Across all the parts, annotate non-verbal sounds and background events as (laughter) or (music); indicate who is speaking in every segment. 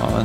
Speaker 1: Ja,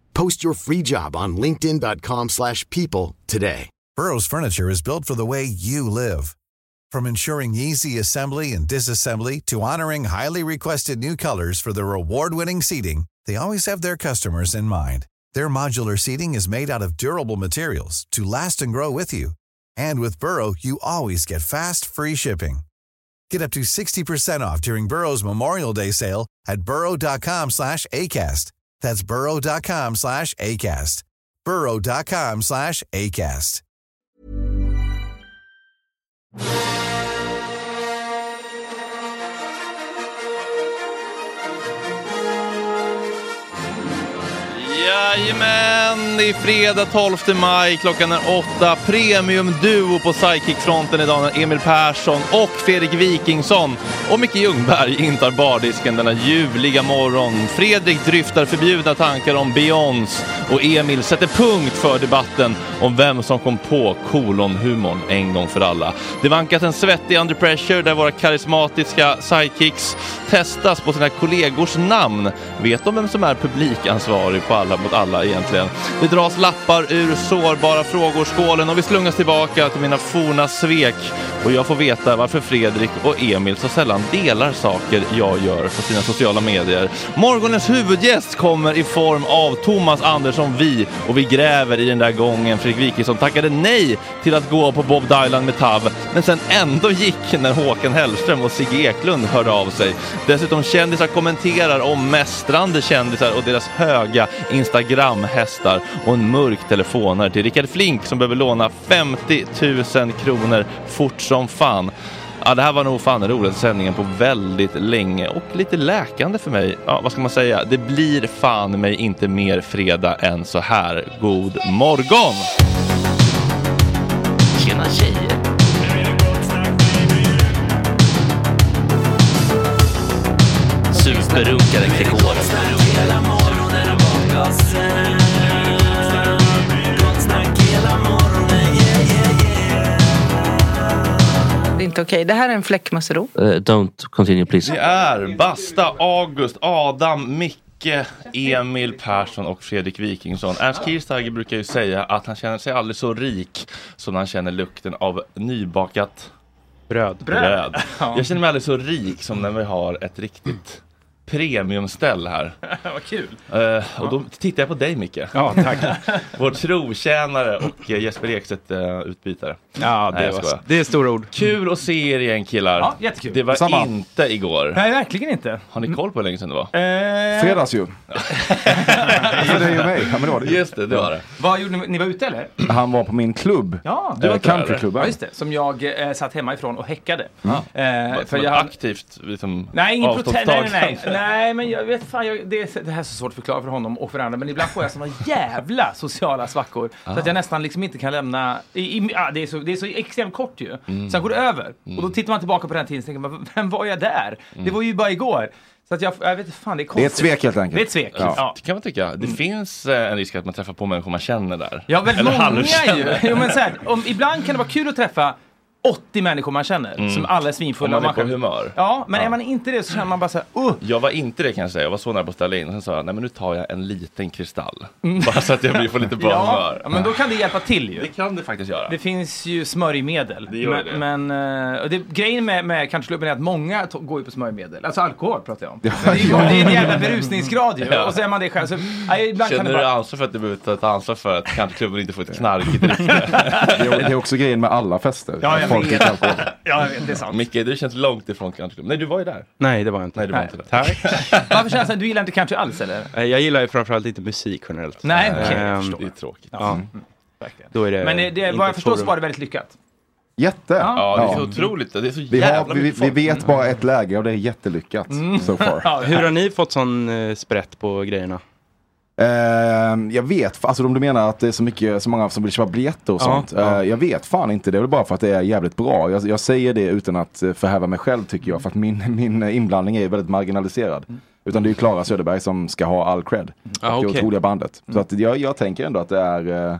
Speaker 2: Post your free job on linkedin.com/people slash people today.
Speaker 3: Burrow's furniture is built for the way you live. From ensuring easy assembly and disassembly to honoring highly requested new colors for their award-winning seating, they always have their customers in mind. Their modular seating is made out of durable materials to last and grow with you. And with Burrow, you always get fast, free shipping. Get up to 60% off during Burrow's Memorial Day sale at burrow.com slash ACAST. That's burrow.com slash ACAST. burrow.com slash ACAST.
Speaker 1: Ja, Jajamän! Det är fredag 12 maj, klockan är åtta. Premiumduo på sidekickfronten idag när Emil Persson och Fredrik Wikingsson och Micke Ljungberg intar bardisken denna ljuvliga morgon. Fredrik dryftar förbjudna tankar om Beyoncé och Emil sätter punkt för debatten om vem som kom på kolonhumorn en gång för alla. Det vankas en svettig under pressure där våra karismatiska sidekicks testas på sina kollegors namn. Vet de vem som är publikansvarig på Alla mot alla egentligen? Det dras lappar ur sårbara frågor-skålen och vi slungas tillbaka till mina forna svek och jag får veta varför Fredrik och Emil så sällan delar saker jag gör på sina sociala medier. Morgonens huvudgäst kommer i form av Thomas Andersson Vi och vi gräver i den där gången Fredrik Wikingsson tackade nej till att gå på Bob Dylan med Tav men sen ändå gick när Håkan Hellström och Sigge Eklund hörde av sig. Dessutom kändisar kommenterar om mästrande kändisar och deras höga Instagram-hästar och en mörk telefonare till Rickard Flink som behöver låna 50 000 kronor fort som fan. Ja, det här var nog fan den roligaste sändningen på väldigt länge och lite läkande för mig. Ja, vad ska man säga? Det blir fan mig inte mer fredag än så här. God morgon! Tjena tjejer! Superrunkare Gregor.
Speaker 4: Det är inte okej. Det här är en fläckmussero.
Speaker 5: Uh, don't continue please.
Speaker 1: Det är Basta, August, Adam, Micke, Emil Persson och Fredrik Wikingsson. Ernst Kirchsteiger brukar ju säga att han känner sig aldrig så rik som när han känner lukten av nybakat bröd. bröd. Jag känner mig aldrig så rik som när vi har ett riktigt premiumställ här.
Speaker 6: (laughs) Vad kul!
Speaker 1: Eh, och då tittar jag på dig Micke,
Speaker 6: Ja, tack.
Speaker 1: (laughs) vår trotjänare och eh, Jesper Ekstedt-utbytare.
Speaker 6: Ja,
Speaker 1: Nej,
Speaker 6: det,
Speaker 1: jag skojar.
Speaker 6: var, det är stora ord.
Speaker 1: Kul att se er igen killar.
Speaker 6: Ja, jättekul.
Speaker 1: Det var
Speaker 7: Samma.
Speaker 1: inte igår.
Speaker 6: Nej, verkligen inte. Mm.
Speaker 1: Har ni koll på hur länge sedan det var?
Speaker 6: Eh,
Speaker 7: Fredags
Speaker 6: (laughs)
Speaker 7: ju. För dig och mig. Ja, men det var det. ju.
Speaker 1: Just det, det var det.
Speaker 6: vad gjorde ni? Ni var ute eller? Eh,
Speaker 7: Han var på min klubb.
Speaker 6: Ja,
Speaker 7: Du var
Speaker 1: inte där, eller?
Speaker 6: ja
Speaker 7: countryklubben.
Speaker 6: just det. Som jag eh, satt hemma ifrån och häckade. Eh,
Speaker 1: För
Speaker 6: för jag hade...
Speaker 1: aktivt liksom,
Speaker 6: Nej, ingen protest. Nej, nej, nej.
Speaker 1: avståndstagande. (laughs)
Speaker 6: nej, men jag vet fan, jag, det, är- det här är så svårt att förklara för honom och för andra, men ibland får jag såna jävla sociala svackor så att jag nästan liksom inte kan lämna... I, i, ah, det, är så, det är så extremt kort ju. Sen går det över och då tittar man tillbaka på den tiden och tänker man, vem var jag där? Det var ju bara igår. Så att jag, jag vet inte fan, Mm. det är
Speaker 7: Det är ett
Speaker 6: konstigt.
Speaker 7: svek helt enkelt.
Speaker 6: Det är ett svek.
Speaker 7: Ja.
Speaker 6: Ja. Mm.
Speaker 1: Det kan man tycka. Det finns eh, en risk att man träffar på människor man känner där.
Speaker 6: Ja, väldigt
Speaker 1: Eller
Speaker 6: många
Speaker 1: halvkänner.
Speaker 6: ju. Jo, men så här, om, ibland kan det vara kul att träffa 80 människor man känner, som alla är
Speaker 1: Mm. Om
Speaker 6: svinfulla.
Speaker 1: man är
Speaker 6: och
Speaker 1: på
Speaker 6: man-
Speaker 1: humör.
Speaker 6: Ja, men är man inte det så känner man bara så här, uh,
Speaker 1: Jag var inte det kanske, jag var så nära på att ställa in. Sen sa jag, nej men nu tar jag en liten kristall. Bara så att jag blir på
Speaker 6: (laughs)
Speaker 1: lite bra
Speaker 6: Mm. ja,
Speaker 1: humör.
Speaker 6: ja, men då kan det hjälpa till ju.
Speaker 1: Det kan du faktiskt göra.
Speaker 6: Det finns ju smörjmedel.
Speaker 1: Det gör det.
Speaker 6: Men, men, eh, och det, grejen med, med countryklubben är att många to- går ju på smörjmedel. Alltså alkohol pratar jag om. Men
Speaker 1: (laughs)
Speaker 6: det, är ju, det är en jävla berusningsgrad ju.
Speaker 1: Ja.
Speaker 6: Och så är man det själv. Så, ja, ibland kan
Speaker 1: Känner
Speaker 6: det
Speaker 1: du
Speaker 6: bara...
Speaker 1: ansvar för att du behöver ta ta ansvar för att countryklubben inte får ett knarkigt
Speaker 6: (laughs)
Speaker 1: rykte?
Speaker 7: Det är- det är också grejen med alla fester.
Speaker 6: Ja,
Speaker 7: att
Speaker 6: jag
Speaker 7: folk
Speaker 6: vet.
Speaker 7: dricker alkohol.
Speaker 6: Ja, jag vet, det är sant.
Speaker 1: Micke, du känns långt ifrån countryklubben. Nej, du var ju där.
Speaker 8: Nej, det var jag inte.
Speaker 1: Nej, du var inte där.
Speaker 8: Tack.
Speaker 6: Varför känns det att du gillar inte country alls eller?
Speaker 8: Eh, Jag gillar ju framförallt inte musik generellt.
Speaker 6: Nej, okej.
Speaker 8: Ehm,
Speaker 6: jag
Speaker 1: Det är
Speaker 6: förstår. Mm.
Speaker 1: tråkigt.
Speaker 8: Ja.
Speaker 6: Verkligen.
Speaker 8: Mm. Då är det
Speaker 6: Men eh, det,
Speaker 8: inte
Speaker 6: vad jag
Speaker 8: ett
Speaker 6: förstår så
Speaker 8: forum.
Speaker 6: var det väldigt lyckat.
Speaker 7: Jätte.
Speaker 1: Ja, det är
Speaker 7: Ja.
Speaker 1: så otroligt. Det är så
Speaker 7: Vi,
Speaker 1: jävla
Speaker 7: har, vi,
Speaker 1: mycket
Speaker 7: vi
Speaker 1: folk. Mm.
Speaker 7: vet bara ett läge och det är jättelyckat.
Speaker 6: Mm.
Speaker 7: So far.
Speaker 6: (laughs) Ja,
Speaker 8: Hur har ni fått sån eh, sprätt på grejerna?
Speaker 7: Ehm, jag vet, alltså om du menar att det är så, mycket, så många som vill köpa biljetter och
Speaker 8: Ja,
Speaker 7: sånt.
Speaker 8: ja.
Speaker 7: Eh, jag vet fan inte, det är väl bara för att det är jävligt bra. Jag, jag säger det utan att eh, förhäva mig själv tycker jag, för att min, (laughs) min inblandning är väldigt marginaliserad. Utan det är ju Klara Söderberg som ska ha all cred.
Speaker 6: Ah,
Speaker 8: Ja,
Speaker 7: och det
Speaker 8: okej.
Speaker 7: otroliga bandet.
Speaker 6: Mm.
Speaker 7: Så att jag, jag tänker ändå att det är eh,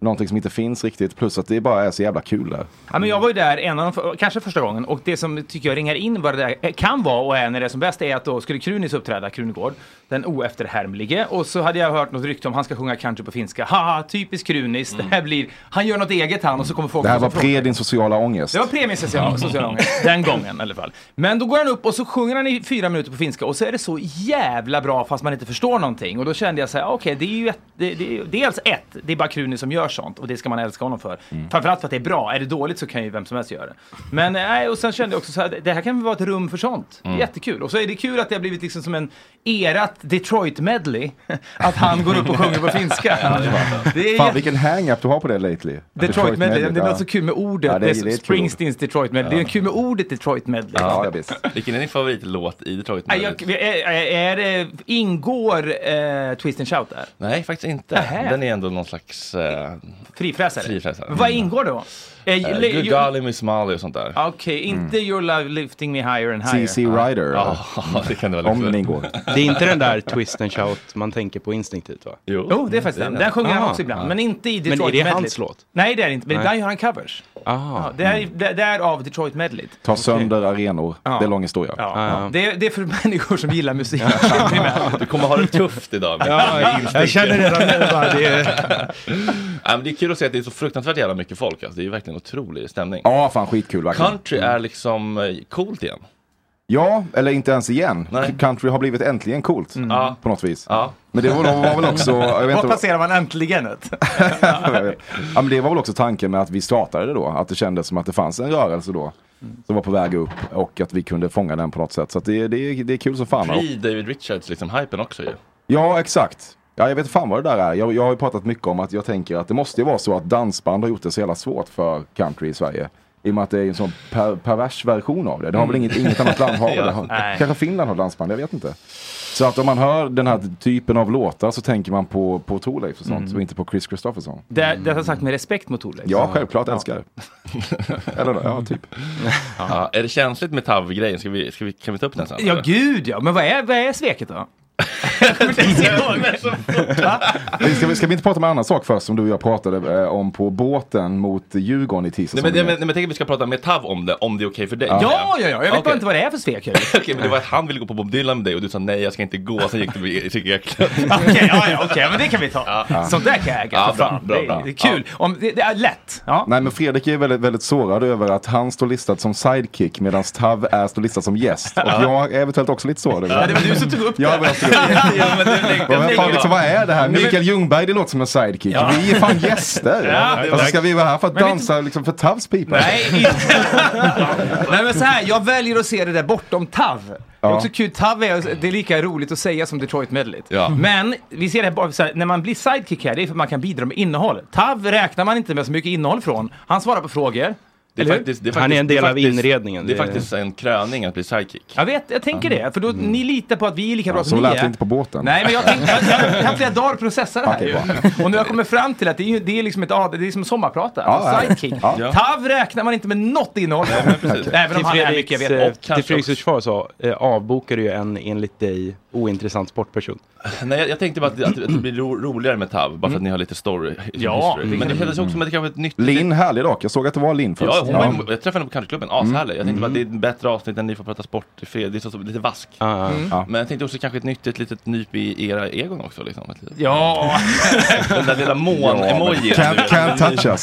Speaker 7: någonting som inte finns riktigt, plus att det bara är så jävla kul där.
Speaker 6: Ja, men jag var ju där en av de, för- kanske första gången och det som tycker jag ringar in vad det där kan vara och är när det är som bäst är att då skulle Krunis uppträda, Krunegård, den oefterhärmlige och så hade jag hört något rykte om han ska sjunga country på finska. Haha, typiskt Krunis, det här blir, han gör något eget han och så kommer folk
Speaker 7: Det här
Speaker 6: och så
Speaker 7: var
Speaker 6: frågar-
Speaker 7: pre din sociala ångest.
Speaker 6: det var premiesocial social ångest. (laughs) Den gången i alla fall. Men då går han upp och så sjunger han i fyra minuter på finska och så är det så jävla bra fast man inte förstår någonting. Och då kände jag så här, okej det är ju ett, det, det, är ju- dels ett, det är bara Kruni som gör sånt och det ska man älska honom för. Framförallt för att det är bra. Är det dåligt så kan ju vem som helst göra det. Men eh, nej, och sen kände jag också så här, det här kan väl vara ett rum för sånt. Det är Jättekul. Och så är det kul att det har blivit liksom som en erat Detroit-medley. (laughs) Att han går upp och sjunger på
Speaker 7: (laughs)
Speaker 6: finska. det är
Speaker 7: Fan vilken hang-up du har på det lately.
Speaker 6: Detroit medley, det är
Speaker 7: ja.
Speaker 6: något så kul med ordet.
Speaker 7: Ja, det
Speaker 6: det,
Speaker 7: är-
Speaker 6: är,
Speaker 7: det är ett kul
Speaker 6: Springsteens Detroit medley. Det är kul med ordet Detroit medley.
Speaker 7: Ja, ja, visst.
Speaker 1: Vilken är din favoritlåt i Detroit?
Speaker 6: Nej, jag, är, är det, ingår eh, Twist and Shout där?
Speaker 1: Nej, faktiskt inte.
Speaker 6: Nähä.
Speaker 1: Den är ändå någon slags eh,
Speaker 6: Frifräsare?
Speaker 1: Frifräsare.
Speaker 6: Vad ingår då? Eh,
Speaker 1: eh,
Speaker 6: le-
Speaker 1: Good
Speaker 6: ju-
Speaker 1: Golly Miss Molly och sånt där.
Speaker 6: Okej, inte Your Love Lifting Me Higher and Higher.
Speaker 7: CC Mm. Rider.
Speaker 6: (laughs)
Speaker 7: Mm.
Speaker 1: Ja, det kan det väl
Speaker 7: Om
Speaker 1: också.
Speaker 7: den ingår.
Speaker 8: Det är inte den där twist and shout man tänker på instinktivt va?
Speaker 1: Jo,
Speaker 6: Jo, det är faktiskt den. Den sjunger han
Speaker 8: Ah,
Speaker 6: också ibland, men inte i Detroit
Speaker 8: Men är det
Speaker 6: medley.
Speaker 8: hans låt?
Speaker 6: Nej, det är det inte. Men ibland gör han covers.
Speaker 8: Ah.
Speaker 6: Ja, det är, det, det är av Detroit medley.
Speaker 7: Ta sönder arenor. Det är en lång historia.
Speaker 6: Ja. Det, är- det är för människor som gillar musik. (laughs)
Speaker 1: Du kommer ha det Mm. tufft idag. Men. (laughs)
Speaker 8: jag känner redan nu bara det är...
Speaker 1: Nej, men det är kul att se att det är så fruktansvärt jävla mycket folk. Alltså. Det är verkligen otrolig stämning.
Speaker 7: (laughs) Ja, fan skitkul verkligen.
Speaker 1: Country är liksom eh, coolt igen.
Speaker 7: Ja, eller inte ens igen.
Speaker 1: Nej.
Speaker 7: Country har blivit äntligen coolt.
Speaker 1: Ja.
Speaker 7: På något vis.
Speaker 1: Ja.
Speaker 7: Men det var, var väl
Speaker 1: (laughs)
Speaker 7: också... Jag vet (laughs)
Speaker 6: Vad
Speaker 7: inte,
Speaker 6: passerar man äntligen? (laughs) Ett?
Speaker 7: Jag vet. ja, men det var väl också tanken med att vi startade det då. Att det kändes som att det fanns en rörelse då.
Speaker 1: Mm.
Speaker 7: Som var på väg upp och att vi kunde fånga den på något sätt. Så att det, det, är- det är kul som fan.
Speaker 1: Pre-David Richards liksom, hypen också ju.
Speaker 7: Ja, exakt. Ja, jag vet fan vad det där är. Jag, jag har ju pratat mycket om att jag tänker att det måste ju vara så att dansband har gjort det så jävla svårt för country i Sverige. I och med att det är en sån per, pervers version av det. Det har
Speaker 1: Mm.
Speaker 7: väl inget, inget
Speaker 1: (laughs)
Speaker 7: annat land har väl det.
Speaker 6: nej.
Speaker 7: Kanske Finland har dansband, jag vet inte. Så att om man hör den här typen av låtar så tänker man på, på Thorleif och sånt
Speaker 1: Mm.
Speaker 7: och inte på Chris Christopherson.
Speaker 6: Det, det har sagt med respekt mot Thorleif.
Speaker 7: Ja, självklart älskar. Eller ja,
Speaker 1: (laughs)
Speaker 7: typ.
Speaker 1: Ja. Är det känsligt med TAV-grejen? Ska vi, ska vi, kan vi ta upp den sen?
Speaker 6: Ja,
Speaker 1: eller?
Speaker 6: gud ja. Men vad är, vad är sveket då? Jag kommer inte ens ihåg.
Speaker 7: Men Ska vi, ska vi inte prata om en annan sak först som du och jag pratade eh, om på båten mot Djurgården i
Speaker 1: Nej,
Speaker 7: tisdags?
Speaker 1: men, nej, men, nej, men tänk att vi ska prata med TAV om det, om det är okej för dig.
Speaker 6: Ja, ja, ja. Jag vet
Speaker 1: Okej.
Speaker 6: bara inte vad det är
Speaker 1: (laughs)
Speaker 6: för svek. Okej,
Speaker 1: Okej, men det var att han ville gå på Bob Dylan med dig och du sa nej, jag ska inte gå. Sen gick du till Grekland.
Speaker 6: ja, ja, (laughs) okej, men det kan vi ta. Sånt där kan jag äga.
Speaker 1: Ja,
Speaker 6: för fan.
Speaker 1: bra, bra,
Speaker 6: Det är-
Speaker 1: bra.
Speaker 6: Det är kul. Om, det, det är lätt. Ja.
Speaker 7: Nej men Fredrik är väldigt, väldigt sårad över att han står listad som sidekick medan Tav är står listad som gäst. Och jag är eventuellt också lite sårad över
Speaker 6: Ja, det var du som tog upp det.
Speaker 7: Ja, men jag skulle-
Speaker 6: (laughs) Ja, men det är lätt.
Speaker 7: Vad- vad
Speaker 6: Jag
Speaker 7: fan,
Speaker 6: tänker
Speaker 7: liksom,
Speaker 6: bara-
Speaker 7: vad är det här? Mikael Ljungberg, det låter som en sidekick. Vi är fan gäster.
Speaker 6: Ja, det
Speaker 7: alltså, ska vi vara här för att
Speaker 6: Men vi-
Speaker 7: dansa liksom, för Tavs pipa?
Speaker 6: Nej, inte. Nej, men så här. Jag väljer att se det där bortom TAV. Det är
Speaker 7: Ja.
Speaker 6: också kul, TAV är, det är lika roligt att säga som Detroit medley.
Speaker 1: Ja.
Speaker 6: Men vi ser det här, bara så här, när man blir sidekick här, det är för att man kan bidra med innehåll. TAV räknar man inte med så mycket innehåll från. Han svarar på frågor.
Speaker 1: Det är
Speaker 6: Eller hur?
Speaker 1: faktiskt, det är
Speaker 8: Han
Speaker 1: faktiskt-
Speaker 8: är en del
Speaker 1: det
Speaker 8: av
Speaker 1: faktiskt-
Speaker 8: inredningen.
Speaker 1: Det är
Speaker 8: Det är-
Speaker 1: faktiskt en kröning att bli sidekick.
Speaker 6: Jag vet, jag tänker det. För då, ni litar på att vi är lika bra
Speaker 7: Mm. Ja,
Speaker 6: som
Speaker 7: så
Speaker 6: ni
Speaker 7: lät
Speaker 6: är.
Speaker 7: det inte på båten.
Speaker 6: Nej, men jag tänkte, jag- jag har haft flera dagar att processa det här
Speaker 7: Okej,
Speaker 6: ju. Och nu har jag kommit fram till att det är, ju- det är liksom ett ad- det är som sommarprata,
Speaker 7: Ja, ja.
Speaker 6: sidekick.
Speaker 7: Ja.
Speaker 6: TAV räknar man inte med något innehåll Även om
Speaker 8: Till
Speaker 6: han är mycket, jag
Speaker 8: Fredriks,
Speaker 6: vet.
Speaker 8: eh,
Speaker 1: Och kanske
Speaker 8: till Fredriks
Speaker 1: också-
Speaker 8: försvar så eh, avbokar du ju en enligt dig ointressant sportperson.
Speaker 1: Nej, jag, jag tänkte bara att, det- att det blir ro, roligare med TAV, bara för att ni har lite story.
Speaker 6: Ja,
Speaker 1: history. men det kändes också som att det kanske var ett nytt...
Speaker 7: Linn, härlig dock. Jag såg att det var Linn först.
Speaker 1: Ja, hon var, jag träffade henne på countryklubben, ashärlig.
Speaker 7: Mm.
Speaker 1: Jag tänkte bara att det är ett bättre avsnitt än ni får prata sport i fred. Det är så, så, lite vask. Mm.
Speaker 8: Ah,
Speaker 1: Men jag tänkte också kanske ett nytt, ett litet nyp i era egon också. Liksom. Ett litet-
Speaker 6: Ja,
Speaker 1: (laughs) Den där lilla mån-emojin.
Speaker 7: Can't, can't touch us.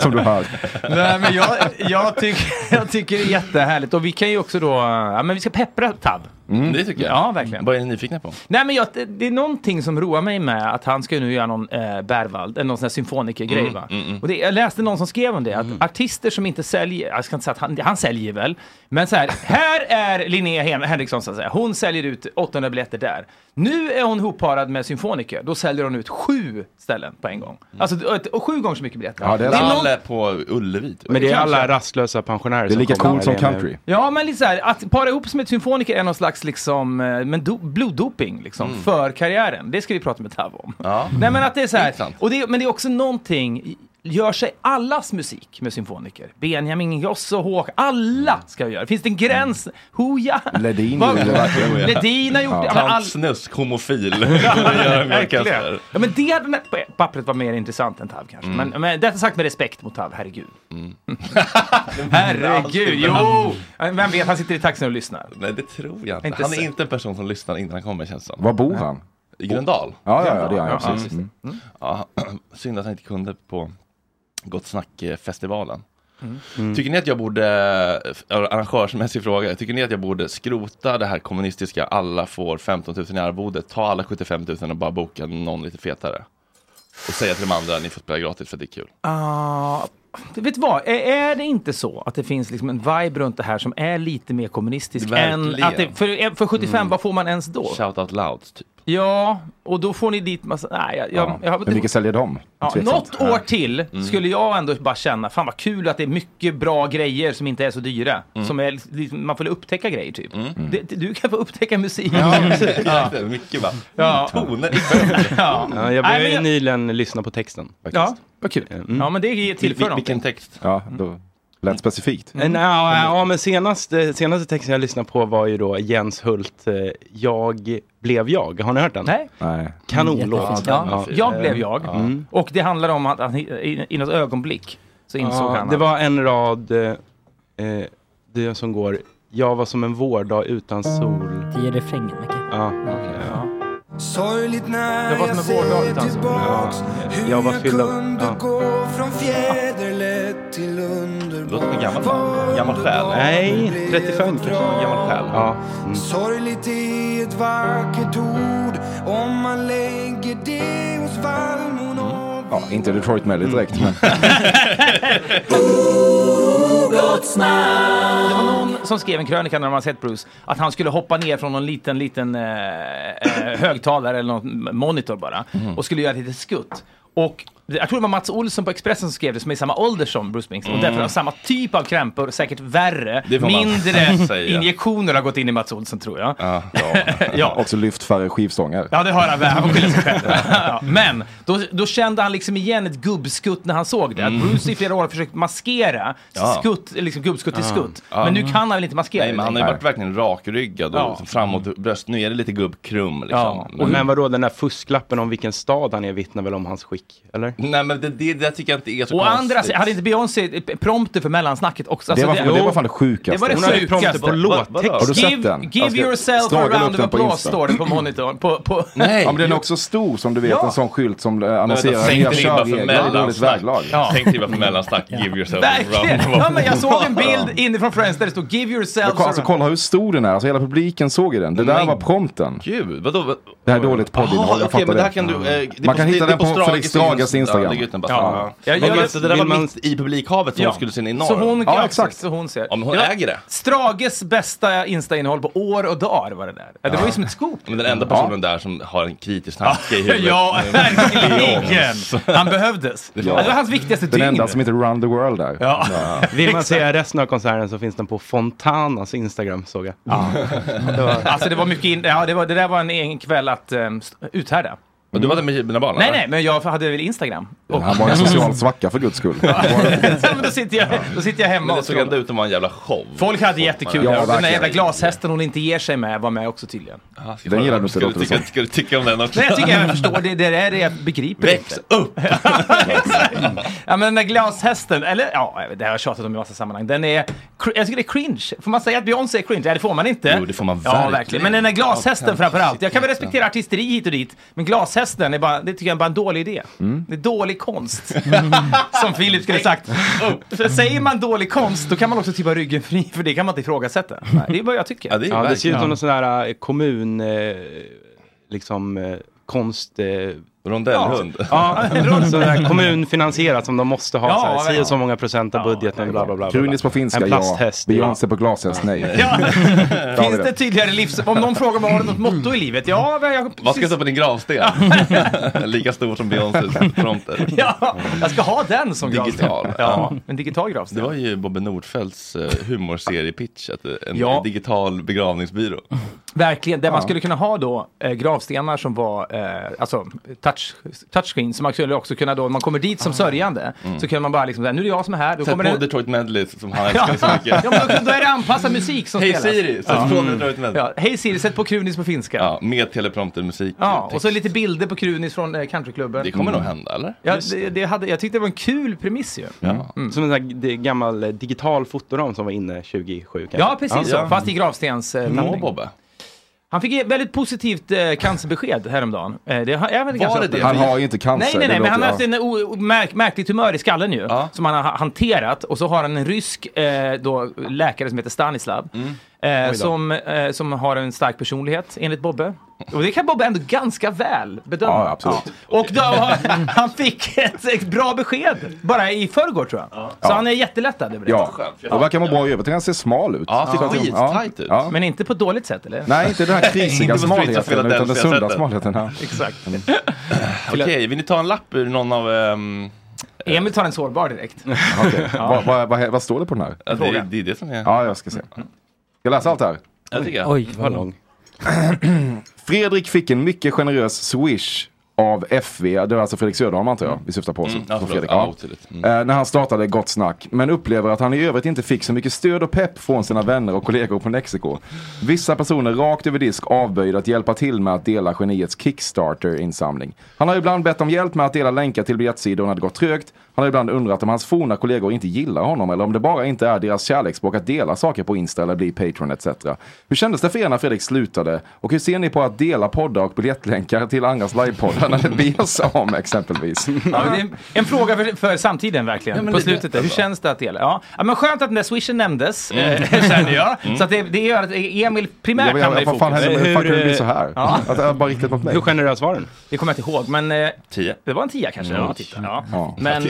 Speaker 1: (laughs)
Speaker 6: (laughs)
Speaker 7: som du hör.
Speaker 6: nej, men jag, jag, tycker, jag tycker det är jättehärligt. Och vi kan ju också då, ja men vi ska peppra TAV.
Speaker 1: Mm, Det tycker jag.
Speaker 6: Ja, verkligen.
Speaker 1: Vad är ni nyfikna på?
Speaker 6: Nej men jag, det- det är någonting som roar mig med att han ska nu göra någon eh, Berwald, eller någon sån här symfonikergrej
Speaker 1: Mm,
Speaker 6: va. Och det, jag läste någon som skrev om det, att artister som inte säljer, jag ska inte säga att han, han säljer väl, men så här, här är Linnea Hen- Henriksson så att säga, hon säljer ut 800 biljetter där. Nu är hon hopparad med symfoniker, då säljer hon ut sju ställen på en gång.
Speaker 1: Mm.
Speaker 6: Alltså ett, och sju gånger så mycket biljetter.
Speaker 7: Ja, det är sant.
Speaker 6: någon-
Speaker 1: Lalle på Ullevi. Typ.
Speaker 8: Men det är alla
Speaker 6: Kanske.
Speaker 8: rastlösa pensionärer
Speaker 7: Det är lika
Speaker 8: kommer
Speaker 7: coolt som
Speaker 8: här med-
Speaker 7: country.
Speaker 6: Ja, men lite så här, att para ihop sig med ett symfoniker är någon slags liksom, eh, men do, bloddoping liksom,
Speaker 7: Mm.
Speaker 6: för karriären. Det ska vi prata med Tav om.
Speaker 1: Ja.
Speaker 6: Nej, men att det är så här,
Speaker 1: Intressant.
Speaker 6: och det, men det är också någonting, gör sig allas musik med symfoniker? Benjamin Ingrosso, Håk, alla ska göra. Finns det en gräns? Hooja!
Speaker 7: Mm. Ledin
Speaker 6: Vad-
Speaker 7: gjorde det verkligen.
Speaker 6: Ledin har gjort det. Ja, men all-
Speaker 1: Tantsnusk, (laughs) homofil. Gör en orkester.
Speaker 6: Verkligen. Ja, men det hade på pappret var mer intressant än Tav kanske. Men, men detta sagt med respekt mot Tav, herregud. (laughs) herregud, jo! Vem vet, han sitter i taxin och lyssnar.
Speaker 1: Nej, det tror jag inte.
Speaker 6: Inte
Speaker 1: han är
Speaker 6: säkert.
Speaker 1: inte en person som lyssnar innan han kommer, känns det som.
Speaker 7: Var bor han?
Speaker 1: I Gröndal.
Speaker 7: Ja, ja, ja det är han.
Speaker 6: Ja,
Speaker 7: Ja, precis. Mm.
Speaker 1: Ja, (clears throat) synd att han inte kunde på Gott Snack-festivalen.
Speaker 6: Mm.
Speaker 7: Mm.
Speaker 1: Tycker ni att jag borde, eh, arrangörsmässig fråga, tycker ni att jag borde skrota det här kommunistiska alla får 15 000 i arvode, ta alla 75 000 och bara boka någon lite fetare? Och säga till de andra, ni får spela gratis för att det är kul.
Speaker 6: Ah, vet du vad, är, är det inte så att det finns liksom en vibe runt det här som är lite mer kommunistisk? Än
Speaker 1: Verkligen.
Speaker 6: att det, för, för 75, vad får man ens då?
Speaker 1: Shout out loud, typ.
Speaker 6: Ja, och då får ni dit massa... Nej, jag, jag, jag,
Speaker 7: Hur mycket säljer de?
Speaker 6: Ja,
Speaker 7: Tveksamt.
Speaker 6: något år till skulle jag ändå bara känna, fan vad kul att det är mycket bra grejer som inte är så dyra. Som är, liksom- man får upptäcka grejer typ. Det, det- du kan få upptäcka musik. Mm.
Speaker 1: Ja. Mycket va?
Speaker 6: Ja.
Speaker 1: Toner i
Speaker 6: (laughs) Ja.
Speaker 8: Ja, jag
Speaker 6: Nej,
Speaker 8: började ju
Speaker 6: men-
Speaker 8: nyligen lyssna på texten. faktiskt.
Speaker 6: ja, vad kul.
Speaker 8: Mm.
Speaker 6: Ja, men det tillför
Speaker 1: Vil-
Speaker 6: något.
Speaker 1: Vilken text?
Speaker 7: Ja, då lät specifikt.
Speaker 6: Mm.
Speaker 8: Eh, nej, Ja, ja, men senaste, senaste texten jag lyssnade på var ju då Jens Hult, eh, Jag blev jag. Har ni hört den?
Speaker 6: Nej. Mm,
Speaker 7: Nej.
Speaker 8: Kanonlåt.
Speaker 9: Jättefint.
Speaker 6: Ja. Jag
Speaker 8: eh,
Speaker 6: blev jag.
Speaker 8: Mm.
Speaker 6: Och det handlar om att, att i, i- i något ögonblick så insåg
Speaker 8: Ja,
Speaker 6: han
Speaker 8: det
Speaker 6: att-
Speaker 8: var en rad eh, eh, det som går Jag var som en vårdag utan sol.
Speaker 9: Det är refrängen, Micke.
Speaker 8: Ja, okej, ja.
Speaker 5: Sorgligt när
Speaker 6: Det var som en vårdag utan sol.
Speaker 5: tillbaks Hur
Speaker 8: Jag var fylld av-
Speaker 5: kunde
Speaker 8: ja.
Speaker 5: gå från fjäderlätt till underbar
Speaker 1: Låter som en gammal man. Gammal själ.
Speaker 8: Nej, 35 kanske.
Speaker 1: En Gammal själ.
Speaker 8: Ja. Mm.
Speaker 5: Sorgligt är ett vackert ord Om man lägger det hos vallmon och
Speaker 7: Ja, inte Detroit Melody direkt, men
Speaker 6: Det var någon som skrev en krönika när de hade sett Bruce att han skulle hoppa ner från någon liten, liten eh, eh, högtalare eller någon monitor bara
Speaker 1: Mm.
Speaker 6: och skulle göra ett litet skutt. Och det- jag tror det var Mats Olsson på Expressen som skrev det, som är i samma ålder som Bruce Springsteen och därför har samma typ av krämpor, säkert värre,
Speaker 1: Mm. Det får man (laughs)
Speaker 6: mindre
Speaker 1: säga.
Speaker 6: injektioner har gått in i Mats Olsson tror jag.
Speaker 1: Ja. Ja.
Speaker 6: (laughs) Ja.
Speaker 7: också lyft färre skivstångar.
Speaker 6: Ja, det har han väl. Han får skylla
Speaker 1: (laughs)
Speaker 6: sig själv. Ja. Men då, då kände han liksom igen ett gubbskutt när han såg det. Att Bruce i flera år har försökt maskera
Speaker 1: Mm. Ja.
Speaker 6: skutt, liksom gubbskutt till skutt. Men nu kan han väl inte maskera
Speaker 1: Nej, men
Speaker 6: det
Speaker 1: han har ju varit verkligen rakryggad och
Speaker 6: Ja.
Speaker 1: liksom
Speaker 6: Mm.
Speaker 1: framåt bröst. Nu är det lite gubbkrum liksom.
Speaker 6: Ja.
Speaker 1: Men-
Speaker 8: Och men vadå, den där fusklappen om vilken stad han är vittnar väl om hans skick? Eller?
Speaker 1: Nej men det, det, det tycker jag inte är så
Speaker 6: Å
Speaker 1: konstigt.
Speaker 6: andra sidan, hade inte Beyoncé prompter för mellansnacket också?
Speaker 7: Det
Speaker 6: Alltså,
Speaker 7: var, men det var fan det
Speaker 6: det var
Speaker 7: sjukaste.
Speaker 6: det
Speaker 8: Hon har ju
Speaker 6: sjukaste.
Speaker 8: prompter på låttext.
Speaker 7: Har du sett
Speaker 6: Give,
Speaker 7: den? Jag
Speaker 6: give
Speaker 7: ska
Speaker 6: yourself a
Speaker 7: snagla upp
Speaker 6: round of
Speaker 7: den på
Speaker 6: applause
Speaker 7: Insta.
Speaker 6: står det på monitorn. På, på,
Speaker 1: Nej!
Speaker 7: Ja, men den är också stor som du vet,
Speaker 6: Ja.
Speaker 7: en sån skylt som eh, annonserar
Speaker 1: Sänk
Speaker 7: nya
Speaker 1: ribban för
Speaker 7: körregler i dåligt
Speaker 1: mellansnack.
Speaker 7: väglag.
Speaker 6: Ja.
Speaker 1: Sänk ribban för mellansnack. Give yourself a
Speaker 6: verkligen!
Speaker 1: round of
Speaker 6: Ja, men jag såg
Speaker 7: (laughs)
Speaker 6: en
Speaker 1: applause.
Speaker 6: bild inifrån Friends där det stod Give
Speaker 7: Jag
Speaker 6: yourself
Speaker 7: kom, alltså,
Speaker 6: a round.
Speaker 7: kolla hur stor den är, alltså hela publiken såg ju den. Det där
Speaker 1: Men-
Speaker 7: var prompten.
Speaker 1: Gud, vadå? vad-
Speaker 7: Det här är dåligt poddinnehåll,
Speaker 1: Jaha,
Speaker 7: jag
Speaker 1: okej,
Speaker 7: fattar
Speaker 1: men det här
Speaker 7: det.
Speaker 1: kan du... eh, det är
Speaker 7: Man kan
Speaker 1: det-
Speaker 7: hitta
Speaker 1: det är
Speaker 7: den på Felix Drages Instagram.
Speaker 1: Ja, lägg ut den bara.
Speaker 6: Ja.
Speaker 1: Ja.
Speaker 6: Jag-
Speaker 1: Men
Speaker 6: jag-
Speaker 1: just det där
Speaker 8: vill
Speaker 1: var
Speaker 8: man-
Speaker 1: mitt i publikhavet som
Speaker 6: Ja.
Speaker 1: skulle se en enorm.
Speaker 6: Så hon,
Speaker 7: Ja,
Speaker 6: ja,
Speaker 7: exakt.
Speaker 6: exakt. Så hon ser.
Speaker 1: Ja, men hon
Speaker 6: Det var-
Speaker 1: äger det.
Speaker 6: Strages bästa Insta-innehåll på år och dagar var det där. Ja, Det var ju som ett scoop.
Speaker 1: Men den enda personen där som har en kritisk tanke i huvudet.
Speaker 6: Ja, verkligen! Han behövdes. Ja. Det var hans viktigaste
Speaker 7: Den
Speaker 6: dygn.
Speaker 7: enda som inte run the world där.
Speaker 6: Ja.
Speaker 8: Vill man se resten av konserten så finns den på Fontanas Instagram såg jag.
Speaker 6: Alltså det var mycket in... Ja, det, var, det där var en egen kväll att um, uthärda.
Speaker 1: Men du var där med mina barn?
Speaker 6: Nej,
Speaker 1: eller?
Speaker 6: nej, men jag hade väl Instagram. Och,
Speaker 7: Han
Speaker 1: (laughs)
Speaker 7: var en
Speaker 6: (laughs)
Speaker 7: social svacka för guds skull.
Speaker 6: så, men då, sitter jag, då sitter jag hemma
Speaker 1: Men det
Speaker 6: och
Speaker 1: såg ändå
Speaker 6: scrollar.
Speaker 1: ut att vara en jävla show.
Speaker 6: Folk hade jättekul.
Speaker 7: Ja,
Speaker 6: Ja, den där
Speaker 7: verkligen.
Speaker 6: jävla glashästen hon inte ger sig med var med också tydligen.
Speaker 1: Ah, ska
Speaker 7: Den
Speaker 1: jag-
Speaker 7: gillar du inte,
Speaker 1: ska du
Speaker 7: låter det
Speaker 1: tycka,
Speaker 7: som.
Speaker 1: ska du tycka om den också?
Speaker 6: Nej, jag tycker jag förstår. Det, det är det jag begriper
Speaker 1: Väx upp!
Speaker 6: (laughs) Ja men den där glashästen, eller ja, jag vet, det har jag tjatat om i massa sammanhang. Den är, cr- jag tycker det är cringe. Får man säga att Beyoncé är cringe? Nej det får man inte.
Speaker 1: Jo, det får man
Speaker 6: Ja
Speaker 1: verkligen.
Speaker 6: verkligen. Men den där glashästen
Speaker 1: Ja,
Speaker 6: framförallt. Jag kan väl
Speaker 1: shit,
Speaker 6: respektera artisteri hit och dit. Men glashästen, är bara, det tycker jag är bara en dålig idé.
Speaker 1: Mm.
Speaker 6: Det är dålig konst. (laughs) Som Filip skulle sagt. För säger man dålig konst, då kan man också typ ha ryggen fri. För det kan man inte ifrågasätta. Det är vad jag tycker.
Speaker 1: Ja, det är
Speaker 8: Ja, det ser
Speaker 1: verkligen.
Speaker 8: ut som någon sån där eh, kommun, eh, liksom eh, konst... Eh,
Speaker 1: Rondellhund.
Speaker 8: ja,
Speaker 6: (laughs)
Speaker 8: sån där kommunfinansierat som de måste ha.
Speaker 6: Ja,
Speaker 8: så här, si och
Speaker 6: verkligen.
Speaker 8: så många procent av budgeten, bla bla bla. bla.
Speaker 7: Krunis på finska,
Speaker 8: En
Speaker 7: ja.
Speaker 8: plasthäst.
Speaker 7: Beyoncé på glashäst, nej.
Speaker 6: Ja.
Speaker 7: Där har vi
Speaker 6: Finns det tydligare livs... Om någon frågar mig, har du något motto i livet? Ja, men jag...
Speaker 1: Mm. Vad ska jag stå på din gravsten? (laughs) Lika stor som Beyoncés fronter.
Speaker 6: (laughs) Ja, jag ska ha den som
Speaker 1: Digital.
Speaker 6: gravsten. Ja, en digital gravsten.
Speaker 1: Det var ju Bobbe Nordfeldts eh, humorserie-pitch, att, eh, en
Speaker 6: Ja.
Speaker 1: digital begravningsbyrå.
Speaker 6: Verkligen, där man skulle kunna ha då eh, gravstenar som var eh, alltså, touch, touchscreen. Så man skulle också kunna då, när man kommer dit som sörjande, så kunde man bara liksom, nu är det jag som är här, då
Speaker 1: Ah. Mm. Sätt på
Speaker 6: kommer det...
Speaker 1: Detroit Medley som han älskar så
Speaker 6: (laughs) Ja, ja,
Speaker 1: mycket.
Speaker 6: men då, då är det anpassad musik som
Speaker 1: Hej
Speaker 6: spelas.
Speaker 1: Siri, sätt på Detroit Medley. Ja.
Speaker 6: Mm. Ja, Hej Siri, sätt på Krunis på finska. Ja,
Speaker 1: med telepromptermusik. text.
Speaker 6: och så lite bilder på Krunis från eh, countryklubben.
Speaker 1: Det kommer nog hända, eller?
Speaker 6: Ja, det, det hade, jag tyckte det var en kul premiss ju.
Speaker 1: Ja.
Speaker 8: Mm. Som en sån här g- gammal eh, digital fotoram som var inne 2007 kanske.
Speaker 6: Ja, precis
Speaker 1: Ja.
Speaker 6: så. Fast i gravstens...
Speaker 7: Mm.
Speaker 6: Eh,
Speaker 1: Nå,
Speaker 6: tappning.
Speaker 1: Bobbe.
Speaker 6: han fick ett väldigt positivt eh, cancerbesked häromdagen. Eh, det har- är väl ganska
Speaker 1: det
Speaker 6: öppet.
Speaker 7: Han har ju inte cancer.
Speaker 6: Nej, nej,
Speaker 7: det
Speaker 6: nej, men han har haft
Speaker 7: låter-
Speaker 6: en o- o- märk, märkligt tumör i skallen ju,
Speaker 1: Ja.
Speaker 6: som han har ha- hanterat. Och så har han en rysk eh, då,
Speaker 7: Mm.
Speaker 6: läkare som heter Stanislav, eh, som, eh, som har en stark personlighet, enligt Bobbe. Och det kan Bob ändå ganska väl bedöma.
Speaker 7: Ja, absolut.
Speaker 6: Och då, han fick ett, ett bra besked bara i förrgår tror jag. Så
Speaker 7: Ja.
Speaker 6: han är jättelättad över det.
Speaker 7: Ja, och verkar må bra i övrigt. Han ser smal ut.
Speaker 6: Ja, han ser
Speaker 7: Så att-
Speaker 6: skittajt
Speaker 7: ja.
Speaker 6: ut.
Speaker 7: Ja.
Speaker 6: Men inte på ett dåligt sätt eller?
Speaker 7: Nej, inte
Speaker 1: (laughs)
Speaker 7: den här krisiga
Speaker 1: Inte på Streets of
Speaker 7: smalheten, utan den sunda
Speaker 1: Philadelphia-sättet.
Speaker 7: smalheten.
Speaker 1: (laughs)
Speaker 7: Ja. Mm.
Speaker 6: Exakt.
Speaker 1: Okej, vill ni ta en lapp ur någon av... ehm,
Speaker 6: Emil tar en sårbar direkt.
Speaker 7: (laughs)
Speaker 6: (laughs)
Speaker 7: Okej. Vad, vad, vad, vad står det på den här?
Speaker 1: ja, det, är- det är det som är...
Speaker 7: Ja, jag ska se. Ska jag läsa allt här?
Speaker 1: Jag tycker jag.
Speaker 9: Oj, vad lång.
Speaker 7: Fredrik fick en mycket generös swish av FV, det var alltså Fredrik Söderholm antar jag, vi syftar på.
Speaker 1: Mm,
Speaker 7: Mm,
Speaker 1: ja,
Speaker 7: på
Speaker 1: förlåt.
Speaker 7: Fredrik,
Speaker 1: Ja, Mm.
Speaker 7: ja.
Speaker 1: otydligt.
Speaker 7: Eh, när han startade Gott Snack, men upplever att han i övrigt inte fick så mycket stöd och pepp från sina vänner och kollegor på Mexiko. Vissa personer rakt över disk avböjde att hjälpa till med att dela geniets Kickstarter-insamling. Han har ibland bett om hjälp med att dela länkar till biljettsidor när det gått trögt. Han har ibland undrat om hans forna kollegor inte gillar honom eller om det bara inte är deras kärleksspråk att dela saker på Insta eller bli Patreon etc. Hur kändes det för er när Fredrik slutade? Och hur ser ni på att dela poddar och biljettlänkar till andras livepoddar när det ber sig om exempelvis?
Speaker 6: Ja, men det är en- en fråga för, för samtiden verkligen.
Speaker 1: Ja, men
Speaker 6: på
Speaker 1: det-
Speaker 6: slutet
Speaker 1: det-
Speaker 6: där. Hur känns det att dela? Ja. ja, men skönt att den där swishen nämndes,
Speaker 1: Mm.
Speaker 6: eh, (laughs) känner jag. Så att det, det gör att Emil primärt
Speaker 7: Jag
Speaker 6: hamnar i
Speaker 7: vet, vad fan
Speaker 6: fokus.
Speaker 7: hände? Hur fan
Speaker 8: Hur,
Speaker 7: kunde det bli
Speaker 8: eh,
Speaker 7: så här?
Speaker 6: ja.
Speaker 7: Att det var bara riktat mot mig?
Speaker 8: Hur generös var den?
Speaker 6: Det kommer jag inte ihåg, men eh,
Speaker 1: Tio.
Speaker 6: det var en tia kanske.
Speaker 7: Mm.
Speaker 6: Ja, titta. Ja.
Speaker 7: Ja.
Speaker 6: Men, (laughs)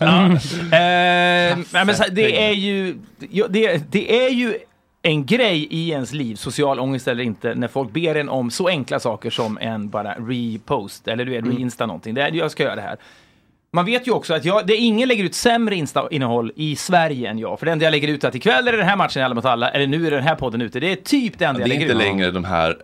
Speaker 6: ja. Eh, nej, men så här, det är ju... ja, Det, det är ju en grej i ens liv, social ångest eller inte, när folk ber en om så enkla saker som en bara repost eller du vet,
Speaker 1: Mm.
Speaker 6: reinsta någonting. Det är, jag ska göra det här. Man vet ju också att jag, det är ingen lägger ut sämre Insta-innehåll i Sverige än jag. För det enda jag lägger ut är att ikväll är det den här matchen i Alla mot alla, eller nu är den här podden ute. Det är typ det enda
Speaker 1: Det
Speaker 6: jag
Speaker 1: är
Speaker 6: lägger
Speaker 1: inte
Speaker 6: ut.
Speaker 1: längre de här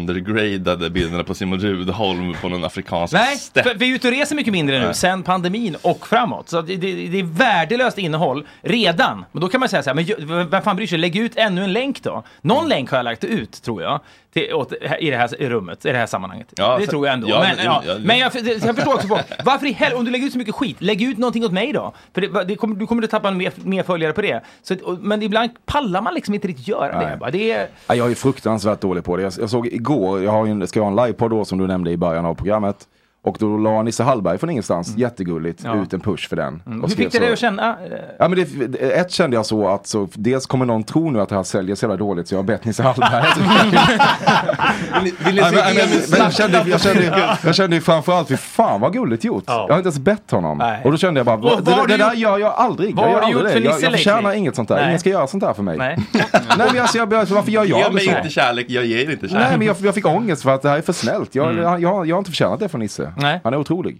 Speaker 1: söndergradade bilderna på Simon Rudholm på någon afrikansk
Speaker 6: Nej,
Speaker 1: steppe.
Speaker 6: för vi är ute och reser mycket mindre nu sen pandemin och framåt. Så det, det, det är värdelöst innehåll redan. Men då kan man säga så här, men ju- vem fan bryr sig? Lägg ut ännu en länk då. Någon länk har jag lagt ut, tror jag, till, åt, i det här rummet, i det här sammanhanget.
Speaker 1: Ja,
Speaker 6: det
Speaker 1: så-
Speaker 6: tror jag ändå.
Speaker 1: ja,
Speaker 6: men
Speaker 1: men-
Speaker 6: ja,
Speaker 1: ja, det-
Speaker 6: men jag, det- jag förstår också folk. Varför i helvete, om du lägger ut så mycket skit, lägg ut någonting åt mig då. För det, det kommer, du kommer att tappa mer, mer följare på det. Så, att- och, men ibland pallar man liksom inte riktigt göra det.
Speaker 7: Nej.
Speaker 6: Bara. det är,
Speaker 7: Ja, Jag är fruktansvärt dålig på det. Jag, jag såg igår, jag har ju en, ska jag ha en livepodd då som du nämnde i början av programmet. Och då la Nisse Hallberg från ingenstans, jättegulligt,
Speaker 6: Mm. Ja. Mm.
Speaker 7: ut en push för den.
Speaker 1: Mm,
Speaker 7: och
Speaker 6: hur
Speaker 7: skrev
Speaker 6: fick du
Speaker 7: så.
Speaker 6: dig att känna? eh,
Speaker 7: Ja, men det, det- ett kände jag så att så, dels kommer någon tro nu att det här säljer så jävla dåligt så jag har bett Nisse
Speaker 6: (laughs)
Speaker 7: Hallberg.
Speaker 1: Vill ni
Speaker 7: Nej, men,
Speaker 1: se
Speaker 7: men,
Speaker 1: Emil
Speaker 7: men jag, kände, jag, kände, jag kände ju framförallt, fy fan vad gulligt gjort. Jag har inte ens bett honom.
Speaker 6: Nej.
Speaker 7: Och då kände jag bara,
Speaker 6: vad
Speaker 7: det,
Speaker 6: har
Speaker 7: det
Speaker 6: du
Speaker 7: där
Speaker 6: gjort-
Speaker 7: gör jag aldrig.
Speaker 6: vad
Speaker 7: Jag,
Speaker 6: har
Speaker 7: gör
Speaker 6: du gjort
Speaker 7: aldrig
Speaker 6: för
Speaker 7: det. jag,
Speaker 6: Nisse
Speaker 7: jag förtjänar
Speaker 6: Lakeley?
Speaker 7: inget sånt där.
Speaker 6: Nej.
Speaker 7: Ingen ska göra sånt där för mig.
Speaker 1: (laughs)
Speaker 6: Nej.
Speaker 7: Nej men alltså, jag, började- varför gör jag
Speaker 1: Ge
Speaker 7: det?
Speaker 1: mig inte kärlek, jag ger inte kärlek.
Speaker 7: Nej men jag, jag fick ångest för att det här är för snällt. Jag, jag, jag, jag har inte förtjänat det från Nisse.
Speaker 6: Mm. Nej.
Speaker 7: Han är otrolig.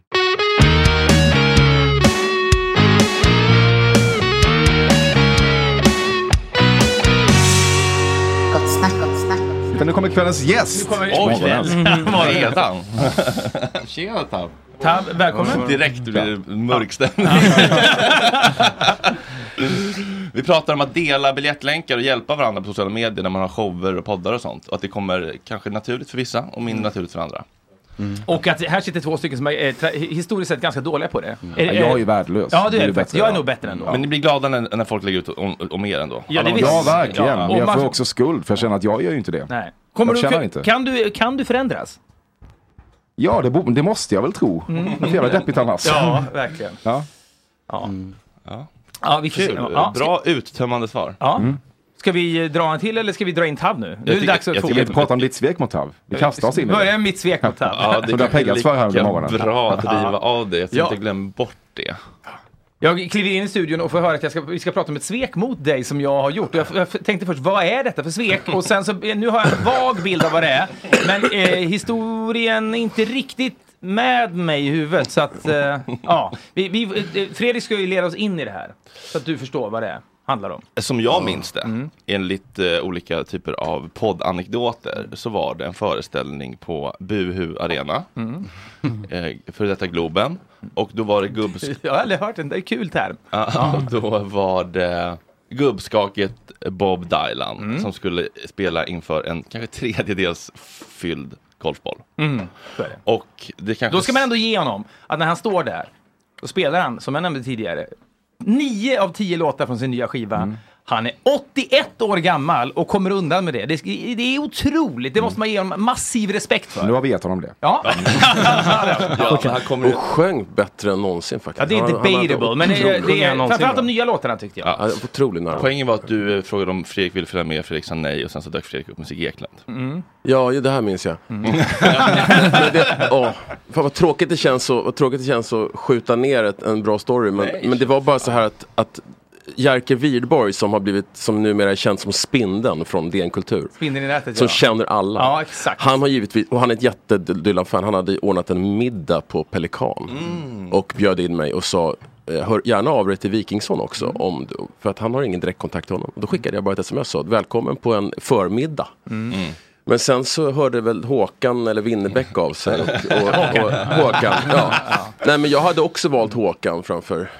Speaker 7: Men nu kommer kvällens gäst.
Speaker 6: Nu kommer- Mm.
Speaker 1: Oj,
Speaker 7: Morgonens.
Speaker 1: redan. Tjena Tab.
Speaker 6: Tab, välkommen.
Speaker 1: Direkt blir det mörk stämning. (laughs) Vi pratar om att dela biljettlänkar och hjälpa varandra på sociala medier när man har shower och poddar och sånt. Och att det kommer kanske naturligt för vissa och
Speaker 6: Mm.
Speaker 1: mindre naturligt för andra.
Speaker 7: Mm.
Speaker 6: Och att här sitter två stycken som är eh, tra- historiskt sett ganska dåliga på det. Eh, Är-
Speaker 7: Mm. Ja, Jag är ju värdelös.
Speaker 6: Ja, du är,
Speaker 7: ju
Speaker 6: det faktiskt.
Speaker 7: bättre
Speaker 6: Jag är
Speaker 7: än
Speaker 6: nog bättre än då.
Speaker 1: Men ni blir glada när, när folk lägger ut om, om er ändå.
Speaker 6: Ja, det
Speaker 1: Alla-
Speaker 6: visst.
Speaker 7: Ja, verkligen.
Speaker 6: Ja.
Speaker 7: Men
Speaker 6: Och
Speaker 7: jag
Speaker 6: man-
Speaker 7: får också skuld för jag känner att jag gör ju inte det.
Speaker 6: Nej. Kommer
Speaker 7: Jag känner
Speaker 6: du,
Speaker 7: inte.
Speaker 6: Kan du, kan du förändras? Mm.
Speaker 7: Ja, det, bo- det måste jag väl tro. Det är för jävla deppigt annars.
Speaker 6: Ja, verkligen.
Speaker 7: Ja. Mm.
Speaker 6: Ja, vi får se.
Speaker 1: Kul.
Speaker 6: Ja.
Speaker 1: Bra uttömmande svar.
Speaker 6: Ja.
Speaker 7: Mm.
Speaker 6: Ska vi eh, dra en till eller ska vi dra in Tab nu? Nu är det
Speaker 1: tycker-
Speaker 6: dags att
Speaker 1: jag
Speaker 7: Ska vi
Speaker 6: fråga.
Speaker 7: inte prata om ditt svek mot Tav? Vi kastar oss in i
Speaker 6: Börja
Speaker 7: det.
Speaker 6: med mitt svek mot Tab.
Speaker 1: Ja, det
Speaker 7: Som du har
Speaker 1: kanske
Speaker 7: peggat för här under
Speaker 1: lika
Speaker 7: morgonen.
Speaker 1: Bra att riva av det. Jag tänkte
Speaker 6: Ja.
Speaker 1: glöm bort det.
Speaker 6: Jag kliver in i studion och får höra att jag ska, vi ska prata om ett svek mot dig som jag har gjort. Och Jag, jag tänkte först, vad är detta för svek? Och sen så, eh, nu har jag en vag bild av vad det är. Men eh, historien är inte riktigt med mig i huvudet. Så att, eh, ja. Vi, vi, eh, Fredrik ska ju leda oss in i det här. Så att du förstår vad det är, handlar om.
Speaker 1: Som jag minns det,
Speaker 6: Mm.
Speaker 1: enligt eh, olika typer av poddanekdoter, så var det en föreställning på Buhu Arena, eh, för detta Globen. Och då var det gubbs...
Speaker 6: Mm. (laughs) Jag har aldrig hört den, det är kul term.
Speaker 1: Ja, och då var det gubbskaket Bob Dylan
Speaker 6: Mm.
Speaker 1: som skulle spela inför en kanske tredjedels fylld golfboll.
Speaker 6: Så är det.
Speaker 1: Och det kanske...
Speaker 6: Då ska man ändå ge honom att när han står där, då spelar han, som jag nämnde tidigare, nio av tio låtar från sin nya skiva. Han är 81 år gammal och kommer undan med det. Det, det är otroligt. Det måste man ge honom massiv respekt för.
Speaker 7: Nu har vi gett honom det.
Speaker 6: Ja.
Speaker 10: Ja, men han kommer och sjöng bättre än någonsin faktiskt.
Speaker 6: Ja, det är
Speaker 10: Han- han hade
Speaker 6: debatable, men det,
Speaker 10: otroligt-
Speaker 6: det är framförallt de nya låtarna tyckte jag.
Speaker 10: Ja, otrolig nerv.
Speaker 1: Poängen var att du eh, frågade om Fredrik ville följa med, Fredrik sa nej och sen så dök Fredrik upp med Sigge Ekland.
Speaker 6: Mm.
Speaker 10: Ja, ju det här minns jag. (laughs) men det, åh, fan vad tråkigt det känns så- vad tråkigt det känns att skjuta ner ett, en bra story. Men,
Speaker 1: Nej.
Speaker 10: men det var bara så här att, att Jerker Wirdborg som har blivit, som numera är känd som Spindeln från DN Kultur.
Speaker 6: Spindeln i nätet,
Speaker 10: Som
Speaker 6: ja.
Speaker 10: känner alla.
Speaker 6: Ja, exakt.
Speaker 10: Han har givetvis, och han är ett jätte Dylan-fan, han hade ordnat en middag på Pelikan.
Speaker 6: Mm.
Speaker 10: Och bjöd in mig och sa eh, Hör gärna av dig till Wikingsson också,
Speaker 6: Mm.
Speaker 10: om du, för att han har ingen direktkontakt till honom. Då skickade jag bara ett sms och sa välkommen på en förmiddag. Men sen så hörde väl Håkan eller Winnerbäck av sig. Och, och, och, Håkan,
Speaker 6: (laughs)
Speaker 10: ja. Nej men jag hade också valt Håkan framför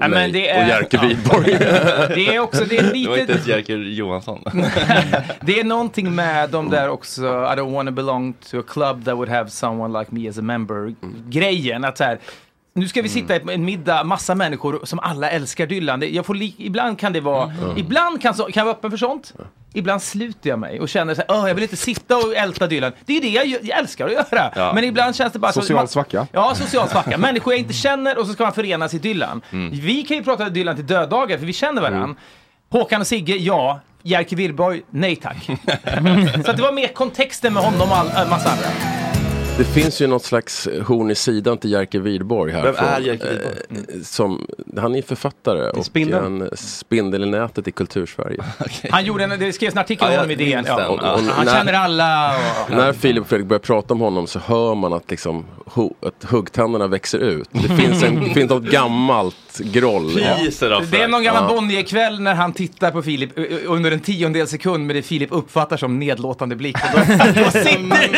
Speaker 6: Ja,
Speaker 10: mig
Speaker 6: men det är-
Speaker 10: och Jerker Wihlborg.
Speaker 6: Det är också,
Speaker 10: (laughs)
Speaker 6: det är
Speaker 1: Det var
Speaker 6: lite...
Speaker 1: inte ens Jerker Johansson.
Speaker 6: Det är någonting med de där också, I don't wanna belong to a club that would have someone like me as a member, grejen att så här, nu ska vi sitta i en middag, massa människor som alla älskar Dylan. Det- Jag får li- ibland kan det vara,
Speaker 10: Mm.
Speaker 6: ibland kan, så, kan jag vara öppen för sånt. Ibland sluter jag mig och känner så här, "Åh, jag vill inte sitta och älta Dylan. Det är ju det jag, gör- jag älskar att göra.
Speaker 7: Ja.
Speaker 6: Men ibland känns det bara så-
Speaker 7: Social
Speaker 6: man-
Speaker 7: svacka.
Speaker 6: Ja,
Speaker 7: (laughs)
Speaker 6: social svacka. Människor jag inte känner och så ska man förenas i Dylan.
Speaker 7: Mm.
Speaker 6: Vi kan ju prata Dylan till döddagar för vi känner varandra. Håkan och Sigge, ja. Jerker Wihlborg, nej tack. (laughs) så att det var mer kontexten med honom och all, äh, massa andra.
Speaker 10: Det finns ju något slags horn i sidan till Jerker Wihlborg här.
Speaker 1: Vem
Speaker 10: från-
Speaker 1: är Jerker Mm. Wihlborg?
Speaker 10: eh, Som, han är författare och
Speaker 6: Spindeln.
Speaker 10: en spindel i nätet
Speaker 1: (laughs)
Speaker 10: i Kultursverige.
Speaker 6: Han gjorde en, det skrevs en artikel om honom i DN. Ja.
Speaker 10: den. Ja.
Speaker 6: Han
Speaker 10: Nej.
Speaker 6: känner alla. Och,
Speaker 10: När Filip och Fredrik börjar prata om honom så hör man att, liksom, ho, att huggtänderna växer ut. Det
Speaker 1: (laughs)
Speaker 10: finns, en, det finns något gammalt groll.
Speaker 6: Det är någon gammal Bonnier-kväll när han tittar på Filip eh, eh, under en tiondel sekund med det Filip uppfattar som nedlåtande blick. Och (laughs) då, då sitter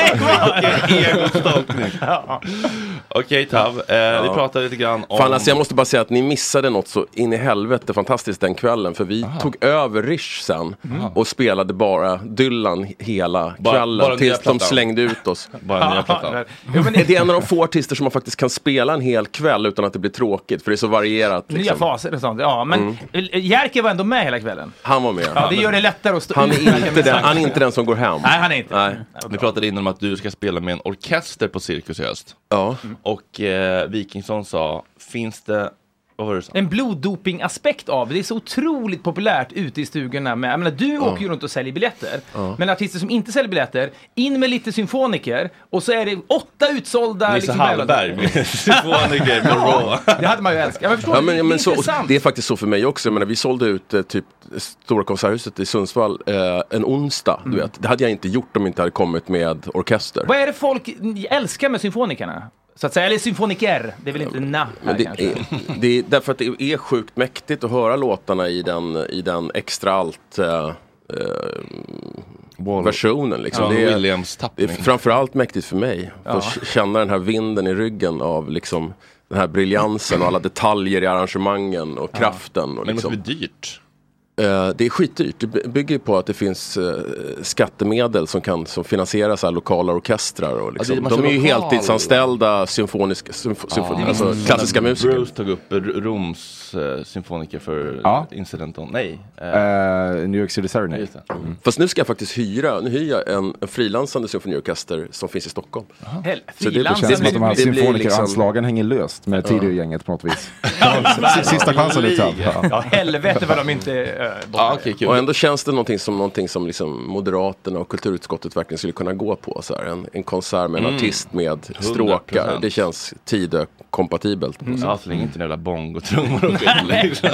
Speaker 6: det kvar! Ja.
Speaker 1: Okej Tav, eh, vi
Speaker 10: Ja.
Speaker 1: pratade lite grann om...
Speaker 10: Fan, alltså, jag måste bara säga att ni missade något så in i helvete fantastiskt den kvällen. För vi tog över Rish sen
Speaker 1: Mhm.
Speaker 10: och spelade bara Dylan hela
Speaker 1: Bara-
Speaker 10: kvällen.
Speaker 1: bara den nya
Speaker 10: tills de
Speaker 1: plattan.
Speaker 10: slängde ut oss.
Speaker 1: (laughs) Bara nya plattan.
Speaker 10: Är det en av de få artister som man faktiskt kan spela en hel kväll utan att det blir tråkigt? För det är så varierat.
Speaker 6: Nya
Speaker 10: Liksom.
Speaker 6: faser och sånt. Ja, men
Speaker 10: Mm.
Speaker 6: eh, Jerker var ändå med hela kvällen.
Speaker 10: Han var med.
Speaker 6: Ja, det gör det lättare att stå
Speaker 10: Han
Speaker 6: ut
Speaker 10: är
Speaker 6: med
Speaker 10: inte den, han är inte den som går hem.
Speaker 6: Nej, han är inte
Speaker 1: Vi pratade innan om att du ska spela med en orkester på Cirkus i höst.
Speaker 10: Ja.
Speaker 1: Och eh, Wikingsson sa, finns det, vad var det du sa?
Speaker 6: En bloddopingaspekt av det. Det är så otroligt populärt ute i stugorna. Med, jag menar, du åker ju runt och säljer biljetter.
Speaker 1: Ja.
Speaker 6: Men artister som inte säljer biljetter, in med lite symfoniker och så är det åtta utsålda... liksom
Speaker 1: Nisse Hallberg
Speaker 6: (laughs)
Speaker 1: med symfoniker med Raw.
Speaker 6: Ja, Det hade man ju älskat. Ja, men förstår
Speaker 10: Ja,
Speaker 6: du?
Speaker 10: men, ja,
Speaker 6: det är
Speaker 10: men så,
Speaker 6: intressant.
Speaker 10: det är faktiskt så för mig också. Jag menar, vi sålde ut eh, typ Stora Konserthuset i Sundsvall eh, en onsdag. Du vet. Det hade jag inte gjort om jag inte hade kommit med orkester.
Speaker 6: Mm. Vad är det folk älskar med symfonikerna? Så att säga, eller symfoniker. Det är väl inte na här
Speaker 10: Men det,
Speaker 6: kanske?
Speaker 10: är, det är därför att det är sjukt mäktigt att höra låtarna i den, i den extra allt eh, eh, versionen. Liksom.
Speaker 1: Ja,
Speaker 10: det är,
Speaker 1: Williams-tappning.
Speaker 10: det är framförallt mäktigt för mig. För
Speaker 1: Ja.
Speaker 10: att k- känna den här vinden i ryggen av liksom, den här briljansen och alla detaljer i arrangemangen och kraften.
Speaker 1: Men
Speaker 10: Och,
Speaker 1: det måste
Speaker 10: liksom.
Speaker 1: bli dyrt.
Speaker 10: Eh, Det är skitdyrt. Det by- bygger ju på att det finns eh, skattemedel som kan som finansiera så här lokala orkestrar. Och
Speaker 1: Ja, det är en
Speaker 10: liksom.
Speaker 1: massa
Speaker 10: De är ju
Speaker 1: lokal-
Speaker 10: heltidsanställda symfoniska, symf- symfo- alltså, klassiska musiker.
Speaker 1: Mm. Bruce tog upp R- Roms eh, symfoniker för
Speaker 10: Ja.
Speaker 1: incidenten. Nej. eh,
Speaker 7: Eh, New York City Serenade.
Speaker 1: Just
Speaker 10: Mm. Fast nu ska jag faktiskt hyra, nu hyr jag en, en frilansande symfoniorkester som finns i Stockholm.
Speaker 6: Hell,
Speaker 10: Så
Speaker 7: Det känns som att de här
Speaker 10: det blir liksom-
Speaker 7: symfonikeranslagen hänger löst med Tidögänget på
Speaker 1: (laughs)
Speaker 7: något vis. Sista chansen lite.
Speaker 6: Ja. Ja, helvete vad de inte... Äh,
Speaker 1: Ja, okej, kul.
Speaker 10: Och ändå känns det någonting som någonting som liksom Moderaterna och kulturutskottet verkligen skulle kunna gå på. Så här. En, en konsert med en
Speaker 1: Mm.
Speaker 10: artist med
Speaker 1: 100%.
Speaker 10: stråkar. Det känns Tidö-kompatibelt. på något
Speaker 1: Mm.
Speaker 10: sätt.
Speaker 1: Ja, så länge inte den jävla bongotrummor
Speaker 6: (laughs)
Speaker 1: och skit. liksom.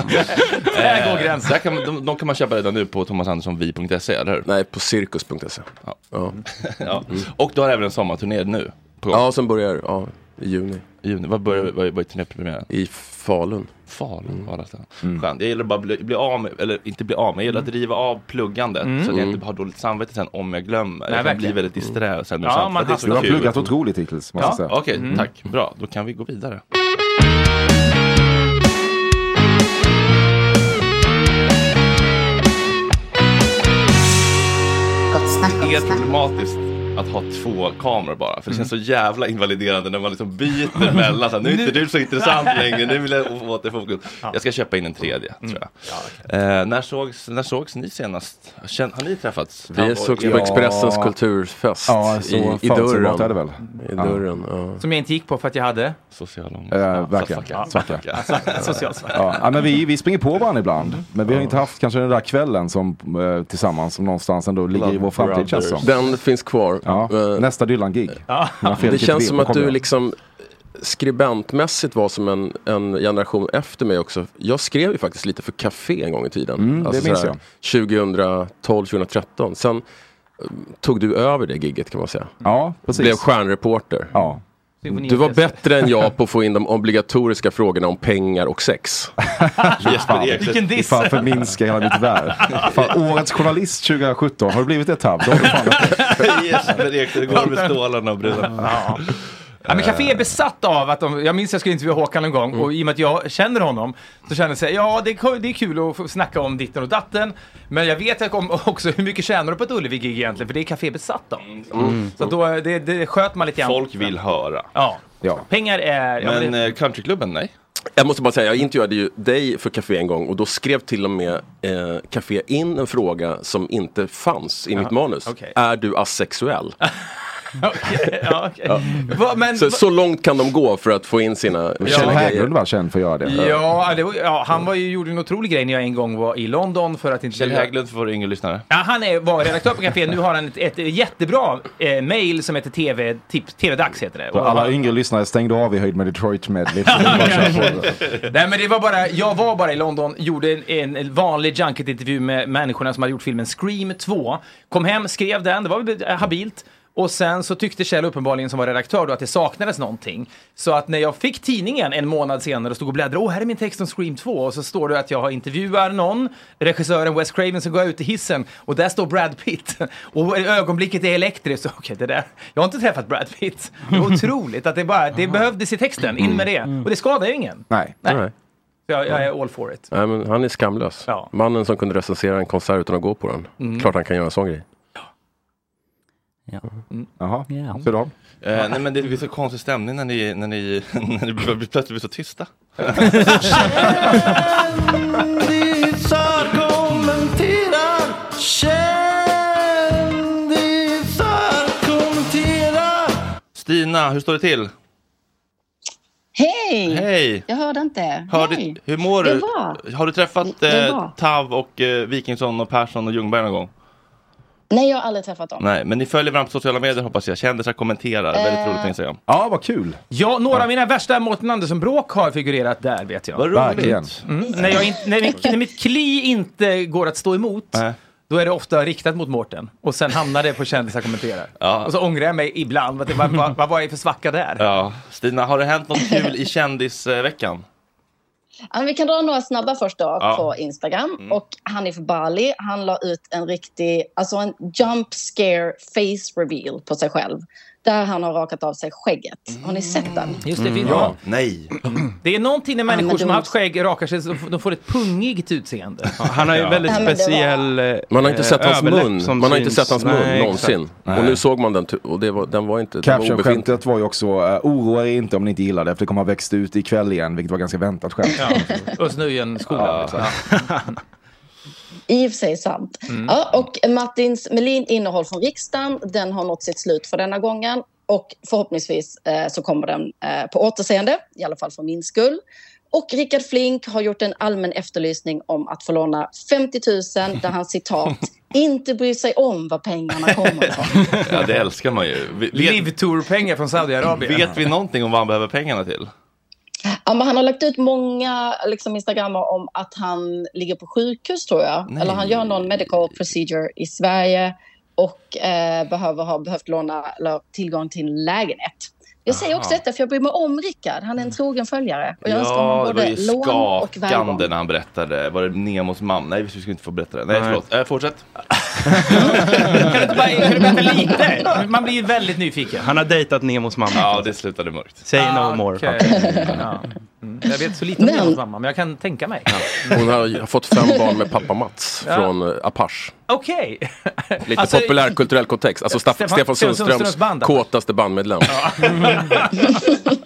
Speaker 6: Där går
Speaker 1: Eh,
Speaker 6: gränsen.
Speaker 1: Där kan, man- de, de kan man köpa redan nu på thomasandssonvi.se, E, eller hur?
Speaker 10: Nej, på cirkus.se.
Speaker 1: Ja.
Speaker 10: E. Ja.
Speaker 1: (laughs) ja. Och du har även en sommarturné nu?
Speaker 10: Ja, som börjar ja, i juni.
Speaker 1: I juni. Vad börjar vad, vad är turnépremiären?
Speaker 10: I Falun.
Speaker 1: Falun,
Speaker 10: Mm,
Speaker 1: Falasta.
Speaker 7: Mm.
Speaker 1: Skönt. Jag gillar bara att bli, bli av med, eller inte bli av med, jag gillar att riva av pluggandet
Speaker 7: Mm.
Speaker 1: så att jag
Speaker 7: Mm.
Speaker 1: inte har dåligt samvete sen om jag glömmer.
Speaker 7: Nej,
Speaker 1: jag kan bli
Speaker 7: verkligen.
Speaker 1: väldigt disträ sen.
Speaker 7: Ja, man
Speaker 1: det är så
Speaker 7: hastar. Du har
Speaker 1: alltså, kul.
Speaker 7: pluggat otroligt hittills, måste
Speaker 1: ja.
Speaker 7: jag säga.
Speaker 1: Okej,
Speaker 7: Mm.
Speaker 1: tack. Bra, då kan vi gå vidare. Helt problematiskt. att ha två kameror bara. För det känns så jävla invaliderande när man liksom byter mellan. Så här, nu är inte
Speaker 6: Nu-
Speaker 1: du så intressant längre, nu vill jag å- åter fokus. Jag ska köpa in en tredje,
Speaker 10: Mm.
Speaker 1: tror jag. eh, när, sågs, när sågs ni senast? Känn, har ni träffats?
Speaker 10: Vi sågs på Expressens kulturfest
Speaker 7: Ja, så
Speaker 10: i, i
Speaker 7: förutsägbart
Speaker 10: dörren.
Speaker 7: är det väl.
Speaker 10: I
Speaker 7: Ja.
Speaker 10: dörren, ja.
Speaker 6: Som jag inte gick på för att jag hade?
Speaker 1: Sociala
Speaker 7: Eh, verkligen.
Speaker 6: Svartsvacka.
Speaker 7: Svartsvacka.
Speaker 6: Ja, Social svacka.
Speaker 7: Ja, ja, men vi, vi springer på varandra ibland.
Speaker 10: Mm.
Speaker 7: Men vi har inte haft kanske den där kvällen som, eh, tillsammans som någonstans ändå ligger i vår framtid känns det som.
Speaker 10: Den finns kvar. Eh,
Speaker 7: Ja, nästa
Speaker 10: Mm.
Speaker 7: Dylan-gig. Men Fredrik
Speaker 10: Det
Speaker 7: inte
Speaker 10: känns
Speaker 7: vill,
Speaker 10: som
Speaker 7: då
Speaker 10: att
Speaker 7: kommer
Speaker 10: du
Speaker 7: jag.
Speaker 10: liksom skribentmässigt var som en, en generation efter mig också. Jag skrev ju faktiskt lite för Café en gång i tiden. Alltså
Speaker 7: Mm, det minns
Speaker 10: sådär 2012, 2013. Sen eh, tog du över det gigget kan man säga.
Speaker 7: Ja, precis.
Speaker 10: Blev stjärnreporter.
Speaker 7: Ja.
Speaker 10: Du var
Speaker 7: (laughs)
Speaker 10: bättre än jag på att få in de obligatoriska frågorna om pengar och sex.
Speaker 7: Fan, Fan förminska hela mitt värv. Fan, årets journalist 2017, har det blivit ett tabb? Då har du fan
Speaker 1: Jesper Ekstedt går med stålarna och Eh. brudarna.
Speaker 6: Ja. Ja, men Café är besatt av att de, jag minns jag skulle intervjua Håkan en
Speaker 1: Mm.
Speaker 6: gång och i och med att jag känner honom så känner jag sig, ja det, är ko- det är kul att få snacka om ditten och datten men jag vet om, (laughs) också hur mycket tjänar du på ett Ullevi-gig egentligen för det är Café besatt av.
Speaker 1: Mm.
Speaker 6: Så att då, eh, det, det sköt man lite grann.
Speaker 1: Folk vill höra.
Speaker 6: Ja.
Speaker 7: Ja.
Speaker 6: Pengar är... ja,
Speaker 1: Men
Speaker 6: det-
Speaker 1: eh, countryklubben, nej?
Speaker 10: Jag måste bara säga, jag intervjuade ju dig för Café en gång och då skrev till och med eh, Café in en fråga som inte fanns i mitt manus.
Speaker 6: okej.
Speaker 10: Är du asexuell?
Speaker 6: Okej, (laughs) ja, (laughs) okej. (laughs) Va, men,
Speaker 10: så, så långt kan de gå för att få in sina...
Speaker 7: Kjell Hägglund var känd för att göra det.
Speaker 6: Ja, det var, ja, han var ju, gjorde en otrolig grej när jag en gång var i London för att inte...
Speaker 1: Kjell Hägglund för våra yngre lyssnare.
Speaker 6: Ja, han är, var redaktör på Café, nu har han ett, ett jättebra eh, mail som heter TV, tips, TV-dags heter det.
Speaker 7: Så Alla yngre lyssnare stängde av i höjd med Detroit medley. Så det är bara att köra på det.
Speaker 6: (laughs) Nej men det var bara, jag var bara i London, gjorde en, en vanlig junket-intervju med människorna som hade gjort filmen Scream 2. Kom hem, skrev den, det var väl eh, habilt. Och sen så tyckte Kjell uppenbarligen som var redaktör då att det saknades någonting. Så att när jag fick tidningen en månad senare och stod och bläddrade, åh här är min text om Scream 2 och så står det att jag har intervjuar någon, regissören Wes Craven, så går jag ut i hissen och där står Brad Pitt. (laughs) Och ögonblicket är elektriskt. (laughs) Så, Okej, det där, jag har inte träffat Brad Pitt. Det är otroligt att det bara, det behövdes i texten, in med
Speaker 11: Mm.
Speaker 6: det. Och det skadar ju ingen.
Speaker 7: Nej.
Speaker 10: Nej.
Speaker 6: Så Jag, jag är all for it.
Speaker 10: Nej, men han är skamlös. Mannen som kunde recensera en konsert utan att gå på den.
Speaker 6: Mm.
Speaker 10: Klart han kan göra en sån grej.
Speaker 7: Jaha,
Speaker 9: Ja.
Speaker 7: hur då?
Speaker 1: Eh, nej men det blir så konstig stämning när ni, när ni, (laughs) när ni blir- blir- plötsligt blir så
Speaker 11: (laughs)
Speaker 1: tysta.
Speaker 5: Kändisar kommenterar Kändisar kommenterar
Speaker 1: Stina, hur står det till?
Speaker 11: Hej!
Speaker 1: Hej!
Speaker 11: Jag hörde inte.
Speaker 1: Hör
Speaker 11: Hej.
Speaker 1: du, hur mår
Speaker 11: Det
Speaker 1: du?
Speaker 11: var-
Speaker 1: Har du träffat
Speaker 11: Det- det var.
Speaker 1: eh, Tav och eh, Wikingsson och Persson och Ljungberg någon gång?
Speaker 11: Nej, jag har aldrig träffat dem.
Speaker 1: Nej, men ni följer varandra på sociala medier hoppas jag. Kändisar kommenterar, väldigt
Speaker 11: Eh.
Speaker 1: roligt på Instagram.
Speaker 7: Ja, vad kul!
Speaker 6: Ja, några av mina värsta Mårten Andersson-bråk har figurerat där vet jag.
Speaker 1: Vad roligt. Verkligen.
Speaker 6: Mm. När, jag in, när, mitt, när mitt kli inte går att stå emot, då är det ofta riktat mot Mårten. Och sen hamnar det på kändisar kommenterar.
Speaker 1: Ja.
Speaker 6: Och så ångrar jag mig ibland. Vad, vad, vad, vad var jag för svacka där?
Speaker 1: Ja, Stina, har det hänt något kul
Speaker 11: (laughs)
Speaker 1: i kändisveckan?
Speaker 11: Ja, men vi kan dra några snabba först då
Speaker 1: Ja.
Speaker 11: på Instagram.
Speaker 1: Mm.
Speaker 11: Och Hanif Bali, han la ut en riktig, alltså en jump scare face reveal på sig själv. Där han har rakat av sig skägget. Har ni sett den?
Speaker 6: Mm. Just det, vi-
Speaker 1: Ja, nej.
Speaker 6: Det är någonting när
Speaker 11: Ja, men
Speaker 6: människor som
Speaker 11: de-
Speaker 6: har haft skägg rakar sig, så f- de får ett pungigt utseende.
Speaker 8: Han har ju väldigt
Speaker 11: Ja, men det var-
Speaker 8: speciell eh,
Speaker 10: Man har inte sett hans
Speaker 8: överläpp
Speaker 10: mun.
Speaker 8: som
Speaker 10: Man har inte
Speaker 8: syns.
Speaker 10: sett hans mun
Speaker 8: Nej, exakt.
Speaker 10: någonsin. Och nu såg man den tu- och det var, den var inte... den var obefintlig.
Speaker 7: Caption-skämtet var ju också, uh, oroa er inte om ni inte gillar det, för det kommer ha växt ut ikväll igen, vilket var ganska väntat skämt.
Speaker 6: Ja. Özz Nujen-skolan. liksom.
Speaker 11: I och för sig sant.
Speaker 7: Mm.
Speaker 11: Ja, och Martins Melin innehåll från riksdagen, den har nått sitt slut för denna gången. Och förhoppningsvis eh, så kommer den eh, på återseende, i alla fall för min skull. Och Rickard Flink har gjort en allmän efterlysning om att få låna 50 000 där han citat inte bryr sig om var pengarna kommer ifrån.
Speaker 1: Ja, det älskar man ju. Vi- Vet,
Speaker 6: Livtour-pengar från Saudiarabien.
Speaker 1: vet vi någonting om vad han behöver pengarna till?
Speaker 11: Ja, men han har lagt ut många liksom, instagrammar om att han ligger på sjukhus, tror jag.
Speaker 1: Nej.
Speaker 11: Eller han gör någon medical procedure i Sverige och eh, behöver ha behövt låna eller, tillgång till en lägenhet. Jag säger
Speaker 1: Aha. Mm.
Speaker 11: också detta för jag bryr mig om Rickard. Han är en trogen följare. Och jag önskar
Speaker 1: Ja, det
Speaker 11: honom
Speaker 1: var
Speaker 11: både
Speaker 1: ju
Speaker 11: lån och välgång.
Speaker 1: skakande när han berättade. Var det Nemos mamma? Nej, vi skulle inte få berätta det. Nej,
Speaker 8: Nej.
Speaker 1: förlåt. Eh, fortsätt.
Speaker 6: Kan du inte bara kan du berätta lite? Man blir ju väldigt nyfiken.
Speaker 8: Han har dejtat Nemos mamma.
Speaker 1: Ja, det slutade mörkt.
Speaker 8: Say
Speaker 6: Ah,
Speaker 8: no more.
Speaker 6: okej.
Speaker 8: pappa.
Speaker 6: Ja. Mm. Jag vet så lite om
Speaker 11: Men-
Speaker 6: Dilans mamma, men jag kan tänka mig.
Speaker 10: Hon har fått fem barn med pappa Mats
Speaker 6: Ja.
Speaker 10: från eh, Apache.
Speaker 6: Okej!
Speaker 10: Lite
Speaker 6: Alltså,
Speaker 10: populärkulturell kontext. Alltså Staff-
Speaker 6: Stefan-
Speaker 10: Stefan,
Speaker 6: Stefan
Speaker 10: Sundströms,
Speaker 6: Sundströms band, alltså.
Speaker 10: kåtaste bandmedlem.
Speaker 7: (laughs)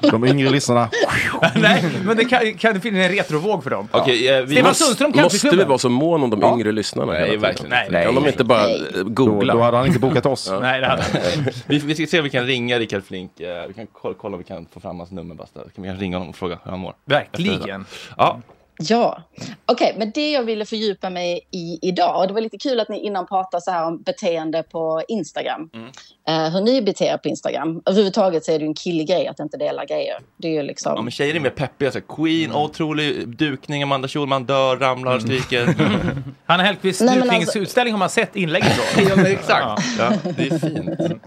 Speaker 7: De yngre lyssnarna.
Speaker 6: (laughs) Nej, men det kan, kan det finnas en retrovåg för dem.
Speaker 10: Okej, eh, vi-
Speaker 6: Stefan
Speaker 10: Måste-
Speaker 6: Sundström
Speaker 10: Måste vi
Speaker 6: Countryklubben.
Speaker 10: vara så mån om de yngre lyssnarna? hela
Speaker 1: Nej,
Speaker 10: tiden?
Speaker 1: verkligen inte.
Speaker 10: Kan de inte bara eh, googla?
Speaker 7: Då, då hade han inte
Speaker 1: (laughs)
Speaker 7: bokat oss.
Speaker 6: Nej, det hade han
Speaker 1: vi, vi ska se om vi kan ringa Rickard Flink. Eh, Vi kan kolla, kolla om vi kan få fram hans nummer. Bara. så där. Kan vi kanske ringa honom och fråga hur han mår?
Speaker 6: Verkligen.
Speaker 1: Ja.
Speaker 11: Ja, okej, men det jag ville fördjupa mig i idag, och det var lite kul att ni innan pratade så här om beteende på Instagram.
Speaker 1: Mm.
Speaker 11: Eh, hur ni beter er på Instagram. Överhuvudtaget så är det ju en killig grej att inte dela grejer. Det är ju liksom...
Speaker 1: ja, men tjejer är mer peppiga. Så här, Queen,
Speaker 6: Mm.
Speaker 1: otrolig dukning. Amanda Schulman dör, ramlar, skriker.
Speaker 6: Hanna Hellquists
Speaker 11: Nej, men
Speaker 6: dukningens
Speaker 11: alltså-
Speaker 6: utställning har man sett inlägget då.
Speaker 1: ja, men exakt.
Speaker 6: (laughs) Ja.
Speaker 1: Ja, det är fint.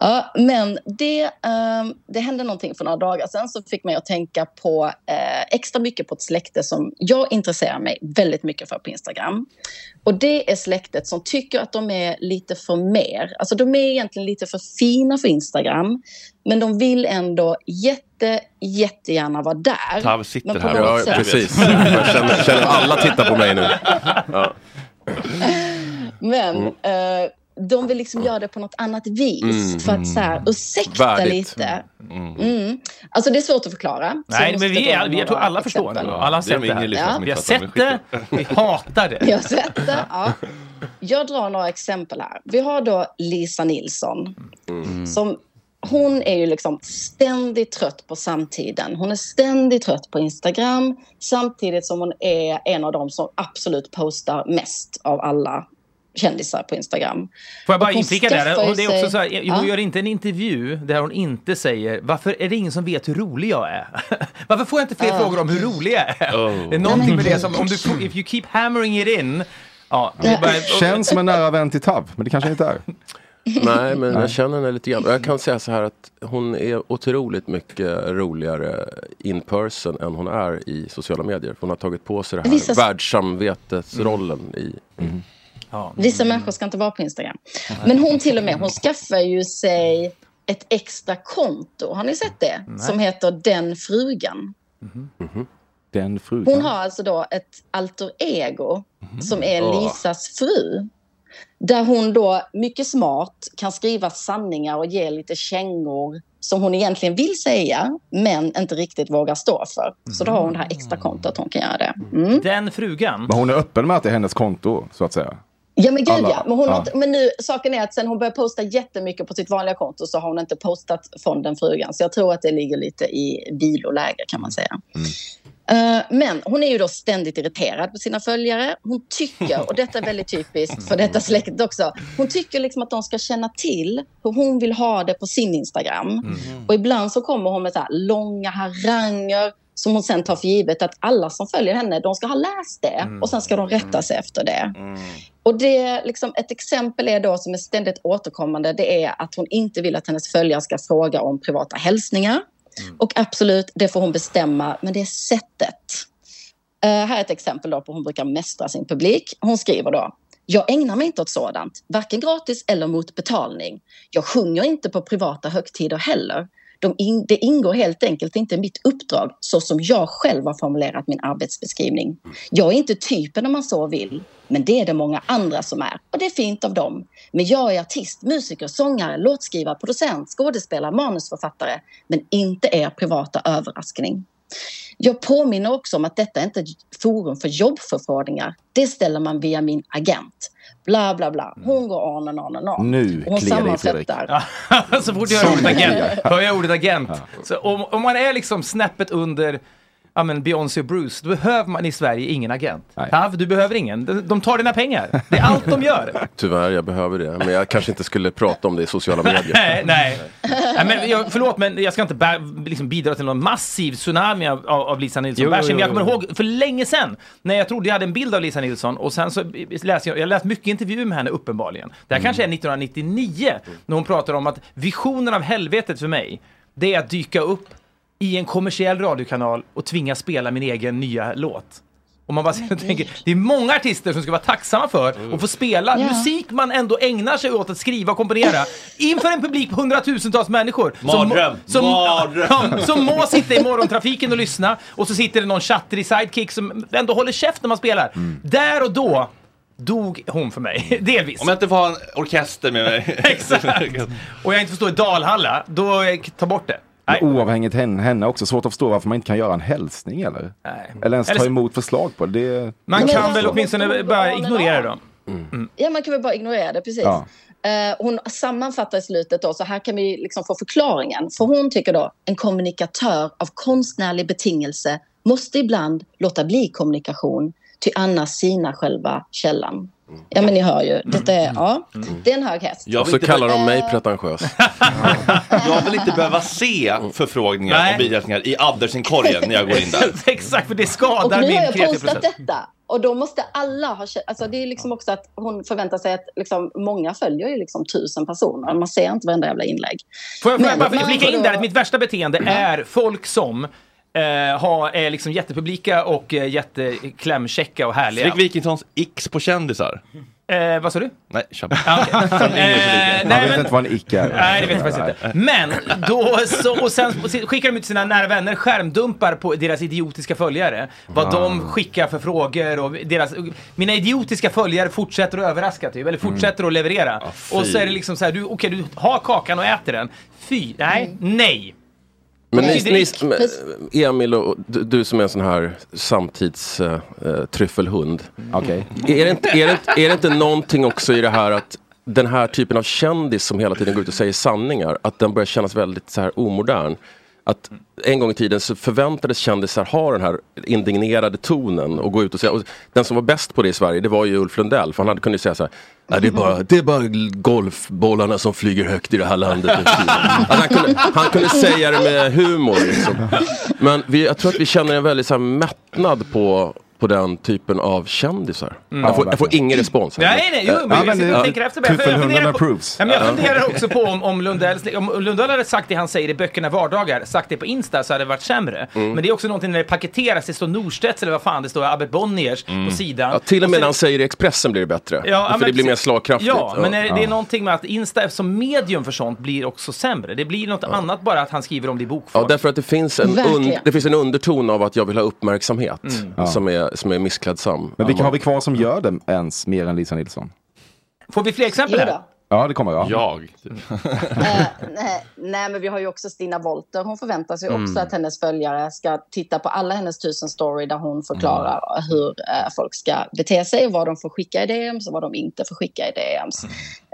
Speaker 11: Ja, men det, ehm, det hände någonting för några dagar sedan som fick mig att tänka på eh, extra mycket på ett släkte som jag intresserar mig väldigt mycket för på Instagram. Och det är släktet som tycker att de är lite för mer. Alltså de är egentligen lite för fina för Instagram. Men de vill ändå jätte, jättegärna vara där.
Speaker 10: Tav sitter
Speaker 11: Men på
Speaker 10: här.
Speaker 11: något
Speaker 10: Ja,
Speaker 11: sätt-
Speaker 10: precis. Jag känner, känner alla tittar på mig nu. Ja.
Speaker 11: (laughs) Men
Speaker 10: Mm.
Speaker 11: eh, de vill liksom göra det på något annat vis.
Speaker 10: Mm.
Speaker 11: För att så här, ursäkta
Speaker 10: Värdigt.
Speaker 11: lite. Mm. Alltså det är svårt att förklara. Så jag
Speaker 6: Nej,
Speaker 11: måste
Speaker 6: men vi
Speaker 11: dra
Speaker 6: är, vi, jag tror
Speaker 11: några
Speaker 6: alla förstår det.
Speaker 11: exempel.
Speaker 6: Alla har
Speaker 1: Det är
Speaker 6: sett
Speaker 1: de
Speaker 6: det
Speaker 1: yngre lyssnarna
Speaker 6: här.
Speaker 1: som
Speaker 6: Vi har
Speaker 1: inte fattar,
Speaker 6: sett det, vi hatar det.
Speaker 11: Jag svettar,
Speaker 6: (laughs)
Speaker 11: ja. Jag drar några exempel här. Vi har då Lisa Nilsson.
Speaker 6: Mm.
Speaker 11: Som, hon är ju liksom ständigt trött på samtiden. Hon är ständigt trött på Instagram samtidigt som hon är en av de som absolut postar mest av alla kändisar på Instagram.
Speaker 6: Får jag bara
Speaker 11: Och hon
Speaker 6: inflika
Speaker 11: skaffar
Speaker 6: där?
Speaker 11: ju
Speaker 6: Och det är också
Speaker 11: sig-
Speaker 6: så här, eh, hon
Speaker 11: Ja.
Speaker 6: gör inte en intervju där hon inte säger varför är det ingen som vet hur rolig jag är? (laughs) varför får jag inte fler
Speaker 11: Ja. Mm.
Speaker 6: frågor om hur rolig jag är?
Speaker 7: Oh.
Speaker 6: Det är någonting med det som, om du, if you keep hammering it in. Ja, det är bara,
Speaker 7: (laughs) Känns som en nära vän till Tav, men det kanske inte är.
Speaker 10: Nej, men
Speaker 7: Nej.
Speaker 10: jag känner henne lite grann. Och Jag kan säga så här att hon är otroligt mycket roligare in person än hon är i sociala medier. Hon har tagit på sig det här
Speaker 11: Vissa-
Speaker 10: världssamvetesrollen i...
Speaker 11: Vissa människor ska inte vara på Instagram. Men hon till och med, hon skaffar ju sig ett extra konto. Har ni sett det? Som heter Den frugan.
Speaker 6: Mhm.
Speaker 7: Mhm. Den frugan.
Speaker 11: Hon har alltså då ett alter ego som är
Speaker 7: Åh.
Speaker 11: Lisas fru. Där hon då mycket smart kan skriva sanningar och ge lite kängor som hon egentligen vill säga men inte riktigt vågar stå för. Så då har hon det här extra kontot hon kan göra det. Mm.
Speaker 6: den frugan.
Speaker 7: Men hon är öppen med att det är hennes konto, så att säga.
Speaker 11: Ja men gud
Speaker 7: Alla.
Speaker 11: ja. Men, hon
Speaker 7: Ja.
Speaker 11: har, inte- men nu, saken är att sen hon började posta jättemycket på sitt vanliga konto så har hon inte postat från den frugan. Så jag tror att det ligger lite i viloläge kan
Speaker 7: Mm.
Speaker 11: man säga. Eh, men hon är ju då ständigt irriterad på sina följare. Hon tycker, och detta är väldigt typiskt för
Speaker 7: Mm.
Speaker 11: detta släktet också, hon tycker liksom att de ska känna till hur hon vill ha det på sin Instagram.
Speaker 5: Mm.
Speaker 7: Mm.
Speaker 11: Och ibland så kommer hon med så här långa haranger som hon sen tar för givet att alla som följer henne, de ska ha läst det
Speaker 7: Mm.
Speaker 11: och sen ska de rätta sig efter det.
Speaker 5: Mm.
Speaker 11: Och det, liksom, ett exempel är då, som är ständigt återkommande, det är att hon inte vill att hennes följare ska fråga om privata hälsningar. Och absolut, det får hon bestämma, men det är sättet. Eh, här är ett exempel då på hur hon brukar mästra sin publik. Hon skriver då, jag ägnar mig inte åt sådant, varken gratis eller mot betalning. Jag sjunger inte på privata högtider heller. De in, det ingår helt enkelt inte i mitt uppdrag så som jag själv har formulerat min arbetsbeskrivning. Jag är inte typen om man så vill, men det är det många andra som är. Och det är fint av dem. Men jag är artist, musiker, sångare, låtskrivare, producent, skådespelare, manusförfattare. Men inte er privata överraskning. Jag påminner också om att detta inte är ett forum för jobbförfrågningar. Det ställer man via min agent. Bla, bla, bla. Hon går on and on and on.
Speaker 6: Mm.
Speaker 7: Nu
Speaker 11: Och hon
Speaker 7: kliar det i Fredrik.
Speaker 11: sammanfattar.
Speaker 6: (laughs) så fort jag hör ordet agent, hör jag ordet agent. Så om, om man är liksom snäppet under ja, men Beyoncé och Bruce, då behöver man i Sverige ingen agent. Tav, du behöver ingen. De, de tar dina pengar. Det är allt de gör.
Speaker 10: Tyvärr, jag behöver det. Men jag kanske inte skulle prata om det i sociala medier.
Speaker 6: (laughs) nej, nej. nej men jag, förlåt, men jag ska inte bä, liksom bidra till någon massiv tsunami av, av, av Lisa Nilsson
Speaker 8: Jo,
Speaker 6: Bärsen. Men jag
Speaker 8: jo,
Speaker 6: kommer
Speaker 8: jo.
Speaker 6: ihåg för länge sedan när jag trodde jag hade en bild av Lisa Nilsson och sen så eh, läste jag, jag läste mycket intervjuer med henne uppenbarligen. Det här
Speaker 8: Mm.
Speaker 6: kanske är 1999 när hon pratar om att visionen av helvetet för mig, det är att dyka upp i en kommersiell radiokanal och tvinga spela min egen nya låt. Och man bara sitter och (laughs) tänker, det är många artister som ska vara tacksamma för att få spela
Speaker 12: Ja.
Speaker 6: musik man ändå ägnar sig åt att skriva och komponera inför en publik på hundratusentals människor.
Speaker 1: Mardröm.
Speaker 6: Som,
Speaker 1: Mardröm.
Speaker 6: (laughs) Ja, som må sitta i morgontrafiken och lyssna och så sitter det någon chattrig sidekick som ändå håller käft när man spelar.
Speaker 1: Mm.
Speaker 6: Där och då dog hon för mig, delvis.
Speaker 1: Om jag inte får ha en orkester med mig. (laughs)
Speaker 6: (laughs) Exakt! Och jag inte förstår i Dalhalla, då eh, ta bort det.
Speaker 7: Men oavhängigt henne, henne också, svårt att förstå varför man inte kan göra en hälsning eller? Eller ens
Speaker 6: Eller
Speaker 7: ta
Speaker 6: så-
Speaker 7: emot förslag på det. det.
Speaker 6: Man
Speaker 7: det är
Speaker 6: kan
Speaker 7: svårt. Mm.
Speaker 6: väl åtminstone Mm. bara ignorera dem.
Speaker 11: Ja, man kan väl bara ignorera det, precis.
Speaker 7: Ja.
Speaker 11: Eh, hon sammanfattar i slutet då, så här kan vi liksom få förklaringen. För hon tycker då, en kommunikatör av konstnärlig betingelse måste ibland låta bli kommunikation, ty annars sina själva källan. Ja, men ni hör ju. Detta är, ja, det är en hög häst.
Speaker 10: Och så kallar de mig pretentiös.
Speaker 1: (laughs)
Speaker 10: Mm.
Speaker 1: Jag vill inte behöva se förfrågningar och birättningar i Abdersenkorgen när jag går in där.
Speaker 6: (laughs) Exakt, för det skadar
Speaker 11: Och nu har jag
Speaker 6: min
Speaker 11: postat detta. Och då måste alla ha kä- alltså Det är liksom också att hon förväntar sig att liksom, många följer ju liksom tusen personer. Man ser inte varenda jävla inlägg.
Speaker 6: Får jag, får jag
Speaker 11: Men-
Speaker 6: bara flika
Speaker 11: men-
Speaker 6: in där att mitt värsta beteende
Speaker 1: Mm.
Speaker 6: är folk som eh, har, är liksom jättepublika och eh, jätteklämkäcka och härliga.
Speaker 1: Fredrik Wikingssons X på kändisar.
Speaker 6: Eh, vad sa du?
Speaker 1: Nej, kör
Speaker 6: Ja,
Speaker 1: (laughs)
Speaker 6: okej. Eh,
Speaker 7: Man
Speaker 6: nej,
Speaker 7: vet
Speaker 6: men-
Speaker 7: inte vad en ick är.
Speaker 6: Nej, det vet jag faktiskt inte. Men då så, och sen skickar de ut till sina nära vänner skärmdumpar på deras idiotiska följare. Vad de skickar för frågor och deras... Mina idiotiska följare fortsätter att överraska typ, eller fortsätter att leverera.
Speaker 10: fy.
Speaker 6: och så är det liksom så här, du, okej du har kakan och äter den. Fy, nej, nej.
Speaker 10: Men
Speaker 6: Nej,
Speaker 10: ni,
Speaker 6: det är
Speaker 10: ni,
Speaker 6: ick.
Speaker 10: men, eh, Emil, och, du, du som är en sån här samtidstryffelhund. Uh,
Speaker 7: Okej.
Speaker 10: Är, det inte- är, det inte- är det inte någonting också i det här att den här typen av kändis som hela tiden går ut och säger sanningar, att den börjar kännas väldigt så här omodern? Att en gång i tiden så förväntades kändisar ha den här indignerade tonen och gå ut och säga. Och den som var bäst på det i Sverige, det var ju Ulf Lundell. För han hade kunnat säga så här. "Nej, det, är bara, det är bara golfbollarna som flyger högt i det här landet. nu för tiden." Att han, kunde, han kunde säga det med humor. Liksom. Men vi, jag tror att vi känner en väldigt så här, mättnad på, på den typen av kändisar.
Speaker 6: Mm.
Speaker 10: Jag, får,
Speaker 6: Ja,
Speaker 10: jag får ingen respons. här.
Speaker 6: Nej, nej, jo, men jag sitter och tänker efter. men jag- jag funderar på- Ja, men jag funderar också på om, om, Lundells, om Lundell hade sagt det han säger i böckerna vardagar, sagt det på Insta så hade det varit sämre.
Speaker 10: Mm.
Speaker 6: Men det är också någonting när det paketeras, det står Norstedts eller vad fan det står, Abbet Bonniers på sidan.
Speaker 10: Mm. Ja, till och med
Speaker 6: sen-
Speaker 10: när han säger det i Expressen blir det bättre.
Speaker 6: Ja,
Speaker 10: för
Speaker 6: men
Speaker 10: det blir mer
Speaker 6: precis.
Speaker 10: slagkraftigt.
Speaker 6: Ja, men är- det är
Speaker 10: Ja.
Speaker 6: någonting med att Insta som medium för sånt blir också sämre. Det blir något annat bara att han skriver om det i bokform.
Speaker 10: Ja, därför att det finns, en
Speaker 6: Verkligen.
Speaker 10: und- det finns en underton av att jag vill ha uppmärksamhet
Speaker 6: Mm.
Speaker 7: Ja.
Speaker 10: som, är, som är missklädsam.
Speaker 7: Men vilka har vi kvar som gör det ens mer än Lisa Nilsson?
Speaker 6: Får vi fler exempel här?
Speaker 7: Ja, det kommer jag.
Speaker 1: Jag.
Speaker 11: Nej, nej, men vi har ju också Stina Wolter. Hon förväntar sig också
Speaker 7: Mm.
Speaker 11: att hennes följare ska titta på alla hennes tusen story där hon förklarar hur eh, folk ska bete sig, vad de får skicka i DMs och vad de inte får skicka i DMs.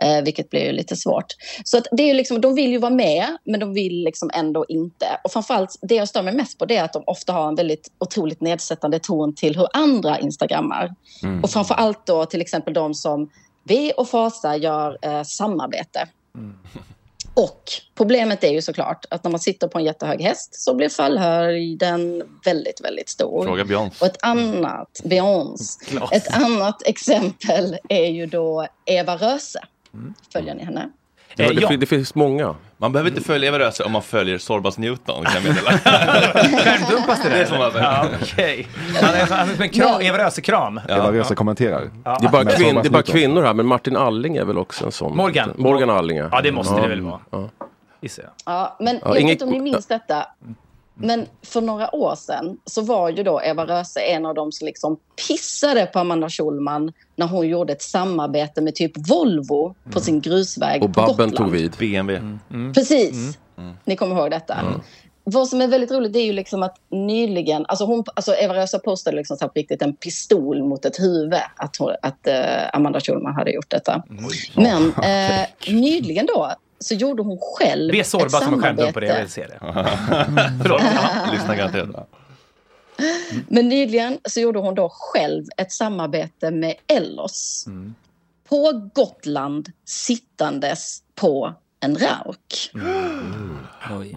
Speaker 11: Eh, vilket blir ju lite svårt. Så att det är ju liksom, de vill ju vara med, men de vill liksom ändå inte. Och framförallt, det jag stör mig mest på det är att de ofta har en väldigt otroligt nedsättande ton till hur andra instagrammar.
Speaker 13: Mm.
Speaker 11: Och framförallt då till exempel de som vi och Fasa gör eh, samarbete. Och problemet är ju såklart att när man sitter på en jättehög häst så blir fallhöjden väldigt, väldigt stor.
Speaker 1: Fråga Beyoncé.
Speaker 11: Och ett annat, Beyoncé.
Speaker 1: Klart.
Speaker 11: Ett annat exempel är ju då Eva Röse. Följer ni henne?
Speaker 10: Det, det, fin- det finns många.
Speaker 1: Man behöver inte följa Eva Röse om man följer Sorbas Newton. Kan jag meddela.
Speaker 7: (laughs)
Speaker 6: Skärmdumpas det där?
Speaker 1: Det får man säga.
Speaker 6: Ja, okej. Han är han är som en kran, Eva Röse-kran.
Speaker 7: Eva Röse kommenterar.
Speaker 10: Det är, bara
Speaker 7: Men
Speaker 10: kvin-
Speaker 7: Sorbas
Speaker 10: det är bara
Speaker 7: Newton.
Speaker 10: kvinnor här, men Martin Alling är väl också en sån.
Speaker 6: Morgan.
Speaker 10: Morgan Alling, Mm.
Speaker 6: Ja, det måste det väl vara.
Speaker 10: Ja.
Speaker 6: Gissar jag.
Speaker 11: Ja, men
Speaker 10: Ja,
Speaker 11: jag
Speaker 10: inget-
Speaker 11: vet inte om ni minns detta. Men för några år sedan så var ju då Eva Röse en av de som liksom pissade på Amanda Schulman när hon gjorde ett samarbete med typ Volvo på sin grusväg
Speaker 10: Och
Speaker 11: på
Speaker 10: Babben
Speaker 11: Gotland.
Speaker 10: tog
Speaker 1: (laughs)
Speaker 10: vid.
Speaker 1: BMW.
Speaker 6: Mm,
Speaker 11: Precis. Ni kommer ihåg detta. Vad som är väldigt roligt det är ju liksom att nyligen, alltså, hon, alltså Eva Rösa postade liksom så här på riktigt en pistol mot ett huvud att, hon, att eh, Amanda Schulman hade gjort detta.
Speaker 6: Mm.
Speaker 11: Men eh, nyligen då så gjorde hon själv
Speaker 6: Be Sorba
Speaker 11: ett
Speaker 6: som har
Speaker 11: samarbete.
Speaker 6: skärmdumpar det, jag vill
Speaker 1: (laughs)
Speaker 6: se det.
Speaker 1: Förlåt, ja, lyssna garanterat.
Speaker 11: Men nyligen så gjorde hon då själv ett samarbete med Ellos
Speaker 6: Mm.
Speaker 11: på Gotland sittandes på en rauk.
Speaker 6: Mm.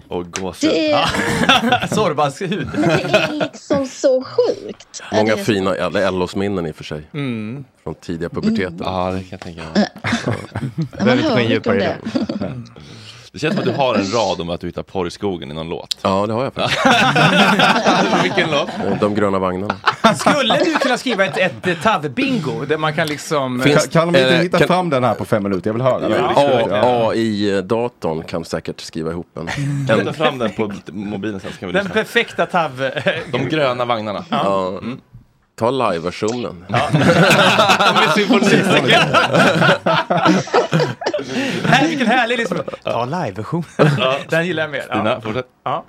Speaker 1: Och gåshud.
Speaker 11: Det är,
Speaker 1: (laughs)
Speaker 6: Sorbas hud.
Speaker 11: men det är liksom så sjukt.
Speaker 10: Många
Speaker 11: Det är-
Speaker 10: fina eller Ellos-minnen i och för sig.
Speaker 6: Mm.
Speaker 10: Från tidiga puberteten.
Speaker 1: Ja, det kan jag tänka mig.
Speaker 10: Jag behöver inte gå in djupare i det.
Speaker 1: Mm. Det känns som att du har en rad om att du hittar porr i skogen i någon låt.
Speaker 10: Ja, det har jag
Speaker 1: (laughs)
Speaker 10: faktiskt.
Speaker 1: Vilken låt?
Speaker 10: De gröna vagnarna.
Speaker 6: Skulle du kunna skriva ett, ett, eh, TAV-bingo där man kan liksom...
Speaker 7: Kan, kan de inte
Speaker 10: eh,
Speaker 7: hitta
Speaker 10: kan-
Speaker 7: fram den här på fem minuter? Jag vill höra. den.
Speaker 10: AI-datorn kan säkert skriva ihop en.
Speaker 1: (laughs) Kan ta fram den på mobilen sen så kan vi
Speaker 6: Den
Speaker 1: lyssna.
Speaker 6: perfekta TAV...
Speaker 1: De gröna vagnarna.
Speaker 6: (laughs)
Speaker 10: Ja.
Speaker 1: Mm.
Speaker 10: Ta live-versionen.
Speaker 6: Med symfonisäcken. Här, vilken härlig liksom... Ta live-version. Den gillar jag mer.
Speaker 1: Stina, fortsätt.
Speaker 6: Ja.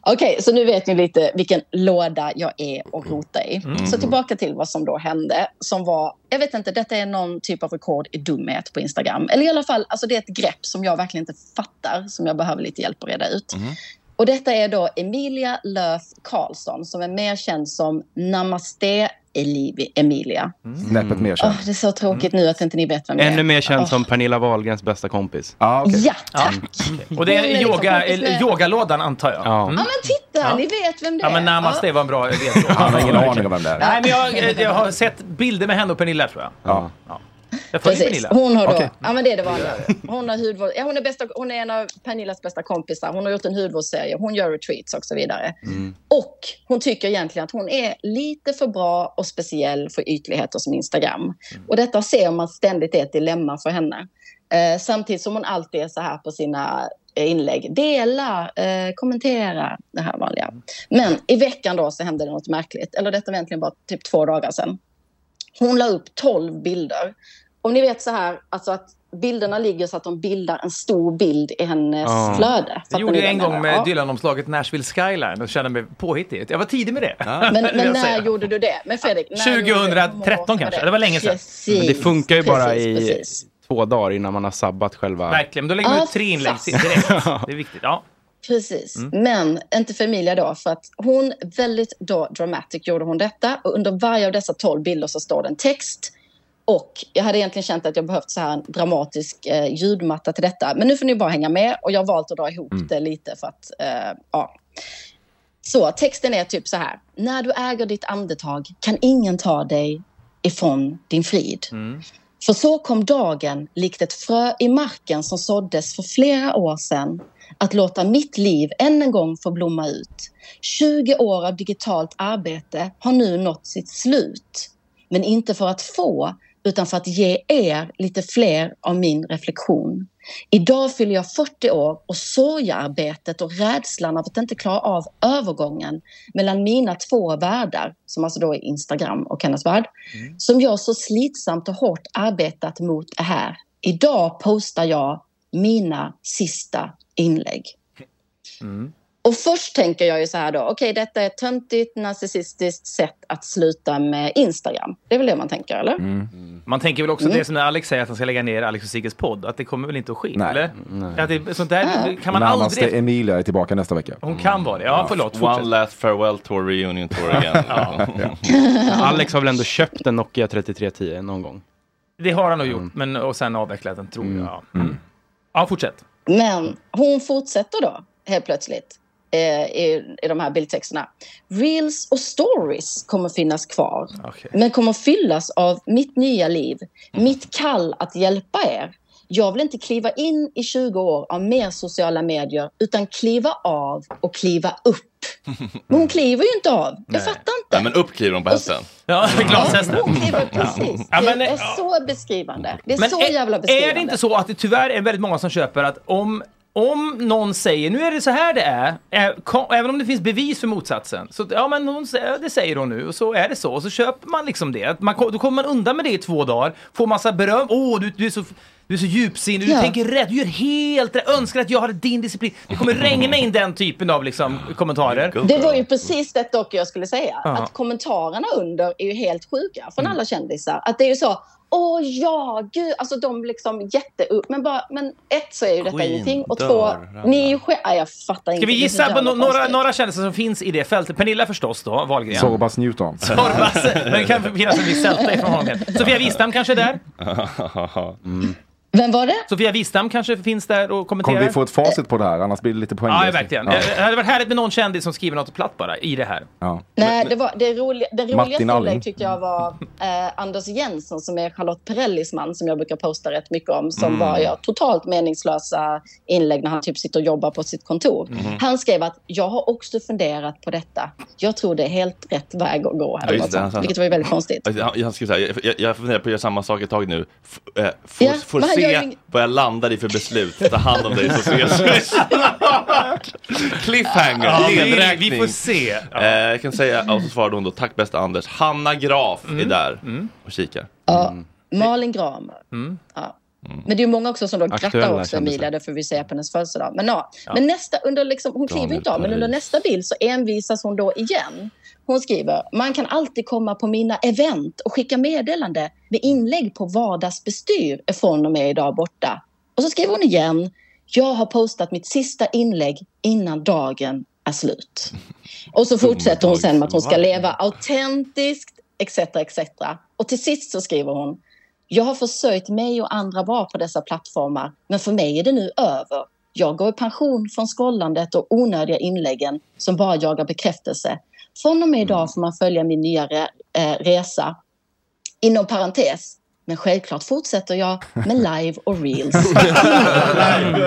Speaker 11: Okej, så nu vet ni lite vilken låda jag är och rotar i.
Speaker 12: Mm.
Speaker 11: Så tillbaka till vad som då hände, som var, jag vet inte, detta är någon typ av rekord i dumhet på Instagram. Eller i alla fall, alltså det är ett grepp som jag verkligen inte fattar, som jag behöver lite hjälp att reda ut. Och detta är då Emilia Löf Karlsson, som är mer känd som Namaste Elivi Emilia.
Speaker 7: Snäppet mer
Speaker 11: Åh, det är så tråkigt nu att inte ni vet vem det är.
Speaker 8: Mm. Ännu mer känd
Speaker 11: Åh.
Speaker 8: som Pernilla Wahlgrens bästa kompis.
Speaker 11: Mm. Ah.
Speaker 7: Ah,
Speaker 8: Mm,
Speaker 11: Ja, tack.
Speaker 6: Och det
Speaker 11: Hon är
Speaker 6: är
Speaker 11: liksom
Speaker 6: yoga,
Speaker 11: kompis med-
Speaker 6: yogalådan antar jag.
Speaker 8: Ja.
Speaker 11: Ja, men titta,
Speaker 6: Ja.
Speaker 11: ni vet vem det är.
Speaker 6: Ja men namaste var en bra idé.
Speaker 7: Han har ingen aning om vem det är.
Speaker 6: Nej men jag, eh, jag har sett bilder med henne och Pernilla tror jag.
Speaker 7: Ja.
Speaker 6: Jag följer
Speaker 11: Precis.
Speaker 6: Pernilla.
Speaker 11: Hon har då, ja men det är det vanliga. Hon har hudvård, ja, hon är, bästa, hon är en av Pernillas bästa kompisar. Hon har gjort en hudvårdsserie, hon gör retreats och så vidare.
Speaker 7: Mm.
Speaker 11: Och hon tycker egentligen att hon är lite för bra och speciell för ytligheter som Instagram.
Speaker 6: Mm.
Speaker 11: Och detta ser man ständigt är ett dilemma för henne. Eh, samtidigt som hon alltid är så här på sina eh, inlägg. Dela, eh, kommentera, det här vanliga.
Speaker 6: Mm.
Speaker 11: Men i veckan då så hände det något märkligt. Eller detta var egentligen bara typ två dagar sedan. Hon la upp 12 bilder. Om ni vet så här, alltså att bilderna ligger så att de bildar en stor bild i hennes
Speaker 6: Ja.
Speaker 11: flöde. Fattar
Speaker 6: Jag gjorde
Speaker 11: ni
Speaker 6: jag en
Speaker 11: vad jag
Speaker 6: gång
Speaker 11: menar? Ja.
Speaker 6: med Dylan-omslaget Nashville Skyline och kände mig påhittig. Jag var tidig med det.
Speaker 11: Men,
Speaker 6: (laughs) vill jag
Speaker 11: men när
Speaker 6: säga.
Speaker 11: gjorde du det? Men Fredrik, när gjorde du det?
Speaker 6: 2013 kanske, det var länge sedan.
Speaker 11: Precis.
Speaker 8: Men det funkar ju bara
Speaker 11: precis,
Speaker 8: i
Speaker 11: precis.
Speaker 8: två dagar innan man har sabbat själva... (laughs)
Speaker 6: Verkligen, men då lägger man ut tre inlägg direkt. Det är viktigt. Ja.
Speaker 11: Precis,
Speaker 8: Mm.
Speaker 11: men inte för Emilia då, för att hon väldigt då dramatic gjorde hon detta och under varje av dessa 12 bilder så står det en text och jag hade egentligen känt att jag behövt så här en dramatisk eh, ljudmatta till detta, men nu får ni bara hänga med och jag har valt att dra ihop
Speaker 12: Mm.
Speaker 11: det lite för att, eh, ja. Så texten är typ så här, när du äger ditt andetag kan ingen ta dig ifrån din frid. För så kom dagen, likt ett frö i marken som såddes för flera år sedan, att låta mitt liv än en gång få blomma ut. 20 år av digitalt arbete har nu nått sitt slut. Men inte för att få, utan för att ge er lite fler av min reflektion. Idag fyller jag 40 år och sorgearbetet och rädslan av att inte klara av övergången mellan mina två världar, som alltså då är Instagram och hennes värld, som jag så slitsamt och hårt arbetat mot är här. Idag postar jag mina sista inlägg.
Speaker 12: Mm.
Speaker 11: Och först tänker jag ju så här då, okej detta är ett töntigt narcissistiskt sätt att sluta med Instagram. Det är väl det man tänker, eller?
Speaker 7: Mm.
Speaker 6: Man tänker väl också
Speaker 11: Mm.
Speaker 6: det som när Alex säger att han ska lägga ner Alex och Sigges podd, att det kommer väl inte att ske?
Speaker 7: Nej.
Speaker 6: Eller?
Speaker 7: Nej.
Speaker 6: Att det, sånt där det kan man
Speaker 7: Namaste
Speaker 6: aldrig...
Speaker 7: Emilia är tillbaka nästa vecka.
Speaker 6: Hon kan vara det.
Speaker 7: Mm.
Speaker 6: Ja, förlåt.
Speaker 1: One
Speaker 6: Fortsätt.
Speaker 1: last farewell tour, reunion tour
Speaker 8: (laughs)
Speaker 1: again.
Speaker 8: Alex har väl ändå köpt en Nokia 3310 någon gång?
Speaker 6: Det har han nog gjort, men, och sen avvecklat den, tror jag. Mm. Ja, fortsätt.
Speaker 11: Men hon fortsätter då helt plötsligt eh, i, i de här bildtexterna. Reels och stories kommer finnas kvar. Men kommer fyllas av mitt nya liv.
Speaker 6: Mm.
Speaker 11: Mitt kall att hjälpa er. Jag vill inte kliva in i 20 år av mer sociala medier utan kliva av och kliva upp. Men
Speaker 6: Mm.
Speaker 11: hon kliver ju inte av. Jag fattar inte.
Speaker 1: Nej, men upp kliver hon på hästen.
Speaker 6: Ja, glashästen.
Speaker 11: Hon kliver precis.
Speaker 6: Ja, men,
Speaker 11: det är så beskrivande. Det är så
Speaker 6: är,
Speaker 11: jävla beskrivande.
Speaker 6: är det inte så att det tyvärr är väldigt många som köper att om, om någon säger nu är det så här det är, eh, kom, även om det finns bevis för motsatsen, så att, ja men hon, sä- ja, det säger hon nu och så är det så och så köper man liksom det. Att Man, ko- då kommer man undan med det i två dagar, får massa beröm, åh du, du är så du är så djupsinnig, du
Speaker 13: Ja.
Speaker 6: tänker rätt, du gör helt rätt, önskar att jag hade din disciplin. Det kommer regna in den typen av liksom, kommentarer.
Speaker 11: Det var ju precis det dock jag skulle säga.
Speaker 6: Ja. Mm.
Speaker 11: Att kommentarerna under är ju helt sjuka från alla kändisar. Att det är ju så, åh ja, gud, alltså de liksom jätte... Men, bara, men ett så är ju detta
Speaker 6: Queen
Speaker 11: ingenting och
Speaker 6: dör,
Speaker 11: två,
Speaker 6: Anna.
Speaker 11: ni är ju själv... Ja, jag fattar inte.
Speaker 6: Ska vi
Speaker 11: Det är så
Speaker 6: gissa på
Speaker 11: jävla
Speaker 6: no- några,
Speaker 11: konstigt.
Speaker 6: några kändisar som finns i det fältet? Pernilla förstås då, Wahlgren.
Speaker 7: Sorbas Newton.
Speaker 6: (laughs) Sorbas, (laughs)
Speaker 11: (laughs)
Speaker 6: men det kan finnas en viss sälta ifrån honom. Sofia Wistam kanske är där?
Speaker 11: Vem var det?
Speaker 6: Sofia Wistam kanske finns där och kommenterar.
Speaker 7: Kommer vi få ett facit på det här? Annars blir det lite poänglöst.
Speaker 6: Ja, verkligen.
Speaker 7: Ja.
Speaker 6: Det hade varit härligt med någon kändis som skriver något platt bara i det här.
Speaker 7: Ja.
Speaker 11: Nej, det, var, det, roliga, det
Speaker 6: Martin
Speaker 11: roligaste
Speaker 6: Alling.
Speaker 11: inlägg tyckte jag var eh, Anders Jensen som är Charlotte Perrellis man som jag brukar posta rätt mycket om som
Speaker 12: Mm.
Speaker 11: bara gör totalt meningslösa inlägg när han typ sitter och jobbar på sitt kontor.
Speaker 12: Mhm.
Speaker 11: Han skrev att jag har också funderat på detta. Jag tror det är helt rätt väg att gå.
Speaker 1: Ja,
Speaker 11: Här,
Speaker 1: just det, han sa-
Speaker 11: vilket var ju väldigt konstigt.
Speaker 1: Ja, Jag, skulle säga, jag, jag- jag funderar på att göra samma sak ett tag nu. F- eh, får
Speaker 11: Ja,
Speaker 1: får
Speaker 11: men han gör
Speaker 1: se
Speaker 11: ju ing-
Speaker 1: vad jag landar i för beslut. Ta hand om dig så ses vi. Cliffhanger,
Speaker 6: Ja, vi-
Speaker 1: nedräkning.
Speaker 6: vi får se. Ja.
Speaker 1: Eh, jag kan säga, och så svarade hon då, tack bästa Anders. Hanna Graf
Speaker 6: Mm.
Speaker 1: är där och kikar.
Speaker 11: Malin Gramer.
Speaker 1: Mm.
Speaker 11: Ja. Men det är ju många också som då
Speaker 1: Aktuella
Speaker 11: grattar också
Speaker 1: kändisar.
Speaker 11: Emilia, det får vi se på hennes födelsedag. Men, ja.
Speaker 1: Ja.
Speaker 11: men nästa, under liksom, hon kliver
Speaker 1: Daniel
Speaker 11: inte av, men under
Speaker 1: Paris.
Speaker 11: nästa bild så envisas hon då igen. Hon skriver, man kan alltid komma på mina event och skicka meddelande med inlägg på vardagsbestyr är från och med idag borta. Och så skriver hon igen, jag har postat mitt sista inlägg innan dagen är slut. Och så fortsätter hon sen med att hon ska leva autentiskt, etc. etc. Och till sist så skriver hon, jag har försökt mig och andra vara på dessa plattformar, men för mig är det nu över. Jag går i pension från scrollandet och onödiga inläggen som bara jagar bekräftelse. Från och med idag får man följa min nya re- eh, resa. Inom parentes, men självklart fortsätter jag med live och reels.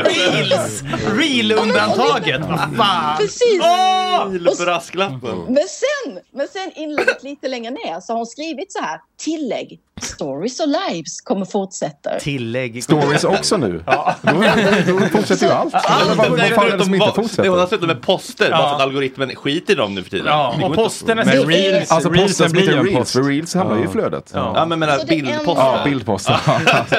Speaker 6: Reels!
Speaker 12: (laughs)
Speaker 6: Reel-undantaget!
Speaker 7: Mm.
Speaker 6: Vad fan!
Speaker 11: Precis!
Speaker 1: Mil för asklappen.
Speaker 11: Men sen, men sen inlägget lite längre ner så har hon skrivit så här. Tillägg. Stories och lives kommer fortsätta.
Speaker 6: Tillägg.
Speaker 7: Stories också nu? Då, då fortsätter ju allt.
Speaker 1: Allt
Speaker 7: vad, vad fan är det
Speaker 1: förutom
Speaker 7: som inte
Speaker 1: box.
Speaker 7: fortsätter?
Speaker 1: Hon har slutat med poster, bara
Speaker 7: Ja.
Speaker 1: för att algoritmen skiter i dem nu för tiden.
Speaker 6: Ja,
Speaker 1: Det går
Speaker 6: och
Speaker 1: inte att-
Speaker 6: posterna Men sitter- reels-
Speaker 7: Alltså
Speaker 6: reelsen
Speaker 7: posten
Speaker 6: blir
Speaker 7: blir
Speaker 6: ju en
Speaker 7: en reels,
Speaker 6: post.
Speaker 7: för reels hamnar ju i
Speaker 6: Ja.
Speaker 7: flödet.
Speaker 6: Ja. Ja, men menar Så det bildposter. enda-
Speaker 7: Ja, bildposter.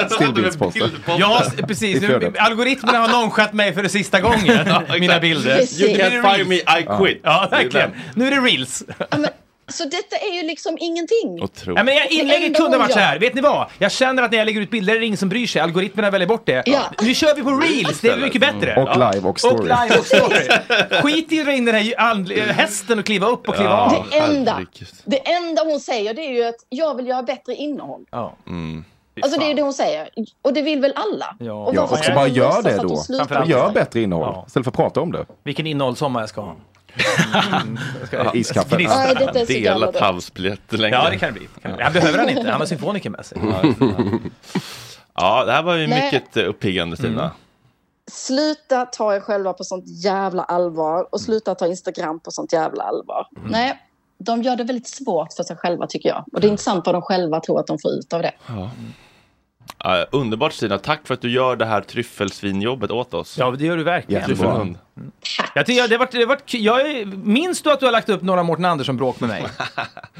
Speaker 7: (laughs) Stillbildsposter.
Speaker 6: Ja,
Speaker 7: I
Speaker 6: (laughs) precis. Nu,
Speaker 7: flödet.
Speaker 6: algoritmerna har nonchat mig för det
Speaker 1: (laughs)
Speaker 6: sista gången. mina bilder.
Speaker 11: Precis. You can't
Speaker 6: Nu är det
Speaker 1: find me, I
Speaker 6: reels.
Speaker 1: quit.
Speaker 6: Ja,
Speaker 1: Det är
Speaker 6: verkligen.
Speaker 1: den.
Speaker 6: Nu är det reels.
Speaker 11: Så detta är ju liksom ingenting.
Speaker 6: Ja, men jag-
Speaker 11: Det
Speaker 6: inlägget kunde
Speaker 11: enda
Speaker 6: ha
Speaker 11: hon
Speaker 6: varit så
Speaker 11: gör.
Speaker 6: här. Vet ni vad? Jag känner att när jag lägger ut bilder är det ingen som bryr sig. Algoritmerna väljer bort det.
Speaker 11: Ja.
Speaker 6: Nu kör vi på reels. Det är mycket bättre.
Speaker 7: Mm. Och
Speaker 6: Ja.
Speaker 7: live och story.
Speaker 6: Och live och story. Skit i att dra in den här and- eh, hästen och kliva upp och kliva
Speaker 7: Ja,
Speaker 6: av.
Speaker 11: Det enda, det enda hon säger det är ju att jag vill göra bättre innehåll.
Speaker 6: Ja.
Speaker 10: Mm.
Speaker 11: Alltså det är ju det hon säger. Och det vill väl alla? Och
Speaker 7: Ja,
Speaker 11: varför
Speaker 7: och så
Speaker 11: ska
Speaker 7: bara
Speaker 11: hon
Speaker 7: gör
Speaker 11: låtsas
Speaker 7: det
Speaker 11: att hon
Speaker 7: då.
Speaker 11: slutar
Speaker 7: Och Gör bättre innehåll istället för att prata om det.
Speaker 6: Vilken innehållssommar jag ska ha. Mm.
Speaker 7: (laughs) Ja, iskaffe.
Speaker 6: Gnista.
Speaker 7: Nej, detta är så
Speaker 1: Delat
Speaker 7: gammalt.
Speaker 1: havsbiljett länge.
Speaker 6: Ja, det kan det bli. Det kan det bli. Han behöver han inte. Han har symfoniker
Speaker 1: (laughs)
Speaker 6: med sig.
Speaker 1: Mm. Ja, det här var ju
Speaker 11: Nej.
Speaker 1: mycket eh, uppiggande Stina.
Speaker 11: Sluta ta er själva på sånt jävla allvar och sluta ta Instagram på sånt jävla allvar. Nej, de gör det väldigt svårt för sig själva tycker jag. Och det är intressant vad de själva tror att de får ut av det.
Speaker 1: Ja. Eh, underbart Stina, tack för att du gör det här tryffelsvinjobbet åt oss.
Speaker 6: Ja, det gör du verkligen.
Speaker 1: Tryffelhund.
Speaker 6: Jag, tycker- det har varit, det har varit, kul. jag är, minns du att du har lagt upp några Mårten Andersson-bråk med mig?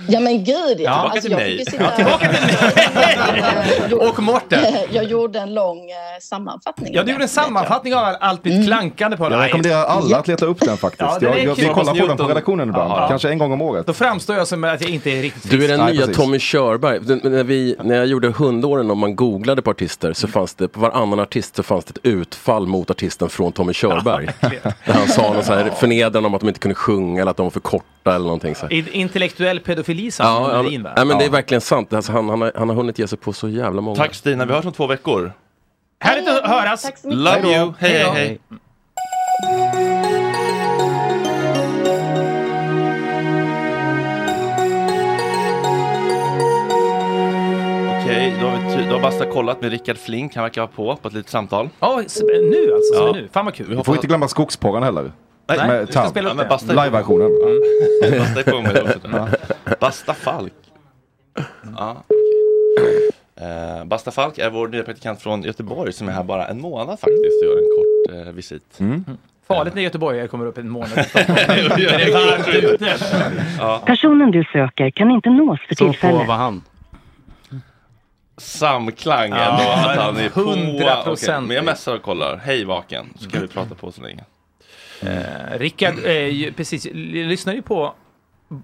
Speaker 11: Ja men gud ja. Alltså,
Speaker 6: Ja, tillbaka till
Speaker 11: jag
Speaker 6: mig.
Speaker 11: fick ju
Speaker 6: Ja, tillbaka
Speaker 11: till mig.
Speaker 6: Och Mårten.
Speaker 11: (laughs) Jag gjorde en lång eh, sammanfattning.
Speaker 6: Ja, du gjorde en sammanfattning av allt mitt klankande på
Speaker 7: Jag rekommenderar alla att leta upp den faktiskt.
Speaker 6: Ja, den är
Speaker 7: jag, jag, vi
Speaker 6: kul.
Speaker 7: kollar på den (laughs) på redaktionen ibland.
Speaker 6: Ja.
Speaker 7: Kanske en gång om året.
Speaker 6: Då framstår jag som att jag inte är riktigt
Speaker 10: Du är den
Speaker 6: frisk.
Speaker 10: nya Tommy Körberg. Den- När, vi, när jag gjorde hundåren och man googlade på artister så fanns det, på varannan artist så fanns det ett utfall mot artisten från Tommy Körberg. där han sa något så här förnedrande om att de inte kunde sjunga eller att de var för korta eller någonting så här.
Speaker 6: I- Intellektuell pedofili sa
Speaker 10: Ja,
Speaker 6: han
Speaker 10: han,
Speaker 6: Melin, va?
Speaker 10: ja, men det är verkligen sant. Alltså, han, han, har, han har hunnit ge sig på så jävla många.
Speaker 1: Tack Stina, vi hörs om två veckor.
Speaker 6: Härligt att höras.
Speaker 11: Tack så mycket.
Speaker 1: Love you, hej hej hej. Okej, då har, vi ty- då har Basta kollat med Rickard Flink, han verkar vara på på ett litet samtal.
Speaker 6: Ja, s- nu alltså.
Speaker 1: Ja.
Speaker 6: Ja. Nu. Fan vad kul.
Speaker 7: Vi får inte glömma skogsporren heller.
Speaker 1: Nej, vi
Speaker 7: med
Speaker 1: ska
Speaker 7: Tam.
Speaker 1: spela upp Ja, men det. Basta-
Speaker 7: Live-versionen.
Speaker 1: Basta är på mig också. Basta Falk. Ja, okej. Eh, Basta Falk är vår nya praktikant från Göteborg som är här bara en månad faktiskt och gör en kort eh, visit. (laughs)
Speaker 6: Farligt när göteborgare kommer upp en
Speaker 10: (laughs)
Speaker 6: månad i Stockholm. Det är varmt ute.
Speaker 1: Ja.
Speaker 13: Personen du söker kan inte nås för tillfället.
Speaker 1: han. Samklang
Speaker 6: Ja,
Speaker 1: ändå, att han är på.
Speaker 6: 100%.
Speaker 1: Okej, men jag messar och kollar. Hej vaken, så kan vi prata på så länge.
Speaker 6: Eh, Rickard, eh, ju- precis, l- lyssnar ju på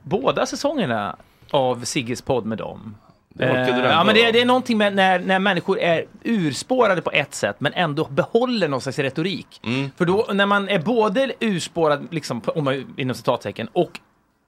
Speaker 6: båda säsongerna av Sigges podd med dem. Eh,
Speaker 1: Det orkade du ändå.
Speaker 6: ja, men det, det är någonting med när, när människor är urspårade på ett sätt men ändå behåller någon slags
Speaker 1: Mm.
Speaker 6: retorik. För då när man är både urspårad, liksom, på- om man, inom citattecken, och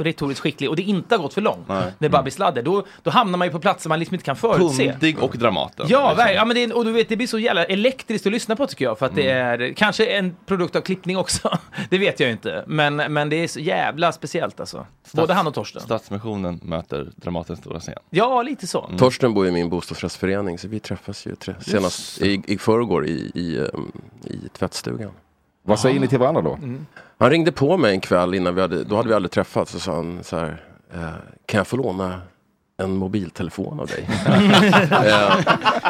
Speaker 6: retoriskt skicklig och det inte har gått för långt med Babi Sladder, då, då hamnar man ju på platser man liksom inte kan förutse.
Speaker 1: Mm. Pundig och
Speaker 7: typ
Speaker 1: Dramaten.
Speaker 7: liksom.
Speaker 6: Ja, verkligen. ja men det, är- och du vet, det blir så jävla elektriskt att lyssna på tycker jag. För att det
Speaker 7: Mm.
Speaker 6: är kanske en produkt av klippning också. (laughs) Det vet jag ju inte. Men, men det är så jävla speciellt alltså. Både han och Torsten.
Speaker 1: Stadsmissionen möter Dramatens stora scen.
Speaker 6: Ja, lite så.
Speaker 10: Torsten bor ju i min bostadsrättsförening så vi träffas ju tre, senast
Speaker 1: det.
Speaker 10: i, i förrgår i, i, ehm, i tvättstugan.
Speaker 7: Vad säger ni till varandra då?
Speaker 10: Han ringde på mig en kväll innan vi hade, då hade vi aldrig träffats och sa han så här, eh, kan jag få låna en mobiltelefon
Speaker 6: (laughs)
Speaker 10: av dig? eh,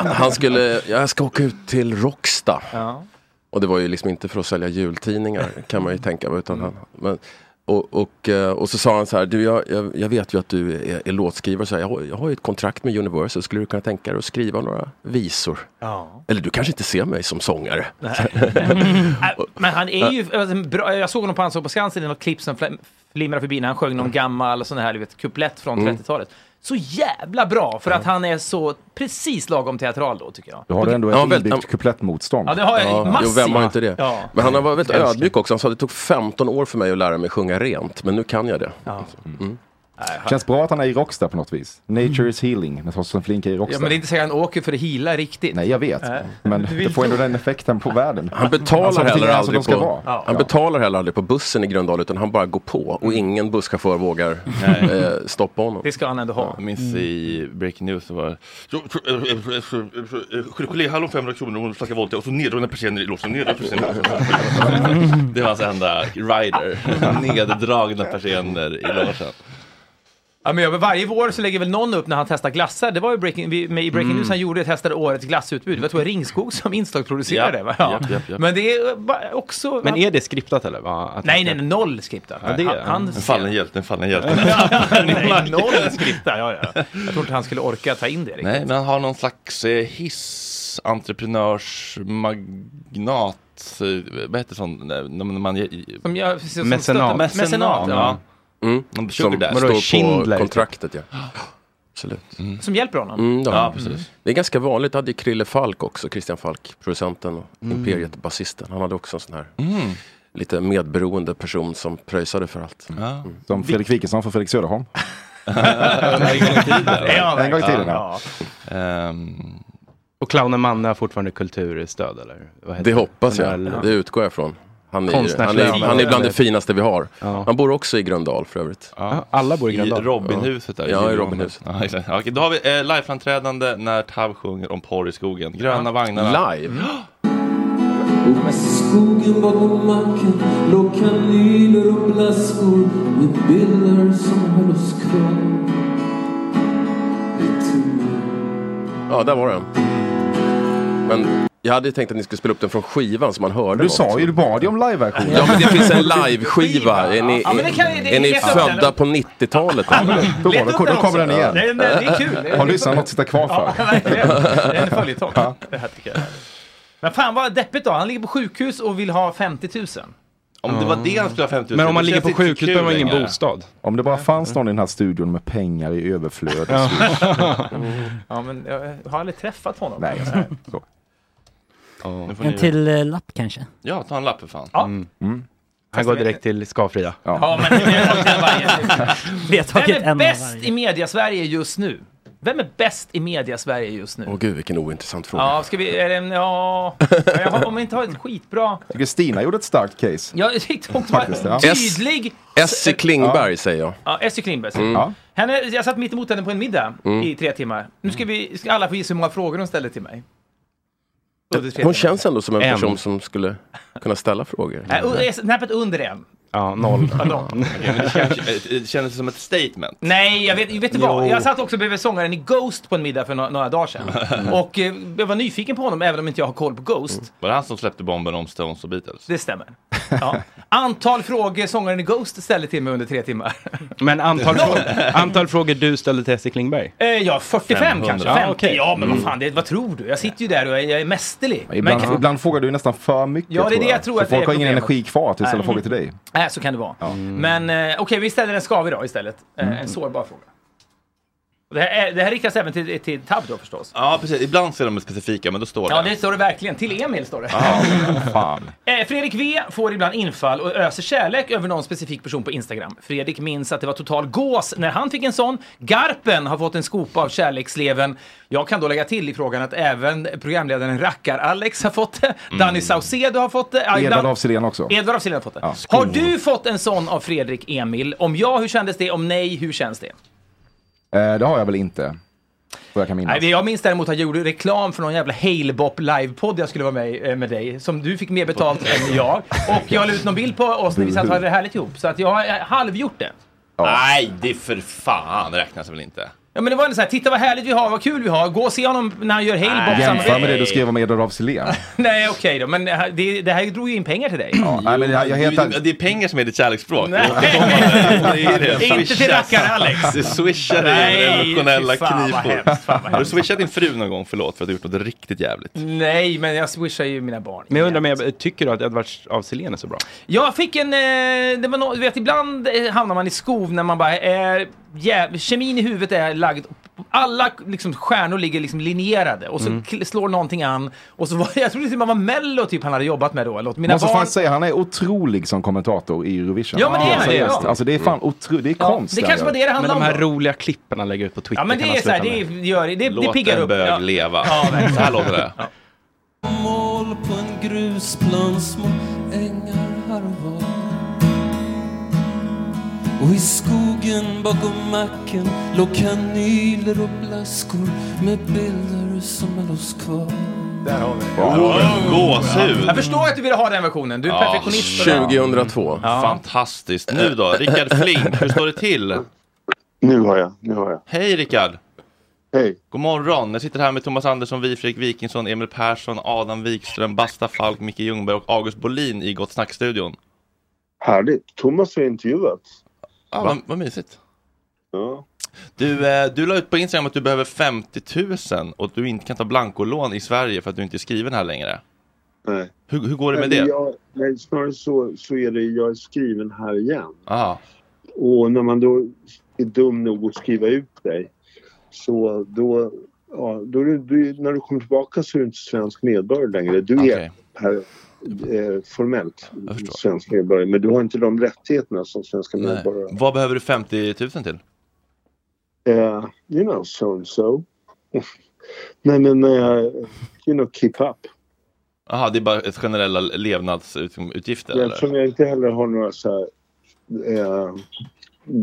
Speaker 10: han skulle, jag ska åka ut till Rocksta.
Speaker 6: Ja.
Speaker 10: Och det var ju liksom inte för att sälja jultidningar kan man ju tänka utan han, men, och, och, eh, och så sa han så här, du jag, jag, jag vet ju att du är, är låtskrivare, så här, jag, har, jag har ju ett kontrakt med Universal, skulle du kunna tänka dig att skriva några visor?
Speaker 6: Ja.
Speaker 10: Eller du kanske inte ser mig som sångare?
Speaker 6: (laughs)
Speaker 10: (laughs)
Speaker 6: Äh, Men han är ju alltså, en bra. Jag såg honom på Anslag på Skansen i något klipp som flim- flimrade förbi när han sjöng någon gammal sån här, du vet, kuplett från
Speaker 7: Mm.
Speaker 6: 30-talet. Så jävla bra för att han är så precis lagom teatral då tycker jag.
Speaker 7: Du har
Speaker 6: Och-
Speaker 7: ändå
Speaker 10: Ja,
Speaker 7: ett
Speaker 10: väl-
Speaker 7: inbyggt kuplettmotstånd.
Speaker 6: Ja, det har jag.
Speaker 10: jo,
Speaker 6: Massivt.
Speaker 10: vem har inte det?
Speaker 6: Ja.
Speaker 10: Men han har varit väldigt
Speaker 6: Älskar.
Speaker 10: ödmjuk också. Han sa att det tog 15 år för mig att lära mig sjunga rent, men nu kan jag det. Mm.
Speaker 7: Känns bra att han är i Rockstar på något vis. Nature is healing när Torsten Flink är i
Speaker 6: Mm. Ja,
Speaker 7: Rockstar.
Speaker 6: men det är inte säkert han åker för att hila riktigt.
Speaker 7: Nej, jag vet.
Speaker 6: Nej.
Speaker 7: Men
Speaker 6: Du vill
Speaker 7: det får ändå
Speaker 6: tro.
Speaker 7: den effekten på världen.
Speaker 10: Han betalar,
Speaker 7: Alltså, allting
Speaker 10: heller
Speaker 7: är som de
Speaker 10: aldrig
Speaker 7: ska
Speaker 10: på,
Speaker 7: vara. Ja.
Speaker 10: han betalar heller aldrig på bussen i Gröndal utan han bara går på och ingen busschaufför vågar eh, stoppa honom.
Speaker 6: Mm. Det ska han ändå ha.
Speaker 1: Jag minns i Breaking News så var det Geléhallon 500 kronor och flaska Volta och så neddragna persienner i låsen. Neddragna persienner. Det var hans enda rider. Neddragna persienner i låsen.
Speaker 6: Ja, men jag- varje vår så lägger väl någon upp när han testar glassar. Det var ju breaking, vi- med, i Breaking
Speaker 1: Mm.
Speaker 6: News han gjorde, testade årets glassutbud. Det var tror jag Ringskog som inslagsproducerade det. va? Ja.
Speaker 8: japp, japp, japp.
Speaker 6: Men det är bara också...
Speaker 8: Men är det skriptat eller? Va? Att
Speaker 6: Nej, nej, nej, noll skriptat.
Speaker 8: Ja, det är-
Speaker 6: han, han,
Speaker 8: En
Speaker 1: fallen hjälte, en fallen
Speaker 6: (laughs)
Speaker 1: hjälte.
Speaker 6: nej, noll skriptat, ja, ja. Jag tror inte han skulle orka ta in det riktigt.
Speaker 1: Nej, men han har någon slags eh, hissentreprenörsmagnat. eh, Vad heter sånt? Nej, När man, när man,
Speaker 6: Som gör- som stöttar- Mecenat. mecenat, ja.
Speaker 10: Mm.
Speaker 1: Mm.
Speaker 10: Som
Speaker 1: Sugar daddy.
Speaker 10: står på kontraktet, ja. (gasps) Absolut.
Speaker 6: Som hjälper honom.
Speaker 10: Mm, det har
Speaker 6: Ja,
Speaker 10: han.
Speaker 6: precis.
Speaker 10: Det är ganska vanligt. hade ju Krille Falk också, Christian Falk, producenten och
Speaker 1: Mm.
Speaker 10: Imperiet-basisten. Han hade också en sån här
Speaker 1: Mm.
Speaker 10: lite medberoende person som pröjsade för allt. Mm.
Speaker 7: Som Fredrik Wikingsson för Fredrik
Speaker 10: (laughs)
Speaker 7: Söderholm.
Speaker 6: (laughs)
Speaker 10: Ja,
Speaker 7: (laughs) en gång i tiden,
Speaker 10: ja.
Speaker 7: ja.
Speaker 8: Ehm. Och clownen Manne har fortfarande kulturstöd eller? Vad heter
Speaker 10: Det hoppas jag.
Speaker 8: Eller-
Speaker 10: Det utgår jag från. Han är, ju- han,
Speaker 8: Konstnärslön.
Speaker 10: är, han är bland det finaste vi har.
Speaker 8: Ja.
Speaker 10: Han bor också i Gröndal för övrigt.
Speaker 8: Ja, alla bor i Gröndal.
Speaker 1: I Robinhuset där.
Speaker 10: Ja, i Robinhuset.
Speaker 1: Ja, exakt. Ja, Okej, då har vi eh, liveframträdande när Tav sjunger om porr i skogen. Gröna
Speaker 10: Ja.
Speaker 1: vagnarna.
Speaker 6: (gasps)
Speaker 10: Live?
Speaker 12: Med skogen bakom macken låg kanyler och blaskor med bilder som höll oss kvar.
Speaker 10: Ja, där var den. Men jag hade ju tänkt att ni skulle spela upp den från skivan som man hörde.
Speaker 7: Du sa ju, du bad ju om live-versionen.
Speaker 10: Ja, men det finns en live-skiva. Är ni,
Speaker 7: Ja, men det kan- det
Speaker 10: är,
Speaker 7: är
Speaker 10: ni
Speaker 7: helt
Speaker 10: födda
Speaker 7: öppet.
Speaker 10: på 90-talet?
Speaker 7: Då, var det, då kommer den igen.
Speaker 10: (laughs) Nej, nej, det är kul. Det är-
Speaker 7: Har lyssnarna något att sitta kvar för?
Speaker 6: (laughs) Det är en följetong. Det här tycker jag. är- Men fan vad deppigt då. Han ligger på sjukhus och vill ha 50 000.
Speaker 1: Om det var det han skulle ha 50
Speaker 8: Mm. Men om man ligger på sjukhus behöver man ingen bostad.
Speaker 7: Om det bara fanns någon i den här studion med pengar i
Speaker 8: (laughs)
Speaker 7: överflöd. och swish.
Speaker 6: Ja, men jag har aldrig träffat honom.
Speaker 7: Nej,
Speaker 6: Nej.
Speaker 7: så.
Speaker 1: Nu får
Speaker 9: En
Speaker 1: ni-
Speaker 9: till eh, lapp kanske?
Speaker 1: Ja, ta en lapp för fan.
Speaker 8: Mm. Han går direkt till Skafria.
Speaker 6: Ja, men vi har tagit en varje.
Speaker 9: (laughs) Vi har tagit
Speaker 6: Vem
Speaker 9: en
Speaker 6: är
Speaker 9: av
Speaker 6: bäst
Speaker 9: varje.
Speaker 6: i media-Sverige just nu? Vem är bäst i media-Sverige just nu?
Speaker 10: Åh gud, vilken ointressant fråga.
Speaker 6: Ja, ska vi... Är det, en- ja, jag har, om vi inte har ett skitbra...
Speaker 7: Jag tycker Stina gjorde ett starkt case.
Speaker 6: Ja, hon var
Speaker 7: Faktiskt, ja.
Speaker 6: tydlig.
Speaker 10: S.C. Klingberg säger jag.
Speaker 6: Ja, Essie Klingberg. säger
Speaker 10: Mm.
Speaker 6: jag.
Speaker 10: Ja.
Speaker 6: Henne, jag satt mitt emot henne på en middag
Speaker 10: Mm.
Speaker 6: i tre timmar. Nu ska, vi, ska alla få gissa hur många frågor hon ställde till mig. Under tre
Speaker 10: Hon
Speaker 6: timmar.
Speaker 10: känns ändå som en,
Speaker 6: En.
Speaker 10: person som skulle kunna ställa frågor.
Speaker 1: Mm.
Speaker 6: Nej, och- eh, Snäppet under en.
Speaker 8: Ja, noll.
Speaker 1: Okej, men det känns- Det kändes som ett statement.
Speaker 6: Nej, jag vet, vet du vad?
Speaker 1: Jo.
Speaker 6: Jag satt också bredvid sångaren i Ghost på en middag för några, några
Speaker 7: (laughs)
Speaker 6: dagar sedan. och eh, jag var nyfiken på honom även om inte jag har koll på Ghost.
Speaker 1: Var det han som släppte bomben om Stones och Beatles?
Speaker 6: Det stämmer. Ja.
Speaker 7: (laughs)
Speaker 6: Antal frågor sångaren i Ghost ställde till mig under
Speaker 7: (laughs)
Speaker 6: tre timmar.
Speaker 8: Men antal, frå- antal frågor du ställde till Essie Klingberg?
Speaker 6: Eh, Ja, 45 kanske. 50.
Speaker 8: Ja,
Speaker 6: Ja,
Speaker 8: okej.
Speaker 6: men vad fan, det, vad tror du? Jag sitter ju där och jag, jag är mästerlig.
Speaker 7: Mm. Ibland,
Speaker 6: Men-
Speaker 7: ibland frågar du ju nästan för mycket.
Speaker 6: Ja, det är det jag tror
Speaker 7: För
Speaker 6: att det
Speaker 7: folk
Speaker 6: är
Speaker 7: har ingen
Speaker 6: problemet.
Speaker 7: energi kvar till att ställa
Speaker 6: Nej.
Speaker 7: frågor
Speaker 6: Mm.
Speaker 7: till dig.
Speaker 6: Nej,
Speaker 7: Mm.
Speaker 6: så kan det vara. Men eh, okej, vi ställer en skavig idag istället. Eh, En sårbar fråga. Och Det här, är- det här riktas även till, till Tab då förstås.
Speaker 1: Ja, precis. Ibland så är de specifika, men då står det.
Speaker 6: Ja, det står det verkligen. Till Emil står det.
Speaker 1: Ah, fan.
Speaker 6: (laughs) Eh, Fredrik V får ibland infall och öser kärlek över någon specifik person på Instagram. Fredrik minns att det var total gås när han fick en sån. Garpen har fått en skopa av kärleksleven. Jag kan då lägga till i frågan att även programledaren Rackar-Alex har fått det. Danny Saucedo har fått det. Ja, ibland-
Speaker 7: Mm. Edvard af Sillén också.
Speaker 6: Edvard af Sillén har fått det. Har du fått en sån av Fredrik Emil? Om ja, hur kändes det? Om nej, hur känns det?
Speaker 7: Eh, det har jag väl inte. Vad jag kan minnas.
Speaker 1: Alltså.
Speaker 6: Nej, jag minns däremot att jag gjorde reklam för någon jävla Halebop livepodd jag skulle vara med i, eh, med dig, som du fick mer betalt än jag. Och jag la ut någon bild på oss när vi satt och hade det härligt ihop, så att jag har eh, halvgjort det.
Speaker 1: Nej, det är för fan räknas väl inte.
Speaker 6: Ja men det var ändå så här, titta vad härligt vi har, vad kul vi har, gå och se honom när han gör Halebop.
Speaker 7: Jämför med det du skrev om Edvard af Sillén.
Speaker 6: Nej okej då, men eh, det, det här drog ju in pengar till dig.
Speaker 7: Nej, men jag, jag helt
Speaker 1: det, det är pengar som är ditt kärleksspråk.
Speaker 6: Nej.
Speaker 1: Det är det.
Speaker 6: Inte till
Speaker 1: Swishas.
Speaker 6: rackar-Alex.
Speaker 1: (laughs) Det swishar
Speaker 6: Nej,
Speaker 1: dig relationella
Speaker 6: fy fan, vad
Speaker 1: knipor.
Speaker 6: hemskt, fan, vad
Speaker 1: Har du swishat din fru någon gång? Förlåt för att du gjort något riktigt jävligt.
Speaker 6: Nej, men jag swishar ju mina barn.
Speaker 8: Men jag undrar, men jag, tycker du att Edvard af Sillén är så bra?
Speaker 6: Jag fick en, eh, det var nå- du vet ibland eh, hamnar man i skov när man bara är, jäv, kemin i huvudet är lagd, alla liksom, stjärnor ligger liksom linjerade och så
Speaker 7: Mm.
Speaker 6: kl- slår någonting an och så var (laughs) jag trodde till och med det var Mello typ han hade jobbat med då, eller åt mina
Speaker 7: Måste
Speaker 6: barn.
Speaker 7: fan säga, han är otrolig som kommentator i Eurovision.
Speaker 6: Ja, men det är han,
Speaker 7: Alltså,
Speaker 6: det är
Speaker 7: just-
Speaker 6: han.
Speaker 7: Alltså det är fan otroligt, det är
Speaker 6: Ja,
Speaker 7: konst.
Speaker 6: det kanske var det det handlade
Speaker 8: Men de här
Speaker 6: om då.
Speaker 8: roliga klippen han lägger ut på Twitter
Speaker 6: Ja men det
Speaker 8: kan han
Speaker 6: är så här,
Speaker 8: sluta
Speaker 6: det,
Speaker 8: med.
Speaker 6: gör, det, det
Speaker 8: Låt
Speaker 6: piggar
Speaker 8: en
Speaker 6: upp.
Speaker 8: bög
Speaker 6: ja.
Speaker 1: leva.
Speaker 6: Ja, verkligen.
Speaker 1: Så här låter det.
Speaker 12: Mål på en grusplan, små ängar harvar Och i skogen bakom macken låg kanyler och blaskor med bilder som är oss kvar
Speaker 6: Där har vi
Speaker 1: Oh, gåshud.
Speaker 6: Jag förstår att du ville ha den versionen, du är perfektionist. på det.
Speaker 10: 2002.
Speaker 1: Fantastiskt. Nu då, Rickard Flink, hur står det till?
Speaker 14: Nu har jag, nu har jag.
Speaker 1: Hej Rickard!
Speaker 14: Hej!
Speaker 1: God morgon! Jag sitter här med Thomas Andersson, vi, Fredrik Wikingsson, Emil Persson, Adam Wikström, Basta Falk, Micke Ljungberg och August Bolin i Gott Snack-studion.
Speaker 14: Härligt. Thomas har intervjuats.
Speaker 1: Ja, vad, vad mysigt.
Speaker 14: Ja.
Speaker 1: Du, eh, du la ut på Instagram att du behöver 50 000 och att du inte kan ta blankolån i Sverige för att du inte är skriven här längre.
Speaker 14: Nej.
Speaker 1: Hur, hur går det med
Speaker 14: Nej,
Speaker 1: det?
Speaker 14: Jag, nej, snarare så, så är det, jag är skriven här igen.
Speaker 1: Aha.
Speaker 14: Och när man då är dum nog att skriva ut dig så då, ja, då är du, du, när du kommer tillbaka så är du inte svensk medborgare längre. Du är här, eh, formellt svensk medborgare men du har inte de rättigheterna som svenska
Speaker 1: Nej.
Speaker 14: medborgare har.
Speaker 1: Vad behöver du 50 000 till?
Speaker 14: Uh, you know, so and so. (laughs) Nej men, eh, you know, keep up.
Speaker 1: Jaha, det är bara ett generella levnadsutgifter?
Speaker 14: Ja,
Speaker 1: Eller?
Speaker 14: Eftersom jag inte heller har några så här... Eh,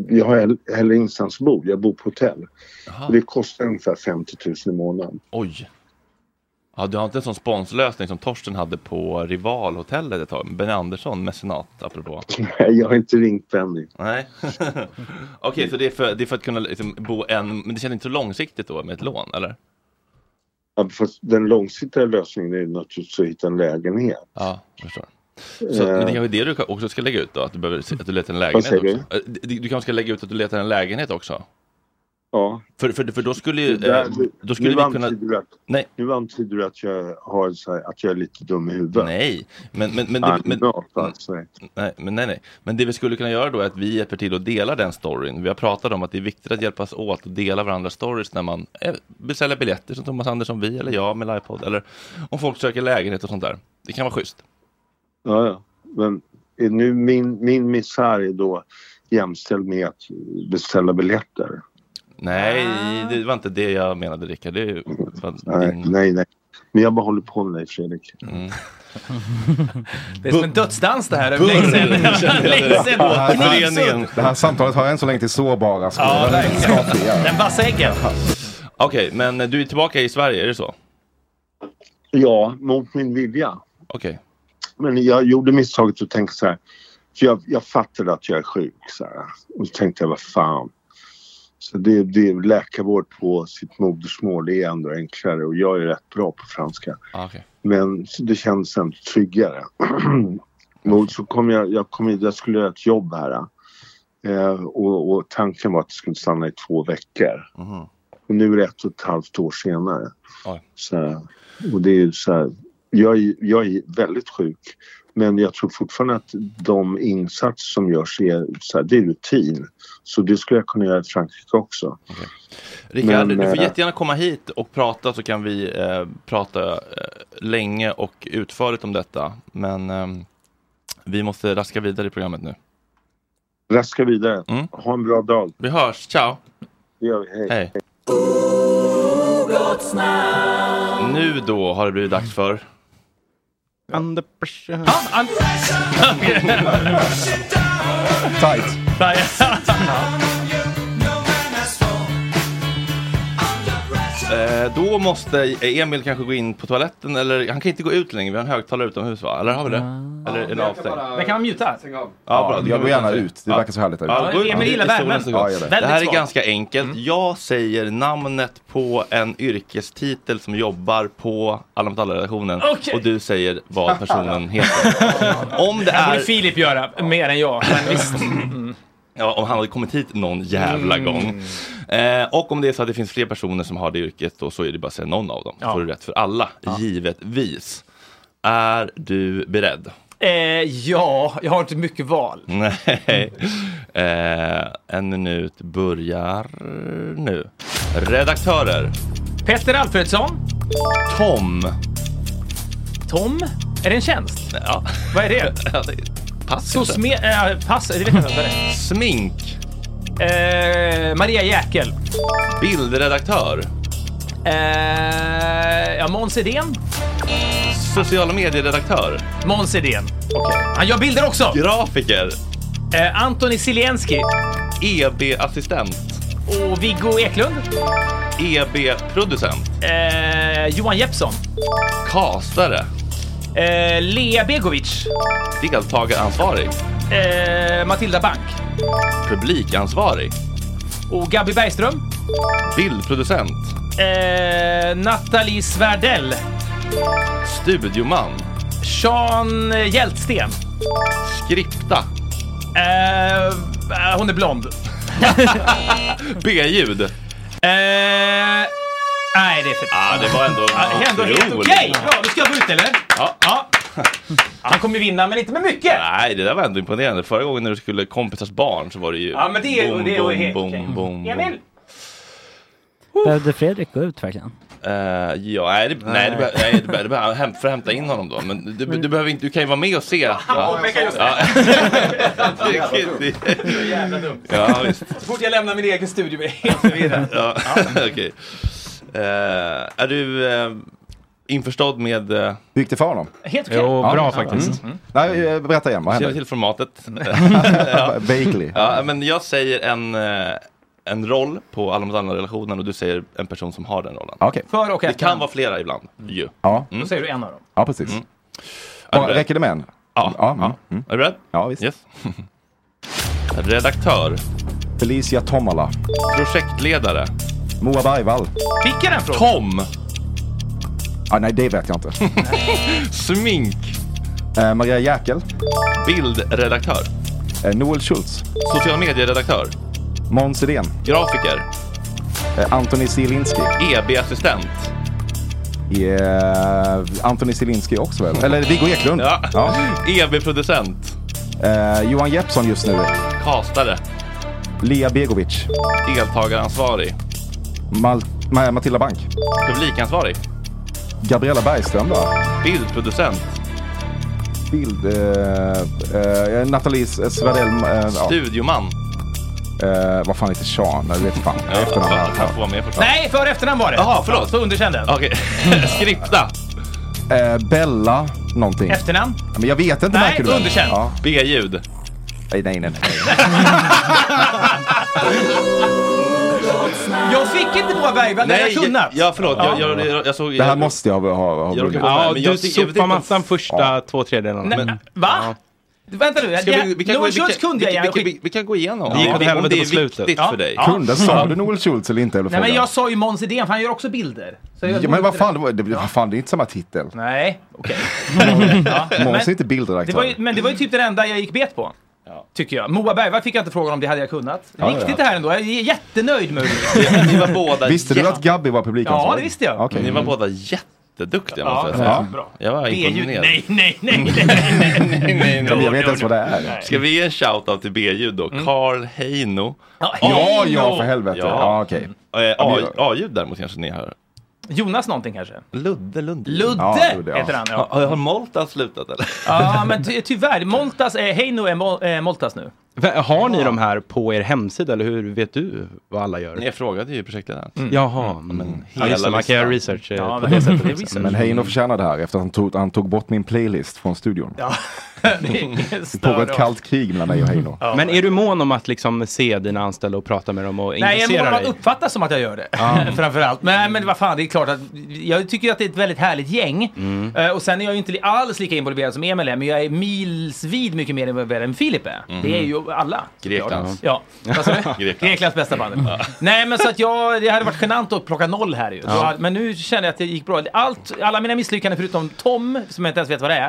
Speaker 14: jag har heller- heller ingenstans att bo. Jag bor på hotell.
Speaker 1: Jaha.
Speaker 14: Och Det kostar ungefär 50 000 i månaden.
Speaker 1: Oj! Ja, du har inte en sån sponslösning som Torsten hade på Rivalhotellet ett tag? Benny Andersson, mecenat, apropå.
Speaker 14: Nej, jag har inte ringt Benny.
Speaker 1: Nej. (laughs) Okej, så det är, för, det är för att kunna liksom bo en... Men det känns inte så långsiktigt då med ett lån, eller?
Speaker 14: Ja, Fast den långsiktiga lösningen är ju naturligtvis att hitta en lägenhet. Eh,
Speaker 1: Ja, jag förstår. Så, men det är kanske är det du också ska lägga ut då? Att du, behöver, se- att du letar en lägenhet
Speaker 14: säger
Speaker 1: också? Eh, Du, du kanske ska lägga ut att du letar en lägenhet också?
Speaker 14: Ja.
Speaker 1: För, för, för då skulle ju...
Speaker 14: Det där-
Speaker 1: eh, Då skulle
Speaker 14: nu
Speaker 1: vi kunna...
Speaker 14: antyder du att,
Speaker 1: Nej.
Speaker 14: Nu antyder du att jag, har så här, att jag är lite dum i huvudet.
Speaker 1: Nej, men... men, men,
Speaker 14: Ja,
Speaker 1: men,
Speaker 14: bra, alltså.
Speaker 1: Nej, men nej, nej. Men det vi skulle kunna göra då är att vi hjälper till att dela den storyn. Vi har pratat om att det är viktigt att hjälpas åt och dela varandras stories när man eh, beställer biljetter som Thomas Andersson, vi eller jag med livepod eller om folk söker lägenhet och sånt där. Det kan vara schysst.
Speaker 14: Ja, ja. Men är nu min, min misär är då jämställd med att beställa biljetter.
Speaker 1: Nej,
Speaker 6: Ah.
Speaker 1: det var inte det jag menade Rickard. Det var
Speaker 14: Nej, nej, nej. Men jag bara håller på med dig Fredrik.
Speaker 6: (laughs) Det är som en dödsdans det här, över längs en- (laughs) längs en
Speaker 7: Det här-
Speaker 6: båt. Knivsudd.
Speaker 7: Det här samtalet har än så länge till sårbara
Speaker 6: Ja,
Speaker 7: skålar.
Speaker 6: verkligen. Den vassa eggen.
Speaker 1: Okej, men du är tillbaka i Sverige, är det så?
Speaker 14: Ja, mot min vilja.
Speaker 1: Okej.
Speaker 14: Men jag gjorde misstaget att tänka så här. För jag, jag fattade att jag är sjuk. Så här. Och så tänkte jag, vad fan. Så det, det är läkarvård på sitt modersmål, det är ändå enklare. Och jag är rätt bra på franska.
Speaker 1: Ah, okej.
Speaker 14: Men det kändes ändå tryggare. (clears throat) och så kom jag, jag, kom, in- jag skulle göra ett jobb här. Eh, och, och tanken var att jag skulle stanna i två veckor. Och nu är det ett och ett halvt år senare.
Speaker 1: Mhm. Oj.
Speaker 14: Så, här, och det är ju så här, jag, är- jag är väldigt sjuk Men jag tror fortfarande att de insatser som görs är, så här, det är rutin. Så det skulle jag kunna göra i Frankrike också.
Speaker 1: Rickard,
Speaker 14: Men,
Speaker 1: du får
Speaker 14: eh,
Speaker 1: jättegärna komma hit och prata så kan vi eh, prata eh, länge och utförligt om detta. Men ehm, vi måste raska vidare i programmet nu.
Speaker 14: Raska vidare. Ha en bra dag.
Speaker 1: Mm. Vi hörs, ciao!
Speaker 14: Det gör vi.
Speaker 1: Hej! Nu då har det blivit dags för...
Speaker 8: Under pressure.
Speaker 1: Tight! (laughs) Eh, då måste Emil kanske gå in på toaletten eller han kan inte gå ut längre, vi har en högtalare utomhus va? Eller har vi det? Eller är den avstängd?
Speaker 6: Men kan man muta?
Speaker 7: Ja, jag går gärna ut. Det
Speaker 1: Ja.
Speaker 7: verkar så härligt där
Speaker 1: Ja,
Speaker 7: ute.
Speaker 1: gå ut.
Speaker 7: Ja, Emil gillar
Speaker 1: Det är solen
Speaker 7: värmen.
Speaker 1: så gott.
Speaker 7: Ja, jag gör det.
Speaker 1: Det här är
Speaker 7: Väldigt
Speaker 1: ganska enkelt. Jag säger namnet på en yrkestitel som jobbar på Alla mot alla-redaktionen
Speaker 6: Okej.
Speaker 1: och du säger vad personen heter. Om det
Speaker 6: Det här
Speaker 1: är...
Speaker 6: borde Filip göra, mer än jag. Men visst.
Speaker 1: Ja, om han hade kommit hit någon jävla
Speaker 6: Mm.
Speaker 1: gång. Eh, och om det är så att det finns fler personer som har det yrket då så är det bara att säga någon av dem. Så får du rätt för alla, givetvis. Är du beredd?
Speaker 6: Eh, ja, jag har inte mycket val.
Speaker 1: Nej. Eh, en minut börjar nu. Redaktörer.
Speaker 6: Petter Alfredsson.
Speaker 1: Tom.
Speaker 6: Tom. Är det en tjänst?
Speaker 1: Ja.
Speaker 6: Vad är det?
Speaker 1: Pass.
Speaker 6: Så sme... eh, pass, det vet jag inte vad det är.
Speaker 1: Smink.
Speaker 6: Eh, Maria Jäkel.
Speaker 1: Bildredaktör.
Speaker 6: Eh, ja, Måns Edén.
Speaker 1: (laughs) Sociala medieredaktör.
Speaker 6: Måns Edén. Han gör bilder också!
Speaker 1: Grafiker. E
Speaker 6: Eh, Antoni Zielinski.
Speaker 1: EB-assistent.
Speaker 6: Och Viggo Eklund.
Speaker 1: E EB-producent.
Speaker 6: Eh, Johan Jeppsson.
Speaker 1: Kastare.
Speaker 6: Eh, Lea Begovic.
Speaker 1: Deltagaransvarig.
Speaker 6: Eh, Matilda Bank.
Speaker 1: Publikansvarig.
Speaker 6: Och Gabby Bergström.
Speaker 1: Bildproducent.
Speaker 6: Eh, Nathalie Sverdell.
Speaker 1: Studioman.
Speaker 6: Sean Hjältsten.
Speaker 1: Skripta.
Speaker 6: Eh, eh, hon är blond.
Speaker 1: (laughs) B-ljud.
Speaker 6: Eh, nej, det är för...
Speaker 1: Ja, Ah, det var ändå...
Speaker 6: det är ändå helt
Speaker 1: Otroligt.
Speaker 6: okej! Bra, nu ska jag gå ut eller?
Speaker 1: Ja.
Speaker 6: Han kommer vinna, men inte med mycket!
Speaker 1: Nej, det där var ändå imponerande. Förra gången när du skulle kompisars barn så var det ju...
Speaker 6: Ja, men det är-
Speaker 1: boom,
Speaker 6: det är
Speaker 1: boom,
Speaker 6: helt
Speaker 1: boom,
Speaker 6: okej.
Speaker 1: boom, boom.
Speaker 6: Emil!
Speaker 9: Behövde Fredrik gå ut verkligen?
Speaker 1: Eh, ja, nej, det, nej, det, be- nej, det, be- det behöver häm, för att hämta in honom då. Men du, du, behöver inte, du kan ju vara med och se.
Speaker 6: Han påpekar just
Speaker 1: Ja.
Speaker 6: (laughs) det.
Speaker 1: Det
Speaker 6: är jävla dumt.
Speaker 1: Ja, visst.
Speaker 6: Så fort jag lämnar min egen studio blir jag helt förvirrad.
Speaker 1: Ja, (laughs) okej. Eh, är du uh, införstådd med... Uh...
Speaker 7: Hur gick det för honom?
Speaker 6: Helt
Speaker 7: okej. Jo, bra faktiskt. Nej, eh, berätta igen. Vad
Speaker 1: Känner
Speaker 7: hände?
Speaker 1: till
Speaker 7: (laughs)
Speaker 1: formatet.
Speaker 7: Vaguely.
Speaker 1: Ja, men jag säger en, eh, en roll på Alla mot alla-relationen och du säger en person som har den rollen.
Speaker 7: Okej.
Speaker 6: För och
Speaker 1: Det kan vara flera ibland ju. Mm.
Speaker 7: Ja.
Speaker 6: Då säger du en av dem.
Speaker 7: ja, precis.
Speaker 1: Är du
Speaker 7: Bara-
Speaker 1: beredd?
Speaker 7: Räcker det med en?
Speaker 1: Ja.
Speaker 7: ja. Mm.
Speaker 1: Är du beredd?
Speaker 7: Ja, visst.
Speaker 1: Yes. (laughs) Redaktör.
Speaker 7: Felicia Tomala.
Speaker 1: Projektledare.
Speaker 7: Moa Bergvall.
Speaker 6: Fick jag den frågan?
Speaker 1: Tom.
Speaker 7: Ah, nej, det vet jag inte.
Speaker 1: (laughs) Smink.
Speaker 7: Eh, Maria Jäkel.
Speaker 1: Bildredaktör.
Speaker 7: Eh, Noel Schultz.
Speaker 1: Sociala medieredaktör.
Speaker 7: Måns Edén.
Speaker 1: Grafiker. E-
Speaker 7: Eh, Antoni Zielinski.
Speaker 1: EB-assistent.
Speaker 7: Eh, Antoni Zielinski också väl? Eller Viggo Eklund.
Speaker 1: Ja. E
Speaker 7: Ja.
Speaker 1: EB-producent.
Speaker 7: Eh, Johan Jeppsson just nu.
Speaker 1: Kastare.
Speaker 7: Lea Begovic.
Speaker 1: Deltagaransvarig.
Speaker 7: Mal- Ma- Matilda Bank.
Speaker 1: Publikansvarig.
Speaker 7: Gabriella Bergström då.
Speaker 1: Bildproducent.
Speaker 7: Bild... Eh, eh, Nathalie Sverdell... Eh, ja.
Speaker 1: Studioman.
Speaker 7: Eh, vad fan heter Sean? Jag vet fan.
Speaker 1: Ja,
Speaker 7: Efternamn.
Speaker 1: han får vara med fortfarande.
Speaker 6: Nej, för och efternamn var det.
Speaker 1: Jaha, förlåt.
Speaker 6: Ja, Så underkände jag.
Speaker 1: Okej. (laughs) Skripta.
Speaker 7: Eh, Bella någonting.
Speaker 6: Efternamn?
Speaker 7: Ja, Men jag vet inte.
Speaker 6: Nej,
Speaker 7: märker du väl?
Speaker 6: underkänd.
Speaker 7: Ja.
Speaker 1: B-ljud.
Speaker 7: Nej, nej, nej. nej.
Speaker 6: Jag fick inte Moa Bergvall, det hade jag kunnat.
Speaker 1: Ja, förlåt. Jag, jag, jag, jag såg...
Speaker 7: Det här
Speaker 1: jag-
Speaker 7: måste jag ha, ha, ha
Speaker 1: Jag råkar
Speaker 7: vunnit.
Speaker 1: på mig,
Speaker 8: Ja,
Speaker 1: men
Speaker 8: du
Speaker 1: jag tycker- jag vet inte
Speaker 8: sopar
Speaker 1: om-
Speaker 8: mattan första två Mm. tredjedelarna.
Speaker 6: Nej,
Speaker 8: Men-
Speaker 6: Va? Vänta nu,
Speaker 1: Ska vi, vi, kan gå,
Speaker 6: Noel
Speaker 1: vi, kan,
Speaker 6: Schultz kunde
Speaker 1: vi,
Speaker 6: jag
Speaker 1: vi,
Speaker 6: gärna
Speaker 1: vi,
Speaker 6: skicka.
Speaker 1: vi, kan gå igenom
Speaker 8: Det gick åt
Speaker 1: om om
Speaker 8: helvete
Speaker 1: det är
Speaker 8: på slutet.
Speaker 1: viktigt
Speaker 6: Ja.
Speaker 1: för dig.
Speaker 6: Ja.
Speaker 7: Kunde, sa du Noel Schultz eller inte? Eller
Speaker 6: Nej men
Speaker 7: frågan?
Speaker 6: jag sa ju Måns Idén för han gör också bilder. Så jag-
Speaker 7: ja, men vad fan, det, var- det, vad fan, det är inte samma titel.
Speaker 6: Nej,
Speaker 7: (laughs)
Speaker 6: okej. Ja,
Speaker 7: Måns är
Speaker 6: men-
Speaker 7: inte
Speaker 6: Det var ju,
Speaker 7: bildredaktör.
Speaker 6: men det var ju typ den enda jag gick bet på. Tycker jag. Moa Bergvall fick jag inte frågan om det hade jag kunnat.
Speaker 7: Ja,
Speaker 6: Viktigt
Speaker 7: ja.
Speaker 6: det här ändå. Jag är jättenöjd med det.
Speaker 1: Ni var båda
Speaker 7: Visste du att Gabby var
Speaker 6: Ja,
Speaker 7: publikansvarig?
Speaker 6: det visste jag.
Speaker 7: Okej.
Speaker 1: Ni var båda jätte jätteduktiga
Speaker 6: Ja,
Speaker 1: måste jag
Speaker 6: ja,
Speaker 1: säga.
Speaker 6: bra.
Speaker 1: Jag var
Speaker 6: Det är ju-
Speaker 1: imponerad.
Speaker 6: nej, nej, nej, nej, nej, nej, nej, nej.
Speaker 7: Jag vet inte ens vad det är. Nej.
Speaker 1: Ska vi ge en shout-out till B-ljud då? Karl Heino.
Speaker 7: Ja, ja, för helvete. Ja, okej.
Speaker 1: Eh,
Speaker 7: Ja, men
Speaker 1: A- A-ljud däremot kanske ni hör.
Speaker 6: Jonas någonting kanske?
Speaker 1: Ludde Lundin.
Speaker 6: Ludde
Speaker 1: Ja, Ludde, ja.
Speaker 6: heter han.
Speaker 1: Har-
Speaker 6: Ja,
Speaker 1: har- har Molta slutat eller?
Speaker 6: ja men ty tyvärr. Moltas, eh, hej nu är Mol eh, Moltas nu.
Speaker 8: Va- Har ni de här på er hemsida eller hur vet du vad alla gör?
Speaker 1: Jag frågade ju
Speaker 8: (laughs)
Speaker 1: projektledaren.
Speaker 8: Jaha, men ja, just det, man kan göra research. eh, på det sättet.
Speaker 7: Mm. Men Heino förtjänar det här efter att han tog, han tog bort min playlist från studion.
Speaker 1: (laughs)
Speaker 7: Det pågår ett kallt krig mellan mig och Heino.
Speaker 8: Men är du mån om att liksom se dina anställda och prata med dem och
Speaker 6: Nej, jag
Speaker 8: intressera
Speaker 6: bara
Speaker 8: dig?
Speaker 6: uppfattas som att jag gör det.
Speaker 8: Ja.
Speaker 6: (laughs) Framförallt. Men, men vad fan, det är klart att jag tycker att det är ett väldigt härligt gäng.
Speaker 8: Mm.
Speaker 6: Eh, och sen är jag ju inte li- alls lika involverad som Emil är, men jag är milsvid mycket mer involverad än Filip är.
Speaker 1: Mhm.
Speaker 6: Det är ju alla.
Speaker 1: Greklands.
Speaker 6: Ja. Vad sa du? Greklands bästa band. Nej, men så att jag, det hade varit genant att plocka noll här ju. Så
Speaker 1: Ja.
Speaker 6: att- Men nu känner jag att det gick bra. Allt, alla mina misslyckanden förutom Tom, som jag inte ens vet vad det är,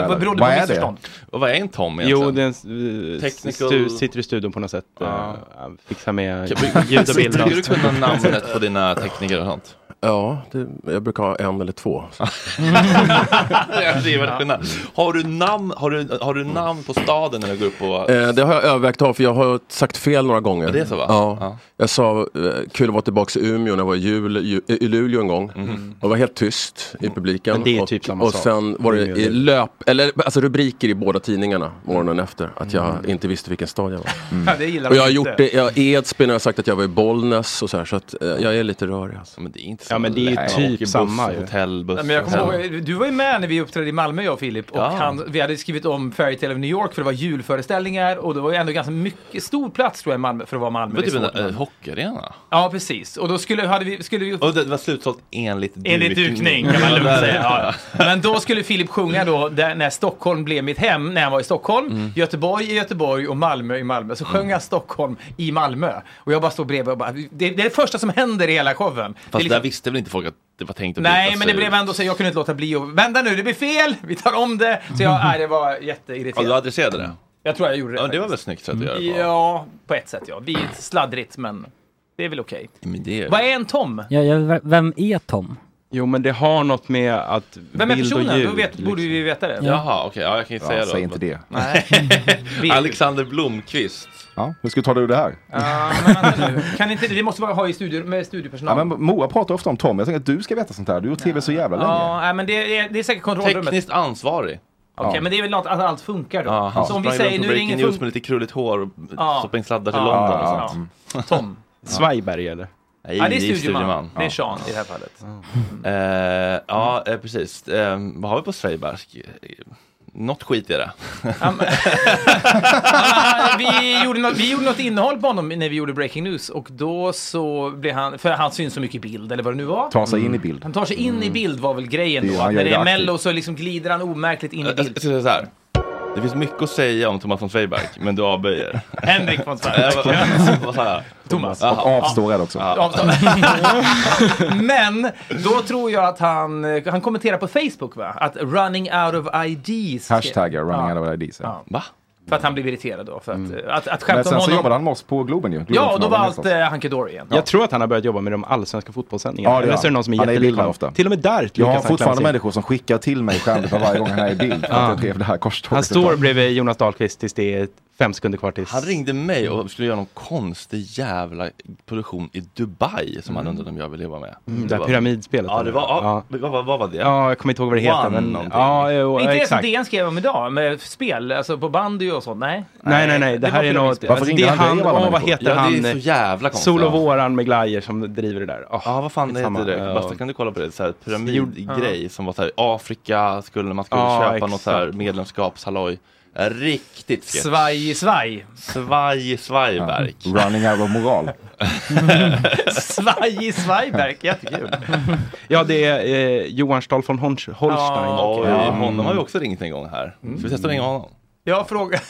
Speaker 6: eh, vad berodde på missförstånd.
Speaker 1: Och vad är en tom egentligen?
Speaker 8: Jo, den Technical... eh, stu, sitter i studion på något sätt.
Speaker 1: Ja.
Speaker 8: eh, fixar med ljud och bild.
Speaker 1: Skulle du kunna namnet på dina tekniker och sånt?
Speaker 10: Ja, det, jag brukar ha en
Speaker 7: (laughs)
Speaker 10: eller två.
Speaker 1: Ja, det är väl skillnad. Har du namn, har du, har du namn på staden när du går upp och...
Speaker 10: Eh, det har jag övervägt av för jag har sagt fel några gånger.
Speaker 1: Ja, det är så, va?
Speaker 10: Ja.
Speaker 1: Ja.
Speaker 10: Jag sa eh, kul att vara tillbaka i Umeå när jag var i, jul, ju, i Luleå en gång.
Speaker 1: Mm.
Speaker 10: Och var helt tyst i publiken.
Speaker 8: Men det är
Speaker 10: och,
Speaker 8: typ samma
Speaker 10: Och
Speaker 8: sak.
Speaker 10: sen var det
Speaker 8: Umeå och
Speaker 10: i
Speaker 8: Luleå.
Speaker 10: löp, eller alltså rubriker i båda tidningarna morgonen efter. Att jag
Speaker 1: Mm.
Speaker 10: inte visste vilken
Speaker 1: (laughs)
Speaker 10: stad jag var.
Speaker 6: Ja, det gillar
Speaker 10: Och
Speaker 6: de
Speaker 10: jag har
Speaker 6: inte.
Speaker 10: gjort det, jag har Edsbyn och jag har sagt att jag var i Bollnäs och så här. Så att eh, jag är lite rörig alltså.
Speaker 1: Men det är inte
Speaker 8: Ja, men det är ju typ samma ju.
Speaker 1: Hotellbuss.
Speaker 6: Nej, men jag kommer ihåg, du var ju med när vi uppträdde i Malmö jag och Filip och
Speaker 1: Ja.
Speaker 6: han, vi hade skrivit om Fairytale of New York för det var julföreställningar och det var ju ändå ganska mycket stor plats tror jag i Malmö för att vara Malmö.
Speaker 1: Det var
Speaker 6: Det är svårt
Speaker 1: typ en
Speaker 6: med-
Speaker 1: eh, hockeyarena.
Speaker 6: Ja precis och då skulle, hade vi, skulle vi
Speaker 1: Och det var slutsålt enligt dukning.
Speaker 6: Enligt dukning kan man lugnt säga. Ja. Men då skulle Filip sjunga då där, när Stockholm blev mitt hem, när han var i Stockholm,
Speaker 1: Mm.
Speaker 6: Göteborg i Göteborg och Malmö i Malmö. Så sjöng han Stockholm i Malmö. Och jag bara stod bredvid och bara, det, det är det första som händer i hela showen. Det är
Speaker 1: Fast
Speaker 6: liksom-
Speaker 1: där visste väl inte folk att det var tänkt att
Speaker 6: Nej,
Speaker 1: byta
Speaker 6: men det
Speaker 1: sig
Speaker 6: blev
Speaker 1: ut.
Speaker 6: ändå så jag kunde inte låta bli och vänta nu, det blir fel, vi tar om det.
Speaker 1: (laughs)
Speaker 6: Så jag, nej, det var
Speaker 1: Ja, du
Speaker 6: jätteirriterande.
Speaker 1: adresserade det?
Speaker 6: Jag tror jag gjorde det.
Speaker 1: Ja, det var väl snyggt sätt att göra det på.
Speaker 6: Ja, på ett sätt ja. Vi är sladdrigt, men det är väl okej.
Speaker 1: Men det
Speaker 6: Vad är en tom?
Speaker 8: Ja, vem är Tom? Jo, men det har något med att
Speaker 6: Vem är
Speaker 8: bild och
Speaker 6: personen?
Speaker 8: ljud.
Speaker 6: Då vet, borde vi veta det.
Speaker 1: liksom. Jaha, okej. Ja, jag kan ju
Speaker 8: Ja,
Speaker 1: säga då.
Speaker 8: säg inte det.
Speaker 1: Nej. (laughs) Alexander Blomqvist.
Speaker 7: Ja, hur ska du ta dig ur det här?
Speaker 6: Ja, men vänta nu. Kan inte, det måste vara ha i studio, med studiopersonal.
Speaker 7: Ja, men Moa pratar ofta om Tom, jag tänker att du ska veta sånt här. Du har gjort tv så jävla länge.
Speaker 6: Ja, nej, men det är, det är säkert kontrollrummet.
Speaker 1: Tekniskt ansvarig.
Speaker 6: Okej,
Speaker 7: Ja.
Speaker 6: men det är väl något att allt funkar då.
Speaker 1: Ja, han
Speaker 6: Så
Speaker 1: sprang
Speaker 6: om vi
Speaker 1: runt
Speaker 6: säger
Speaker 1: på
Speaker 6: nu är det
Speaker 1: Breaking
Speaker 6: ingen
Speaker 1: News
Speaker 6: fun-
Speaker 1: med lite krulligt hår och
Speaker 6: Ja.
Speaker 1: stoppade in sladdar till
Speaker 6: Ja,
Speaker 1: London
Speaker 6: ja,
Speaker 1: och sånt. Mm.
Speaker 6: Tom.
Speaker 8: Svajberg eller?
Speaker 1: Nej,
Speaker 6: Ja, det är
Speaker 1: ju
Speaker 6: studioman. Det är
Speaker 1: Ja.
Speaker 6: Sean i det här fallet.
Speaker 1: Eh, ja, eh, precis. Eh, vad har vi på Svejbersk? Något skit i det.
Speaker 6: Ah, vi, gjorde något, vi gjorde något innehåll på honom när vi gjorde Breaking News och då så blev han, för han syns så mycket i bild eller vad det nu var.
Speaker 7: Ta sig in i bild.
Speaker 6: Han tar sig in i bild var väl grejen
Speaker 1: Det-
Speaker 6: då.
Speaker 1: han
Speaker 6: Att
Speaker 1: gör
Speaker 6: när det
Speaker 1: det
Speaker 6: är
Speaker 1: aktivt.
Speaker 6: mello så liksom glider han omärkligt in i
Speaker 1: Jag ska
Speaker 6: bild.
Speaker 1: säga så här. Det finns mycket att säga om Thomas von Sveiberg, men du avböjer.
Speaker 6: (laughs) Henrik
Speaker 1: (laughs)
Speaker 6: von Zweig.
Speaker 1: Eh, vad- vad sa jag?
Speaker 6: Thomas.
Speaker 1: Jaha.
Speaker 7: Och avstår här också.
Speaker 1: Ja.
Speaker 6: Avstånd. (laughs) Men då tror jag att han, eh, han kommenterar på Facebook va? Att running out of IDs. skrev-
Speaker 7: Hashtaggar running out of IDs.
Speaker 6: Ja.
Speaker 1: Va?
Speaker 6: För att han blev irriterad då. För att, eh,
Speaker 7: Mm.
Speaker 6: att, att
Speaker 7: Men
Speaker 6: skämta
Speaker 7: sen
Speaker 6: om
Speaker 7: så
Speaker 6: honom.
Speaker 7: jobbade han med oss på Globen ju.
Speaker 6: ja, och då var allt
Speaker 7: Globen
Speaker 6: eh, hunky dory igen.
Speaker 8: Jag tror att han har börjat jobba med de allsvenska fotbollssändningarna.
Speaker 7: Ja, det gör
Speaker 8: Eller så är det någon som är
Speaker 7: han. Han är i
Speaker 8: jättelik
Speaker 7: bilden
Speaker 8: honom.
Speaker 7: ofta.
Speaker 8: Till och med där lyckas
Speaker 7: Jag har
Speaker 8: han klämma
Speaker 7: fortfarande
Speaker 8: sig.
Speaker 7: människor som skickar till mig skämt för varje gång han är i bild. För
Speaker 8: Ja.
Speaker 7: att jag drev det här korståget.
Speaker 8: Han står bredvid Jonas Dahlqvist tills det är fem sekunder kvar tills...
Speaker 1: Han ringde mig
Speaker 8: Mm.
Speaker 1: och skulle göra någon konstig jävla produktion i Dubai som han undrade om jag ville jobba med.
Speaker 8: Mm,
Speaker 1: Det
Speaker 8: det här
Speaker 1: var-
Speaker 8: pyramidspelet.
Speaker 1: Ja, det var, ja. Vad, vad, vad var det?
Speaker 8: Ja, jag kommer inte ihåg vad det heter.
Speaker 1: One
Speaker 8: Men,
Speaker 1: någonting.
Speaker 8: ja, jo,
Speaker 6: inte det som
Speaker 8: exakt.
Speaker 6: DN skrev om idag med spel, alltså på bandy och sånt. Nej.
Speaker 8: Nej, nej, nej. Det,
Speaker 6: var
Speaker 8: här är något...
Speaker 6: pyramidspel.
Speaker 8: alltså, det är han, åh, vad heter
Speaker 1: Ja,
Speaker 8: han?
Speaker 1: det är så jävla konstigt.
Speaker 8: Sol och
Speaker 1: Ja.
Speaker 8: våran med glajer som driver det där. Ja,
Speaker 1: vad fan det heter det? Basta kan du kolla på det? Så här, pyramidgrej som var så här, Afrika skulle man skulle
Speaker 6: Ja,
Speaker 1: köpa
Speaker 6: exakt.
Speaker 1: något så här medlemskapshalloj. Riktigt sketch.
Speaker 6: Svaj i svaj.
Speaker 1: Svaj Svajberg.
Speaker 7: Running out of moral.
Speaker 1: (laughs)
Speaker 6: Svaj i svajverk, (laughs) jättekul.
Speaker 8: Ja, det är eh, Johan Stahl von Holstein.
Speaker 1: Ja,
Speaker 8: Ja.
Speaker 1: oj, honom har vi också ringt en gång här.
Speaker 8: Mm.
Speaker 1: Ska vi testa att ringa honom?
Speaker 7: (laughs)
Speaker 6: Jag frågar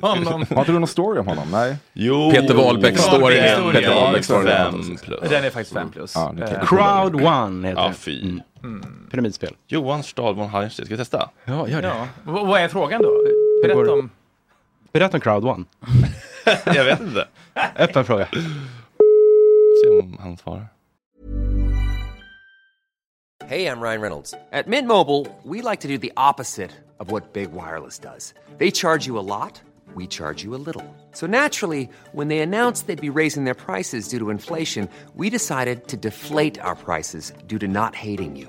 Speaker 6: honom.
Speaker 7: Har inte du någon story om honom? Nej.
Speaker 1: Jo.
Speaker 10: Peter Wahlbeck
Speaker 1: Peter
Speaker 10: står
Speaker 1: Wahlbeck
Speaker 10: i en- Peter
Speaker 1: står i
Speaker 10: Wahlbeck står i en-
Speaker 1: Fem plus.
Speaker 6: Den är faktiskt fem plus.
Speaker 8: Ja, nu kan jag-
Speaker 6: Eh,
Speaker 8: Crowd One heter
Speaker 1: Ja,
Speaker 8: det.
Speaker 1: fy.
Speaker 6: Mm.
Speaker 8: Pyramidspel.
Speaker 1: Johan Stahl von Heinstein, ska vi testa?
Speaker 8: Ja, gör det.
Speaker 6: Ja. V- Vad är frågan då? Berätta om...
Speaker 8: Berätta om Crowd One.
Speaker 1: Jag vet inte.
Speaker 8: Öppen fråga.
Speaker 1: Se om han svarar.
Speaker 15: Hey, I'm Ryan Reynolds. At Mint Mobile, we like to do the opposite of what Big Wireless does. They charge you a lot, we charge you a little. So naturally, when they announced they'd be raising their prices due to inflation, we decided to deflate our prices due to not hating you.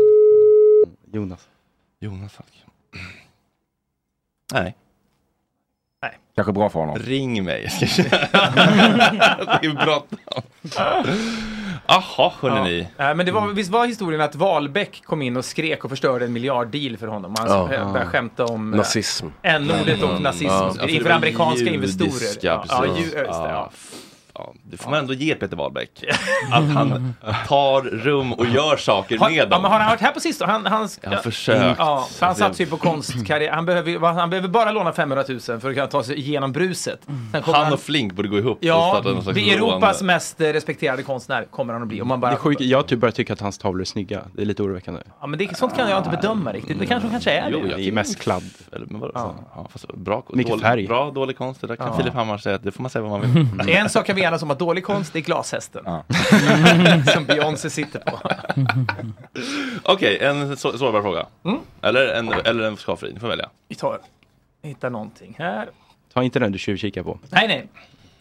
Speaker 1: Jonas. Jonas Falk. Nej.
Speaker 7: Kanske bra för honom.
Speaker 1: Ring mig. ska jag säga. (laughs) det är bråttom. Jaha, hörni
Speaker 6: Ja.
Speaker 1: ni.
Speaker 6: Nej, men det var, visst var historien att Wahlbeck kom in och skrek och förstörde en miljarddeal för honom? Han
Speaker 10: Ja.
Speaker 6: började skämta om eh,
Speaker 10: Nazism.
Speaker 6: N-ordet och
Speaker 10: Mm,
Speaker 6: nazism
Speaker 10: ja.
Speaker 1: Ja, för det
Speaker 6: inför
Speaker 1: var
Speaker 6: amerikanska
Speaker 1: judiska,
Speaker 6: investorer. Ja,
Speaker 1: precis.
Speaker 6: ja, ju, just det,
Speaker 1: Ja.
Speaker 6: ja.
Speaker 1: Ja, det får man ändå ge Peter
Speaker 6: (laughs)
Speaker 1: Wahlbeck. Att han tar rum och gör saker
Speaker 6: Har,
Speaker 1: med
Speaker 6: ja, men
Speaker 1: dem.
Speaker 6: har han varit här på sistone? Han, han,
Speaker 1: Jag har försökt.
Speaker 6: Ja, för han
Speaker 1: Alltså, jag-
Speaker 6: satsar ju
Speaker 1: (clears throat)
Speaker 6: på konstkarriär. Han behöver, ju- han behöver bara låna 500 000 för att kunna ta sig igenom bruset. Sen kommer
Speaker 1: Mm. Han och Flink borde gå ihop och
Speaker 6: Ja,
Speaker 1: starta någon slags
Speaker 6: bli Europas
Speaker 1: roande.
Speaker 6: mest eh, respekterade konstnär kommer han att bli. Om man
Speaker 8: Det är
Speaker 6: bara,
Speaker 8: sjukt, jag har typ börjat tycka att hans tavlor är snygga. Det är lite oroväckande.
Speaker 6: ja, men det, sånt kan jag inte bedöma riktigt. Det kanske, kanske är det.
Speaker 8: det är mest kladd.
Speaker 1: Eller, men vadå, ja. Ja, fast bra,
Speaker 8: Mycket
Speaker 1: dålig,
Speaker 8: färg.
Speaker 1: Bra, dålig konst. Det där kan
Speaker 6: Ja.
Speaker 1: Filip Hammar säga att det får man säga vad man (laughs)
Speaker 7: Mm.
Speaker 1: vill.
Speaker 6: En sak kan vi enas om att dålig konst, det är glashästen. (laughs) Som Beyoncé sitter på.
Speaker 1: Okej, en så, sårbar fråga.
Speaker 6: Mm.
Speaker 1: Eller en, eller en skavfri. Ni får välja.
Speaker 6: Vi tar, hittar någonting här.
Speaker 8: Ta inte den du tjuvkikar på.
Speaker 6: Nej,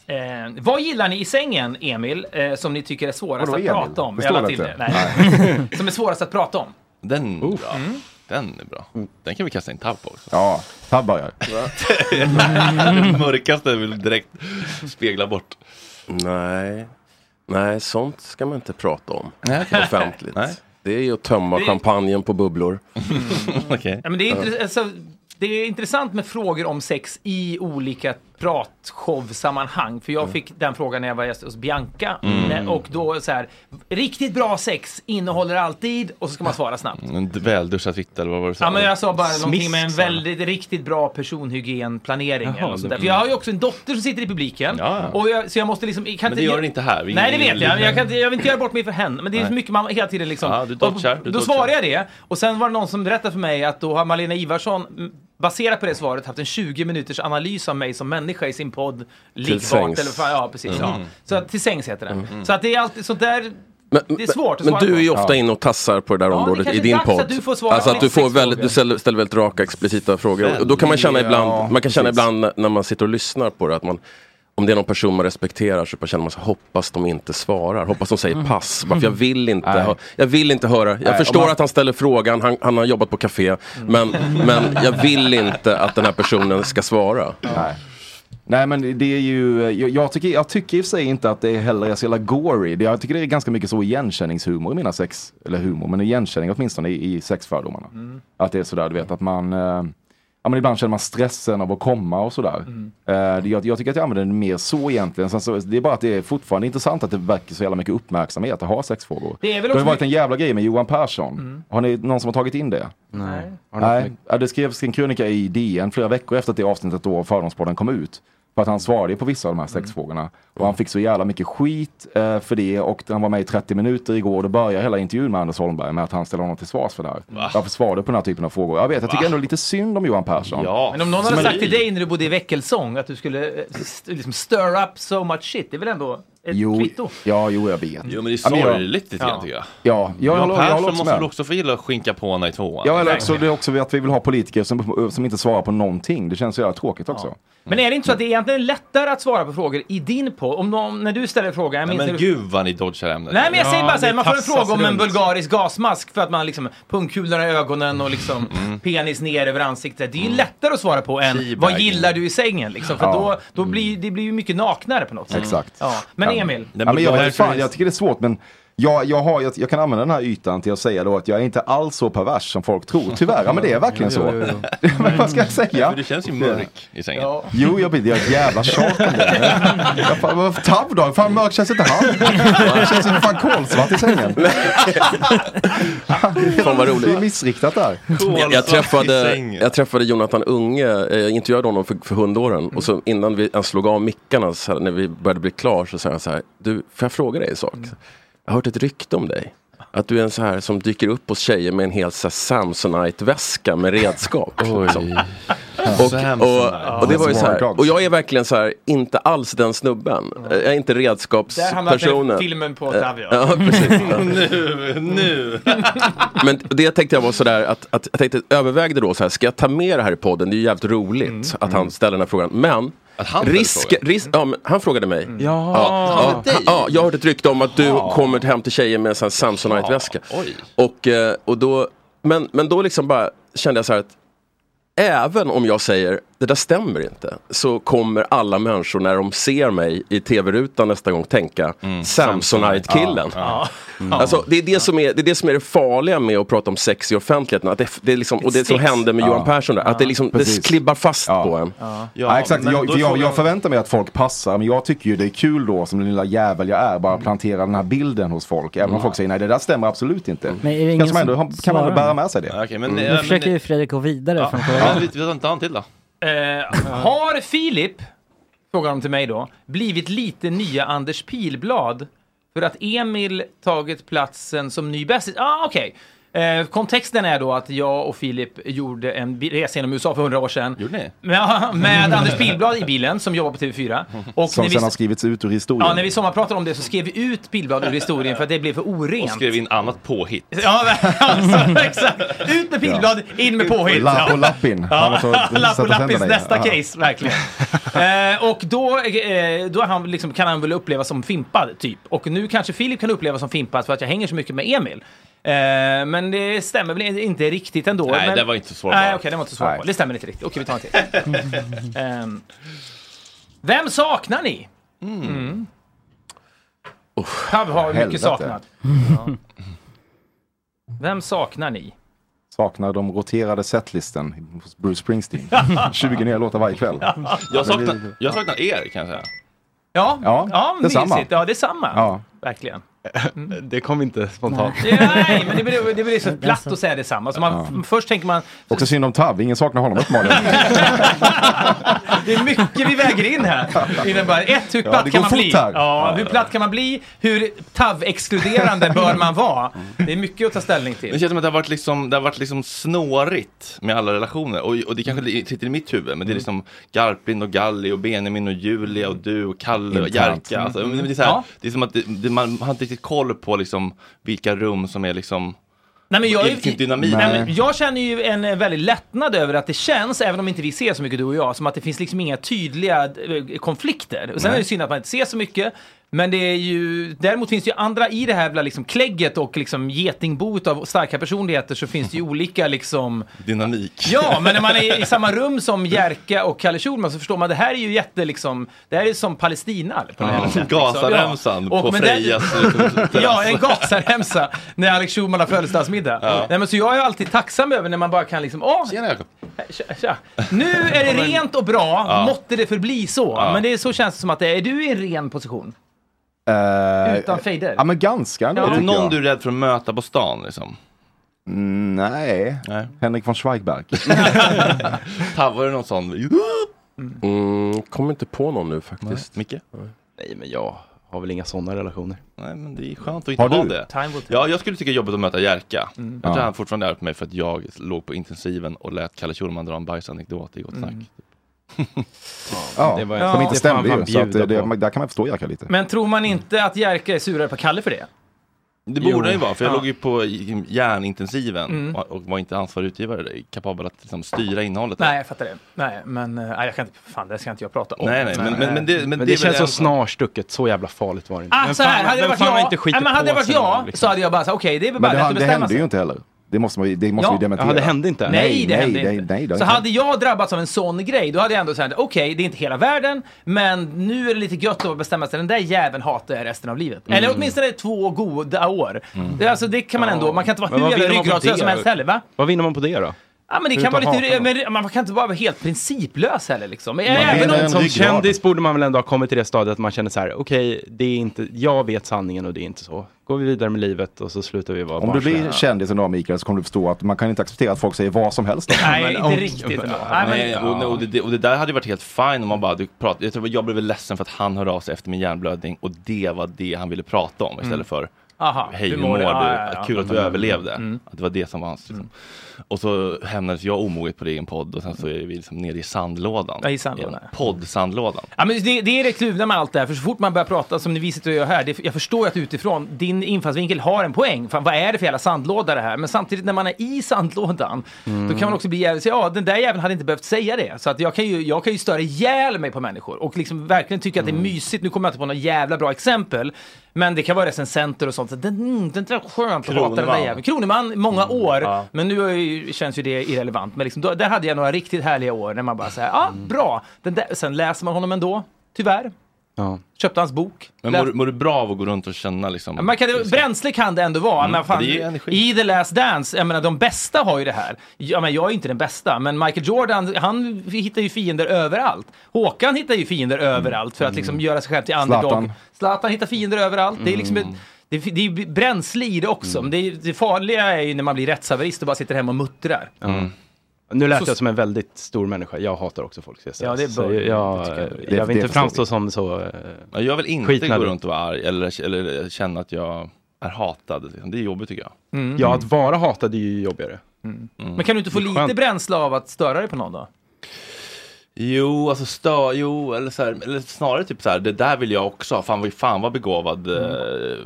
Speaker 6: nej. Eh, vad gillar ni i sängen, Emil, eh, som ni tycker är svårast
Speaker 8: Vadå,
Speaker 6: att
Speaker 8: Emil?
Speaker 6: prata om?
Speaker 8: Förstår
Speaker 6: Jag la
Speaker 8: du
Speaker 6: till
Speaker 8: inte?
Speaker 6: det. Nej. (laughs) som är svårast att prata om.
Speaker 1: Den är bra.
Speaker 6: Mm.
Speaker 1: Den är bra. Den kan vi kasta in tabb på också.
Speaker 7: Mm. Ja, tabbar
Speaker 1: (laughs)
Speaker 7: jag.
Speaker 1: det mörkaste vill direkt spegla bort.
Speaker 10: Nej. Nej, sånt ska man inte prata om
Speaker 1: Nej, okej.
Speaker 10: offentligt.
Speaker 1: Nej.
Speaker 10: Det är ju att tömma
Speaker 6: Det-
Speaker 10: champagnen på bubblor.
Speaker 1: (laughs) Okej.
Speaker 6: Ja, men det, är intress- alltså, det är intressant med frågor om sex i olika pratshowsammanhang. För jag
Speaker 8: Mm.
Speaker 6: fick den frågan när jag var gäst hos Bianca.
Speaker 1: Mm.
Speaker 6: Nej, Och då så här, riktigt bra sex innehåller alltid, och så ska man svara snabbt.
Speaker 1: En Mm, d- välduschad fitta eller vad var det du sa?
Speaker 6: Ja, men jag sa bara någonting med en
Speaker 1: Smisk, sa jag.
Speaker 6: väldigt, riktigt bra personhygienplanering.
Speaker 1: Jaha,
Speaker 6: eller något sånt där.
Speaker 1: det-
Speaker 6: För jag har ju också en dotter som sitter i publiken.
Speaker 1: Ja, ja.
Speaker 6: Och jag, så jag måste liksom... Kan
Speaker 1: Men det gör den inte här. Vi-
Speaker 6: Nej, det vet jag. Men Jag, kan, inte- jag vill inte göra bort mig för henne. Men det är så
Speaker 1: Nej.
Speaker 6: mycket man hela tiden liksom...
Speaker 1: Ja, du dodgar, du
Speaker 6: då
Speaker 1: dodgar.
Speaker 6: svarar jag det. Och sen var det någon som berättade för mig att då har Malena Ivarsson m, baserat på det svaret haft en 20 minuters analys av mig som människa i sin podd Liggbart
Speaker 10: sängs.
Speaker 6: eller fan, ja precis. Ja.
Speaker 10: Mm.
Speaker 6: Så att, till sängs heter den.
Speaker 1: Mm.
Speaker 6: Så att det är alltid sånt där, det är svårt att
Speaker 10: Men
Speaker 6: svara
Speaker 10: du är ju
Speaker 6: på.
Speaker 10: ofta inne och tassar på det där området i
Speaker 6: kanske är
Speaker 10: din
Speaker 6: dags
Speaker 10: podd.
Speaker 6: att du får svara
Speaker 10: alltså
Speaker 6: på
Speaker 10: att du,
Speaker 6: lite
Speaker 10: får väldigt, du ställer, ställer väldigt raka, explicita frågor. Och då kan man känna
Speaker 1: Ja,
Speaker 10: ibland, man kan känna
Speaker 1: precis.
Speaker 10: ibland när- när man sitter och lyssnar på det att man om det är någon person man respekterar så bara känner man så hoppas de inte svarar. Hoppas de säger pass. Bara för jag vill inte,
Speaker 1: Nej.
Speaker 10: hö- jag vill inte höra. Jag
Speaker 1: Nej,
Speaker 10: förstår
Speaker 1: om man-
Speaker 10: att han ställer frågan, han, han har jobbat på café. Men, men jag vill inte att den här personen ska svara.
Speaker 7: Nej. Nej men det är ju, jag, jag, tycker, jag tycker i och för sig inte att det är heller är så jävla gory. Det- Jag tycker det är ganska mycket så igenkänningshumor i mina sex, eller humor, men igenkänning åtminstone i, i sexfördomarna.
Speaker 6: Mm.
Speaker 7: Att det är sådär, du vet, att man... Eh, ja, men ibland känner man stressen av att komma och sådär.
Speaker 6: Mm.
Speaker 7: Eh, det- jag, jag tycker att jag använder den mer så egentligen. Sen så, det är bara att det är fortfarande intressant att det väcker så jävla mycket uppmärksamhet att ha sexfrågor.
Speaker 6: Det är väl
Speaker 7: har ju
Speaker 6: också
Speaker 7: varit en jävla grej med Johan Persson.
Speaker 6: Mm.
Speaker 7: Har ni någon som har tagit in det?
Speaker 8: Nej.
Speaker 7: Nej, ja, det skrevs en krönika i DN flera veckor efter att det avsnittet då Fördomspodden kom ut. För att han svarade på vissa av de här
Speaker 1: Mm.
Speaker 7: sexfrågorna. Och han fick så jävla mycket skit eh, för det. Och han var med i 30 minuter igår. Och då började hela intervjun med Anders Holmberg med att han ställde honom till svars för det här.
Speaker 6: Va?
Speaker 7: Varför svarade du på den här typen av frågor? Jag vet, jag tycker
Speaker 6: Va?
Speaker 7: ändå lite synd om Johan Persson.
Speaker 6: Men om
Speaker 7: Som
Speaker 6: någon hade
Speaker 7: en-
Speaker 6: sagt till dig när du bodde i Väckelsång att du skulle eh, st- liksom stir up so much shit, det är väl ändå ett
Speaker 7: Jo,
Speaker 6: kvitto?
Speaker 7: ja, jo, jag vet.
Speaker 1: Jo, men det är
Speaker 7: Ja, men jag-
Speaker 1: sorgligt lite grann tycker jag.
Speaker 7: Ja, jag
Speaker 1: Johan
Speaker 7: håller- jag håller
Speaker 1: Persson
Speaker 7: också
Speaker 1: måste
Speaker 7: med.
Speaker 1: väl också få gilla att skinka på henne i tvåan?
Speaker 7: Ja, eller också, det är också att vi vill ha politiker som, som inte svarar på någonting. Det känns så jävla tråkigt också.
Speaker 6: Men är det inte så att det är egentligen lättare att svara på frågor i din podd? Om någon, när du ställer frågan,
Speaker 1: Nej,
Speaker 6: jag minns
Speaker 1: men
Speaker 6: när du...
Speaker 1: gud vad ni dodgar ämnet.
Speaker 6: Nej men jag säger bara
Speaker 1: det
Speaker 6: såhär, man får en
Speaker 1: tassas
Speaker 6: fråga om en
Speaker 1: runt.
Speaker 6: bulgarisk gasmask för att man liksom pungkulorna i ögonen och liksom
Speaker 1: Mm.
Speaker 6: penis ner över ansiktet. Det är ju lättare att svara på än vad
Speaker 1: Teabagging.
Speaker 6: gillar du i sängen liksom? För
Speaker 7: Ja.
Speaker 6: då, då
Speaker 1: Mm.
Speaker 6: blir det blir ju mycket naknare på något sätt.
Speaker 7: Exakt.
Speaker 6: Ja. Mm. Men Emil.
Speaker 7: Ja, men jag, vet fan, jag tycker det är svårt men jag, jag, har, jag, jag kan använda den här ytan till att säga då att jag är inte alls så pervers som folk tror. Tyvärr, ja, men det är verkligen så. (laughs) men vad ska jag säga?
Speaker 1: För du känns ju mörk i sängen.
Speaker 7: Jo, jag blir jag är ett jävla tjat om det. Jag, fan, vad tabb då? Fan mörk känns inte han. Han känns ju för fan kolsvart i sängen.
Speaker 10: Fan vad roligt.
Speaker 7: Det är missriktat där.
Speaker 10: Jag, jag, träffade, jag träffade Jonathan Unge, eh, jag intervjuade honom för, för
Speaker 6: Mm.
Speaker 10: hundåren och så innan vi ens slog av mickarna, så här, när vi började bli klar så sa han så här, du, får jag fråga dig en sak?
Speaker 6: Mm.
Speaker 10: Jag har hört ett rykte om dig. Att du är en så här som dyker upp hos tjejer med en hel så här Samsonite-väska med
Speaker 6: (laughs)
Speaker 10: redskap. liksom. Och, och, och det var ju så här, och jag är verkligen så här, inte alls den snubben. Jag är inte
Speaker 6: Mm. Där hamnade
Speaker 10: redskapspersonen.
Speaker 6: filmen på
Speaker 10: Eh,
Speaker 6: Tavia.
Speaker 10: (laughs) Ja,
Speaker 6: (laughs)
Speaker 10: precis. Ja.
Speaker 1: nu, nu.
Speaker 10: Men det tänkte jag var sådär att, att jag tänkte övervägde då så här, ska jag ta med det här i podden? Det är ju jävligt roligt att han ställer den här frågan. Men
Speaker 1: Mm. han ställer Mm.
Speaker 10: risk, risk, ja, men han frågade mig.
Speaker 8: Ja.
Speaker 10: Ja, ja, ja, jag har hört ett rykte om att du kommer hem till tjejer med en sån här Samsonite-väska. Och, eh, och då, men, men då liksom bara kände jag så här att Även om jag säger det där stämmer inte så kommer alla människor när de ser mig i tv-rutan nästa gång tänka Samsonite-killen.
Speaker 6: Ja, ja.
Speaker 10: Alltså, det, är det, som är, det är det som är det farliga med att prata om sex i offentligheten. Att det, det är liksom, och det som
Speaker 7: sticks.
Speaker 10: hände med Johan
Speaker 7: Ja.
Speaker 10: Persson, där, att det, liksom, det
Speaker 7: Precis.
Speaker 10: klibbar fast på en.
Speaker 7: Ja, exakt. Jag, för jag, jag förväntar mig att folk passar, men jag tycker ju det är kul då som den lilla jävel jag är, bara plantera den här bilden hos folk. Även om folk säger nej, det där stämmer absolut inte.
Speaker 9: Men är det ingen
Speaker 7: Kanske man ändå
Speaker 9: som
Speaker 7: har- kan man ändå
Speaker 9: svarar?
Speaker 7: bära med sig det.
Speaker 1: Okej, men,
Speaker 9: Nu försöker ju Fredrik gå vidare från frågan.
Speaker 1: Vi tar inte han till då.
Speaker 6: Eh, har Filip, frågar de till mig då, blivit lite nya Anders Pilblad för att Emil tagit platsen som ny bästis? Ah, okej. Eh, kontexten är då att jag och Filip gjorde en bi- resa genom USA för hundra år sedan. Gjorde ni? Med, med Anders Pilblad i bilen som jobbar på TV4. Och
Speaker 7: Som
Speaker 6: när vi-
Speaker 7: sen har skrivits ut ur historien.
Speaker 6: Ja, när vi sommarpratade om det så skrev vi ut Pilblad ur historien för att det blev för orent.
Speaker 1: Och skrev in annat påhitt.
Speaker 6: Ja, men (laughs) alltså, exakt. Ut med Pilblad, in med påhitt.
Speaker 7: Lapp
Speaker 6: Ja.
Speaker 7: och lappin. Han har
Speaker 6: Ja,
Speaker 7: så-
Speaker 6: Lapp
Speaker 7: sätta
Speaker 6: och Lappis
Speaker 7: tänderna i.
Speaker 6: nästa
Speaker 7: Ja. (laughs)
Speaker 6: case, verkligen. eh, och då, eh, då är han liksom, kan han väl upplevas som fimpad, typ. Och nu kanske Filip kan upplevas som fimpad för att jag hänger så mycket med Emil. Eh, men det stämmer väl inte riktigt ändå.
Speaker 1: Nej,
Speaker 6: men...
Speaker 1: det var inte så
Speaker 6: Nej,
Speaker 1: bra.
Speaker 6: okej, det var inte så
Speaker 1: Nej.
Speaker 6: svårt. Det stämmer inte riktigt. Okej, vi tar en till.
Speaker 7: (laughs)
Speaker 6: Ehm, vem saknar ni? Mm. Pav har mycket
Speaker 7: helvete.
Speaker 6: saknat. Ja. Vem saknar ni?
Speaker 7: Saknar de roterade setlisten hos Bruce Springsteen. 20 nya låtar varje kväll.
Speaker 1: eh, Jag saknar, jag saknar er kanske.
Speaker 6: Ja,
Speaker 7: Ja, detsamma.
Speaker 6: mysigt. Ja, detsamma.
Speaker 7: Ja.
Speaker 6: Verkligen.
Speaker 8: Det kom inte spontant.
Speaker 6: Mm. Nej, men det blir, det blir så platt att säga detsamma. Så man, Först tänker man,
Speaker 7: Också synd om Tav, ingen saknar honom uppenbarligen.
Speaker 6: det är mycket vi väger
Speaker 7: (laughs)
Speaker 6: in här. Innan bara, ett, hur
Speaker 7: Ja,
Speaker 6: platt
Speaker 7: det
Speaker 6: kan
Speaker 7: går
Speaker 6: man
Speaker 7: fort
Speaker 6: bli?
Speaker 7: här.
Speaker 6: Ja, hur platt kan man bli? Hur TAV-exkluderande bör man vara?
Speaker 7: Mm.
Speaker 6: Det är mycket att ta ställning
Speaker 1: Det
Speaker 6: till.
Speaker 1: känns som att det har varit, liksom, det har varit liksom snårigt med alla relationer. Och, och det kanske
Speaker 6: Mm.
Speaker 1: li- sitter i mitt huvud, men det är liksom Garpin och Galli och Benjamin och Julia och du och Kalle och
Speaker 7: Internt.
Speaker 1: Jerka. Alltså, men det, är så här,
Speaker 6: Mm. Ja.
Speaker 1: det är som att det, det, man har inte riktigt koll på liksom, vilka rum som är liksom...
Speaker 6: Nej, men jag, typ-
Speaker 1: Det finns dynamik.
Speaker 6: Nej,
Speaker 1: Nej.
Speaker 6: men jag känner ju en eh, väldigt lättnad över att det känns, även om inte vi ser så mycket du och jag, som att det finns liksom inga tydliga eh, konflikter. Och sen
Speaker 1: Nej.
Speaker 6: är det synd att man inte ser så mycket. Men det är ju, däremot finns det ju andra i det här jävla liksom klägget och liksom getingboet av starka personligheter så finns det ju olika liksom
Speaker 1: Dynamik.
Speaker 6: Ja, men när man
Speaker 1: (laughs)
Speaker 6: är i samma rum som Jerka och Kalle Schulman så förstår man det här är ju jätte liksom, det här är som Palestina. På något
Speaker 1: Ja.
Speaker 6: jävla sätt,
Speaker 1: Gazaremsan
Speaker 6: liksom. Ja. Och-
Speaker 1: på
Speaker 6: men det-
Speaker 1: Frejas
Speaker 6: Ja, en gasaremsa när Alex Schulman har födelsedagsmiddag. Nej, men så jag är alltid tacksam över när man bara kan liksom, åh,
Speaker 1: Tjena Jakob.
Speaker 6: Tja, tja. Nu är det rent och bra,
Speaker 7: Ja.
Speaker 6: måtte det förbli så.
Speaker 7: Ja.
Speaker 6: Men det är så känns det som att det är, är du i en ren position?
Speaker 7: Eh,
Speaker 6: Utan fejder?
Speaker 7: Ja men ganska ändå
Speaker 1: Är det
Speaker 7: tycker
Speaker 1: någon
Speaker 7: jag.
Speaker 1: du är rädd för att möta på stan? Liksom?
Speaker 7: Mm, Nej. Henrik von Schweigberg.
Speaker 1: Tav, var det någon sån?
Speaker 10: (gasps) Mm, kommer inte på någon nu faktiskt.
Speaker 1: Nej. Micke?
Speaker 8: Nej, men jag har väl inga sådana relationer.
Speaker 1: Nej, men det är skönt att inte ha det.
Speaker 6: Time will tell.
Speaker 1: Ja, jag skulle tycka det är jobbigt att möta Jerka.
Speaker 6: Mm.
Speaker 1: Jag tror
Speaker 6: Ja.
Speaker 1: han fortfarande är på mig för att jag låg på intensiven och lät Kalle Schulman dra en bajsanekdot i Gott Snack.
Speaker 6: Mm.
Speaker 7: Ja,
Speaker 6: Det var-
Speaker 7: som
Speaker 6: Ja,
Speaker 7: inte
Speaker 6: det
Speaker 7: stämde
Speaker 6: får han
Speaker 7: ju. Så att,
Speaker 6: bjuda
Speaker 7: eh, det,
Speaker 6: på.
Speaker 7: man- där kan man förstå Jerka lite.
Speaker 6: Men tror man inte att Jerka är surare på Kalle för det?
Speaker 1: Det borde
Speaker 6: Jo.
Speaker 1: han ju vara, för jag
Speaker 6: Ja.
Speaker 1: låg ju på i- järnintensiven
Speaker 6: Mm.
Speaker 1: och- och var inte ansvarig utgivare, kapabel att liksom, styra innehållet.
Speaker 6: Nej, jag fattar det. Nej, men eh, nej, jag kan inte, fan, det ska inte jag prata om. eh,
Speaker 1: Nej, nej, men- men- men det- men
Speaker 8: Men det,
Speaker 1: det är väl
Speaker 8: känns så
Speaker 1: en-
Speaker 8: snarstucket, så jävla farligt var det inte.
Speaker 6: Ah,
Speaker 8: Men
Speaker 6: så här,
Speaker 8: fan-
Speaker 6: hade det
Speaker 8: men
Speaker 6: varit
Speaker 8: fan har
Speaker 6: jag,
Speaker 8: inte skitit
Speaker 6: nej, men hade
Speaker 8: på
Speaker 6: det varit
Speaker 8: sig
Speaker 6: jag
Speaker 8: någon, liksom.
Speaker 6: så hade jag bara sagt okej, det är väl bara
Speaker 7: Men det,
Speaker 6: lätt att
Speaker 7: han- det
Speaker 6: bestämma
Speaker 7: hände
Speaker 6: sig.
Speaker 7: ju inte heller. Det måste, man, ju- det måste vi dementera.
Speaker 6: Ja, det hände
Speaker 8: inte.
Speaker 6: Nej, det hände
Speaker 7: nej,
Speaker 6: inte.
Speaker 7: Nej, nej,
Speaker 6: så hade jag drabbats av en sån grej, då hade jag ändå sagt okej, det är inte hela världen, men nu är det lite gött att bestämma sig, den där jäveln hatar jag resten av livet.
Speaker 8: Mm.
Speaker 6: Eller åtminstone två goda år.
Speaker 8: Mm.
Speaker 6: Det, alltså, det kan man ändå, man kan inte vara
Speaker 8: Men
Speaker 6: hur
Speaker 8: vad
Speaker 6: jävla
Speaker 8: vinner man på
Speaker 6: ryggradslös
Speaker 8: det?
Speaker 6: som helst heller, va?
Speaker 8: Vad vinner man på det då?
Speaker 6: Ja, men det
Speaker 8: Förutom
Speaker 6: kan vara
Speaker 8: hakan
Speaker 6: lite,
Speaker 8: då?
Speaker 6: men man kan inte bara vara helt principlös heller liksom. Men
Speaker 8: Man-
Speaker 6: även om,
Speaker 8: som kändis borde man väl ändå ha kommit till det stadiet att man känner så här, okej, det är inte, jag vet sanningen och det är inte så. Går vi vidare med livet och så slutar vi vara
Speaker 7: Om du blir
Speaker 8: barnsliga.
Speaker 7: kändis en dag Mikael så kommer du förstå att man kan inte acceptera att folk säger vad som helst.
Speaker 1: Men om- Ja, nej, och, och, det, och det där hade ju varit helt fine om man bara du pratade. Jag, tror, jag blev väl ledsen för att han hörde av sig efter min hjärnblödning och det var det han ville prata om istället
Speaker 6: Mm.
Speaker 1: för
Speaker 6: Aha,
Speaker 1: Hej,
Speaker 6: hur
Speaker 1: hur
Speaker 6: mår
Speaker 1: mår du?
Speaker 6: du? Ja, ja, ja.
Speaker 1: Kul att du
Speaker 6: Mm.
Speaker 1: överlevde.
Speaker 6: Mm.
Speaker 1: Att det var det som var hans. Liksom. Och så hämnades jag omoget på det i en podd och sen så är vi liksom nere i sandlådan.
Speaker 6: Ja, i sandlådan,
Speaker 1: En Poddsandlådan.
Speaker 6: Ja, men det, det är det kluvna med allt det här, för så fort man börjar prata som ni sitter och gör här, det, jag förstår ju att utifrån, din infallsvinkel har en poäng. Fan, vad är det för jävla sandlåda det här? Men samtidigt när man är i sandlådan, då kan man också bli jävligt, säga, ja den där jäveln hade inte behövt säga det. Så att jag kan ju, jag kan ju störa ihjäl mig på människor och liksom verkligen tycka att det är mysigt. Nu kommer jag inte på något jävla bra exempel, men det kan vara recensenter och sånt. Så Den, mm, den där är skönt att hata den där
Speaker 1: Kroneman.
Speaker 6: jäveln. Kroneman, många år,
Speaker 1: Mm, Ja.
Speaker 6: men nu är ju, känns ju det irrelevant. Men liksom, då, där hade jag några riktigt härliga år när man bara säger, ja ah,
Speaker 1: Mm.
Speaker 6: bra. Den där, sen läser man honom ändå, tyvärr. Köpte hans bok.
Speaker 1: Men
Speaker 6: Lä-
Speaker 1: mår, du- mår du bra av att gå runt och känna liksom?
Speaker 6: Ja, Man kan, bränsle kan det ändå vara.
Speaker 1: Mm,
Speaker 6: Men fan,
Speaker 1: det ger energi.
Speaker 6: I The Last Dance, jag menar de bästa har ju det här. Jag, men, jag är ju inte den bästa, men Michael Jordan, han hittar ju fiender överallt. Håkan hittar ju fiender överallt för att liksom göra sig själv till underdog.
Speaker 7: Zlatan.
Speaker 6: Zlatan hittar fiender överallt. Det är liksom ett, det, är- det är bränsle i det också. Men Det, är- det farliga är ju när man blir rättshaverist och bara sitter hemma och muttrar.
Speaker 8: Mm. Nu lät
Speaker 6: Så-
Speaker 8: jag som en väldigt stor människa. Jag hatar också folk. Ska jag säga.
Speaker 6: Ja, det är
Speaker 8: Så
Speaker 6: bra.
Speaker 8: jag,
Speaker 6: Det
Speaker 8: jag,
Speaker 6: tycker jag.
Speaker 8: jag
Speaker 1: Det-
Speaker 8: vill
Speaker 1: det
Speaker 8: inte
Speaker 1: förstår
Speaker 8: framstå
Speaker 1: vi.
Speaker 8: som så... eh,
Speaker 1: Ja, Jag vill inte gå
Speaker 8: skitnödig.
Speaker 1: runt och vara arg eller, eller känna att jag är hatad. liksom. Det är jobbigt tycker jag.
Speaker 6: Mm.
Speaker 8: Ja, att vara hatad är ju jobbigare.
Speaker 1: Mm.
Speaker 6: Men kan du inte få
Speaker 8: Det är
Speaker 6: lite
Speaker 8: skönt.
Speaker 6: bränsle av att störa dig på någon då?
Speaker 1: Jo, alltså stö, jo, eller, så här, eller snarare typ så här, det där vill jag också ha, fan, vad- fan vad begåvad
Speaker 6: Mm.
Speaker 1: eh,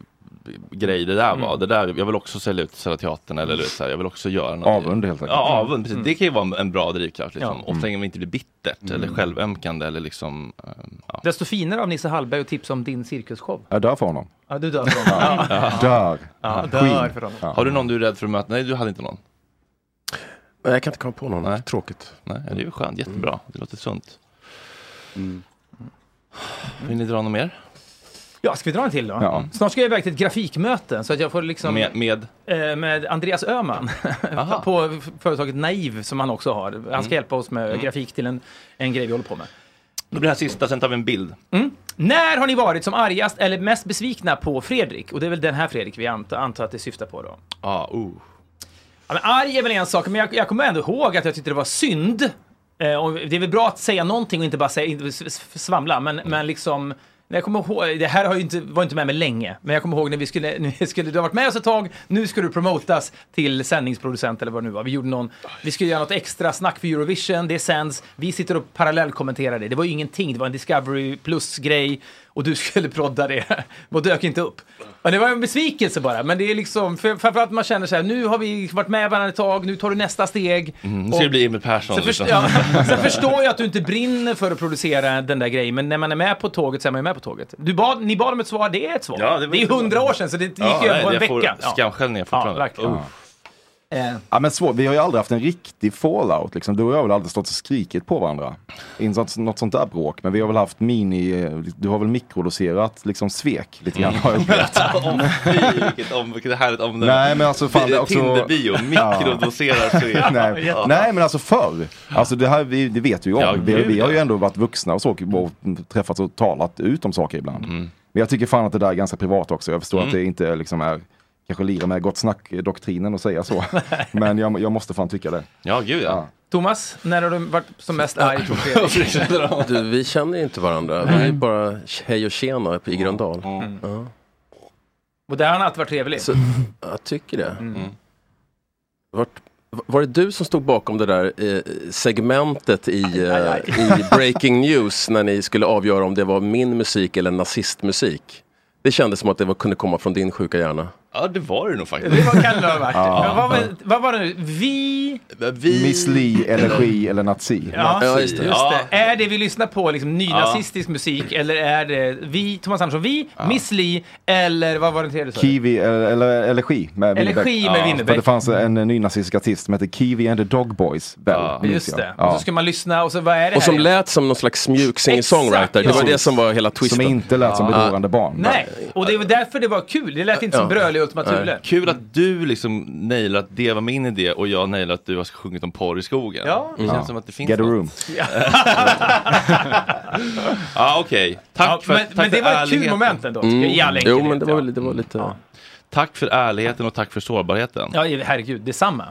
Speaker 1: grej det där var. Det där, jag vill också sälja ut Södra Teatern eller, eller så här, jag vill också göra något.
Speaker 7: Avund, helt enkelt.
Speaker 1: Ja, avund, precis. Det kan ju vara en, en bra drivkraft liksom.
Speaker 6: Mm. Ja.
Speaker 1: Och så länge man inte blir bittert eller
Speaker 6: Mm.
Speaker 1: självömkande eller liksom, ehm, ja.
Speaker 6: Desto finare av Nisse Hallberg att tipsa om din cirkusshow.
Speaker 7: Jag dör för honom.
Speaker 6: Ja, du dör för
Speaker 1: (laughs)
Speaker 6: honom. Ja.
Speaker 7: Dör.
Speaker 6: Ja, dör för honom.
Speaker 1: Har du någon du är rädd för att möta? Nej, du hade inte någon.
Speaker 10: Nej, jag kan inte komma på någon. Tråkigt.
Speaker 1: Nej, det är ju skönt,
Speaker 7: Mm.
Speaker 1: jättebra. Det låter sunt.
Speaker 6: Mm.
Speaker 1: Vill ni dra något mer?
Speaker 6: Ja, ska vi dra en till då?
Speaker 1: Ja.
Speaker 6: Snart ska jag iväg till ett grafikmöte så att jag får liksom...
Speaker 1: Med, med?
Speaker 6: Eh, med Andreas Öhman (laughs) på f- företaget Naiv som han också har. Han ska
Speaker 1: Mm.
Speaker 6: hjälpa oss med
Speaker 1: Mm.
Speaker 6: grafik till en, en grej vi håller på med. Mm.
Speaker 1: Då blir det här sista, sen tar vi en bild.
Speaker 6: När har ni varit som argast eller mest besvikna på Fredrik? Och det är väl den här Fredrik vi antar, antar att det syftar på då.
Speaker 1: Ah, oh.
Speaker 6: Ja, men arg är väl en sak, men jag, jag kommer ändå ihåg att jag tyckte det var synd. Eh, och det är väl bra att säga någonting och inte bara säga, inte s- s- svamla, men, men liksom... när Jag kommer ihåg, det här har ju inte, var inte med mig länge, men jag kommer ihåg när vi skulle, (laughs) nu skulle, du har varit med oss ett tag, nu ska du promotas till sändningsproducent eller vad det nu var. Vi gjorde någon, vi skulle göra något extra snack för Eurovision, det sänds, vi sitter och parallellkommenterar det. Det var ju ingenting, det var en Discovery Plus-grej och du skulle prodda det och dök inte upp. Ja, det var en besvikelse bara, men det är liksom, för- framförallt man känner så här, nu har vi varit med varandra ett tag, nu tar du nästa steg.
Speaker 1: Mm, nu ska det
Speaker 6: Och-
Speaker 1: bli Emil Persson.
Speaker 6: Sen, först-
Speaker 1: liksom. (laughs)
Speaker 6: ja, sen förstår jag att du inte brinner för att producera den där grejen, men när man är med på tåget så är man ju med på tåget. Du bad, ni bad om ett svar, det är ett svar.
Speaker 1: Ja,
Speaker 6: det,
Speaker 1: det var-
Speaker 6: är hundra år sedan, så det gick ju över på en
Speaker 1: jag
Speaker 6: vecka.
Speaker 1: Får skamskällningar
Speaker 6: ja,
Speaker 1: fortfarande.
Speaker 6: verkligen.
Speaker 1: Uff.
Speaker 6: Eh,
Speaker 7: Ja, men svår. Vi har ju aldrig haft en riktig fallout. Liksom. Du och jag har väl aldrig stått och skrikit på varandra. I något, något sånt där bråk. Men vi har väl haft mini... Du har väl mikrodoserat liksom, svek lite grann. har
Speaker 1: (laughs)
Speaker 7: jag upplevt.
Speaker 1: om, Alltså, fy, vilket, om, vilket härligt om
Speaker 7: Nej, men alltså, fan,
Speaker 1: det är
Speaker 7: också-
Speaker 1: Tinder-bio, mikrodoserar svek.
Speaker 7: (laughs) Nej.
Speaker 1: Ja.
Speaker 7: Nej men alltså förr, alltså det, här, vi, det vet vi ju om.
Speaker 1: Ja,
Speaker 7: vi,
Speaker 1: gud,
Speaker 7: vi har ju ändå varit vuxna och, så, och träffats och talat ut om saker ibland. Men jag tycker fan att det där är ganska privat också. Jag förstår
Speaker 1: Mm.
Speaker 7: att det inte liksom är, eh,
Speaker 6: (laughs)
Speaker 7: kanske lirar med gott snack-doktrinen och säga så. men jag, jag måste fan tycka det.
Speaker 1: Ja, gud ja.
Speaker 6: Thomas, när har du varit som mest arg
Speaker 1: (laughs)
Speaker 6: på Fredrik?
Speaker 10: Du, vi känner inte varandra. Vi är bara hej och tjena i Gröndal. Ja.
Speaker 6: Och där har han alltid varit trevlig.
Speaker 10: Så, jag tycker det. Mm. Vart, var det du som stod bakom det där eh, segmentet i, eh, i Breaking News när ni skulle avgöra om det var min musik eller nazistmusik? Det kändes som att det var, kunde komma från din sjuka hjärna.
Speaker 1: Ja, det var det nog faktiskt.
Speaker 6: Det var Kalle Lövart.
Speaker 10: Ja.
Speaker 6: Men vad, var- vad var det nu? Vi...
Speaker 7: Miss Li, energi eller nazi.
Speaker 6: Ja,
Speaker 7: Nazi.
Speaker 6: just det. Är det vi lyssnar på liksom nynazistisk musik eller är det vi, Thomas Andersson, vi, Miss Li eller vad var den tredje? sa du?
Speaker 7: Kiwi, eller, eller Elegi med
Speaker 6: Elegi
Speaker 7: Winnerbäck.
Speaker 6: med Ja. Winnerbäck.
Speaker 7: För det fanns en ny nazistisk artist som hette Kiwi and the Dog Boys. Väl, minns
Speaker 6: Just
Speaker 7: jag.
Speaker 6: det.
Speaker 7: Ja.
Speaker 6: Och så ska man lyssna och så vad är det
Speaker 10: Och som
Speaker 6: här?
Speaker 10: lät som någon slags mjuk singer-songwriter. Det var
Speaker 7: Precis.
Speaker 10: det som var hela twisten.
Speaker 7: Som inte lät som bedårande barn.
Speaker 6: Nej, och det var därför det var kul. Det lät inte som Bröl i Ultima Thule. Mm.
Speaker 1: Nej. Kul att du liksom nailar att det var min idé och jag nailar att du har sjungit om porr i skogen.
Speaker 6: Ja.
Speaker 1: Det känns som att det finns
Speaker 7: Get a
Speaker 1: något.
Speaker 7: room.
Speaker 1: (laughs) Ja, okej. Tack
Speaker 6: Ja,
Speaker 1: för
Speaker 6: men-
Speaker 1: tack
Speaker 6: men det
Speaker 1: för
Speaker 6: var ett kul
Speaker 1: ärligheten.
Speaker 6: moment ändå, tycker jag, i all
Speaker 1: Mm. Jo,
Speaker 6: enkelhet,
Speaker 1: men det var,
Speaker 6: ja.
Speaker 1: väl- det var lite... Tack för ärligheten och tack för sårbarheten.
Speaker 6: Ja, herregud, detsamma.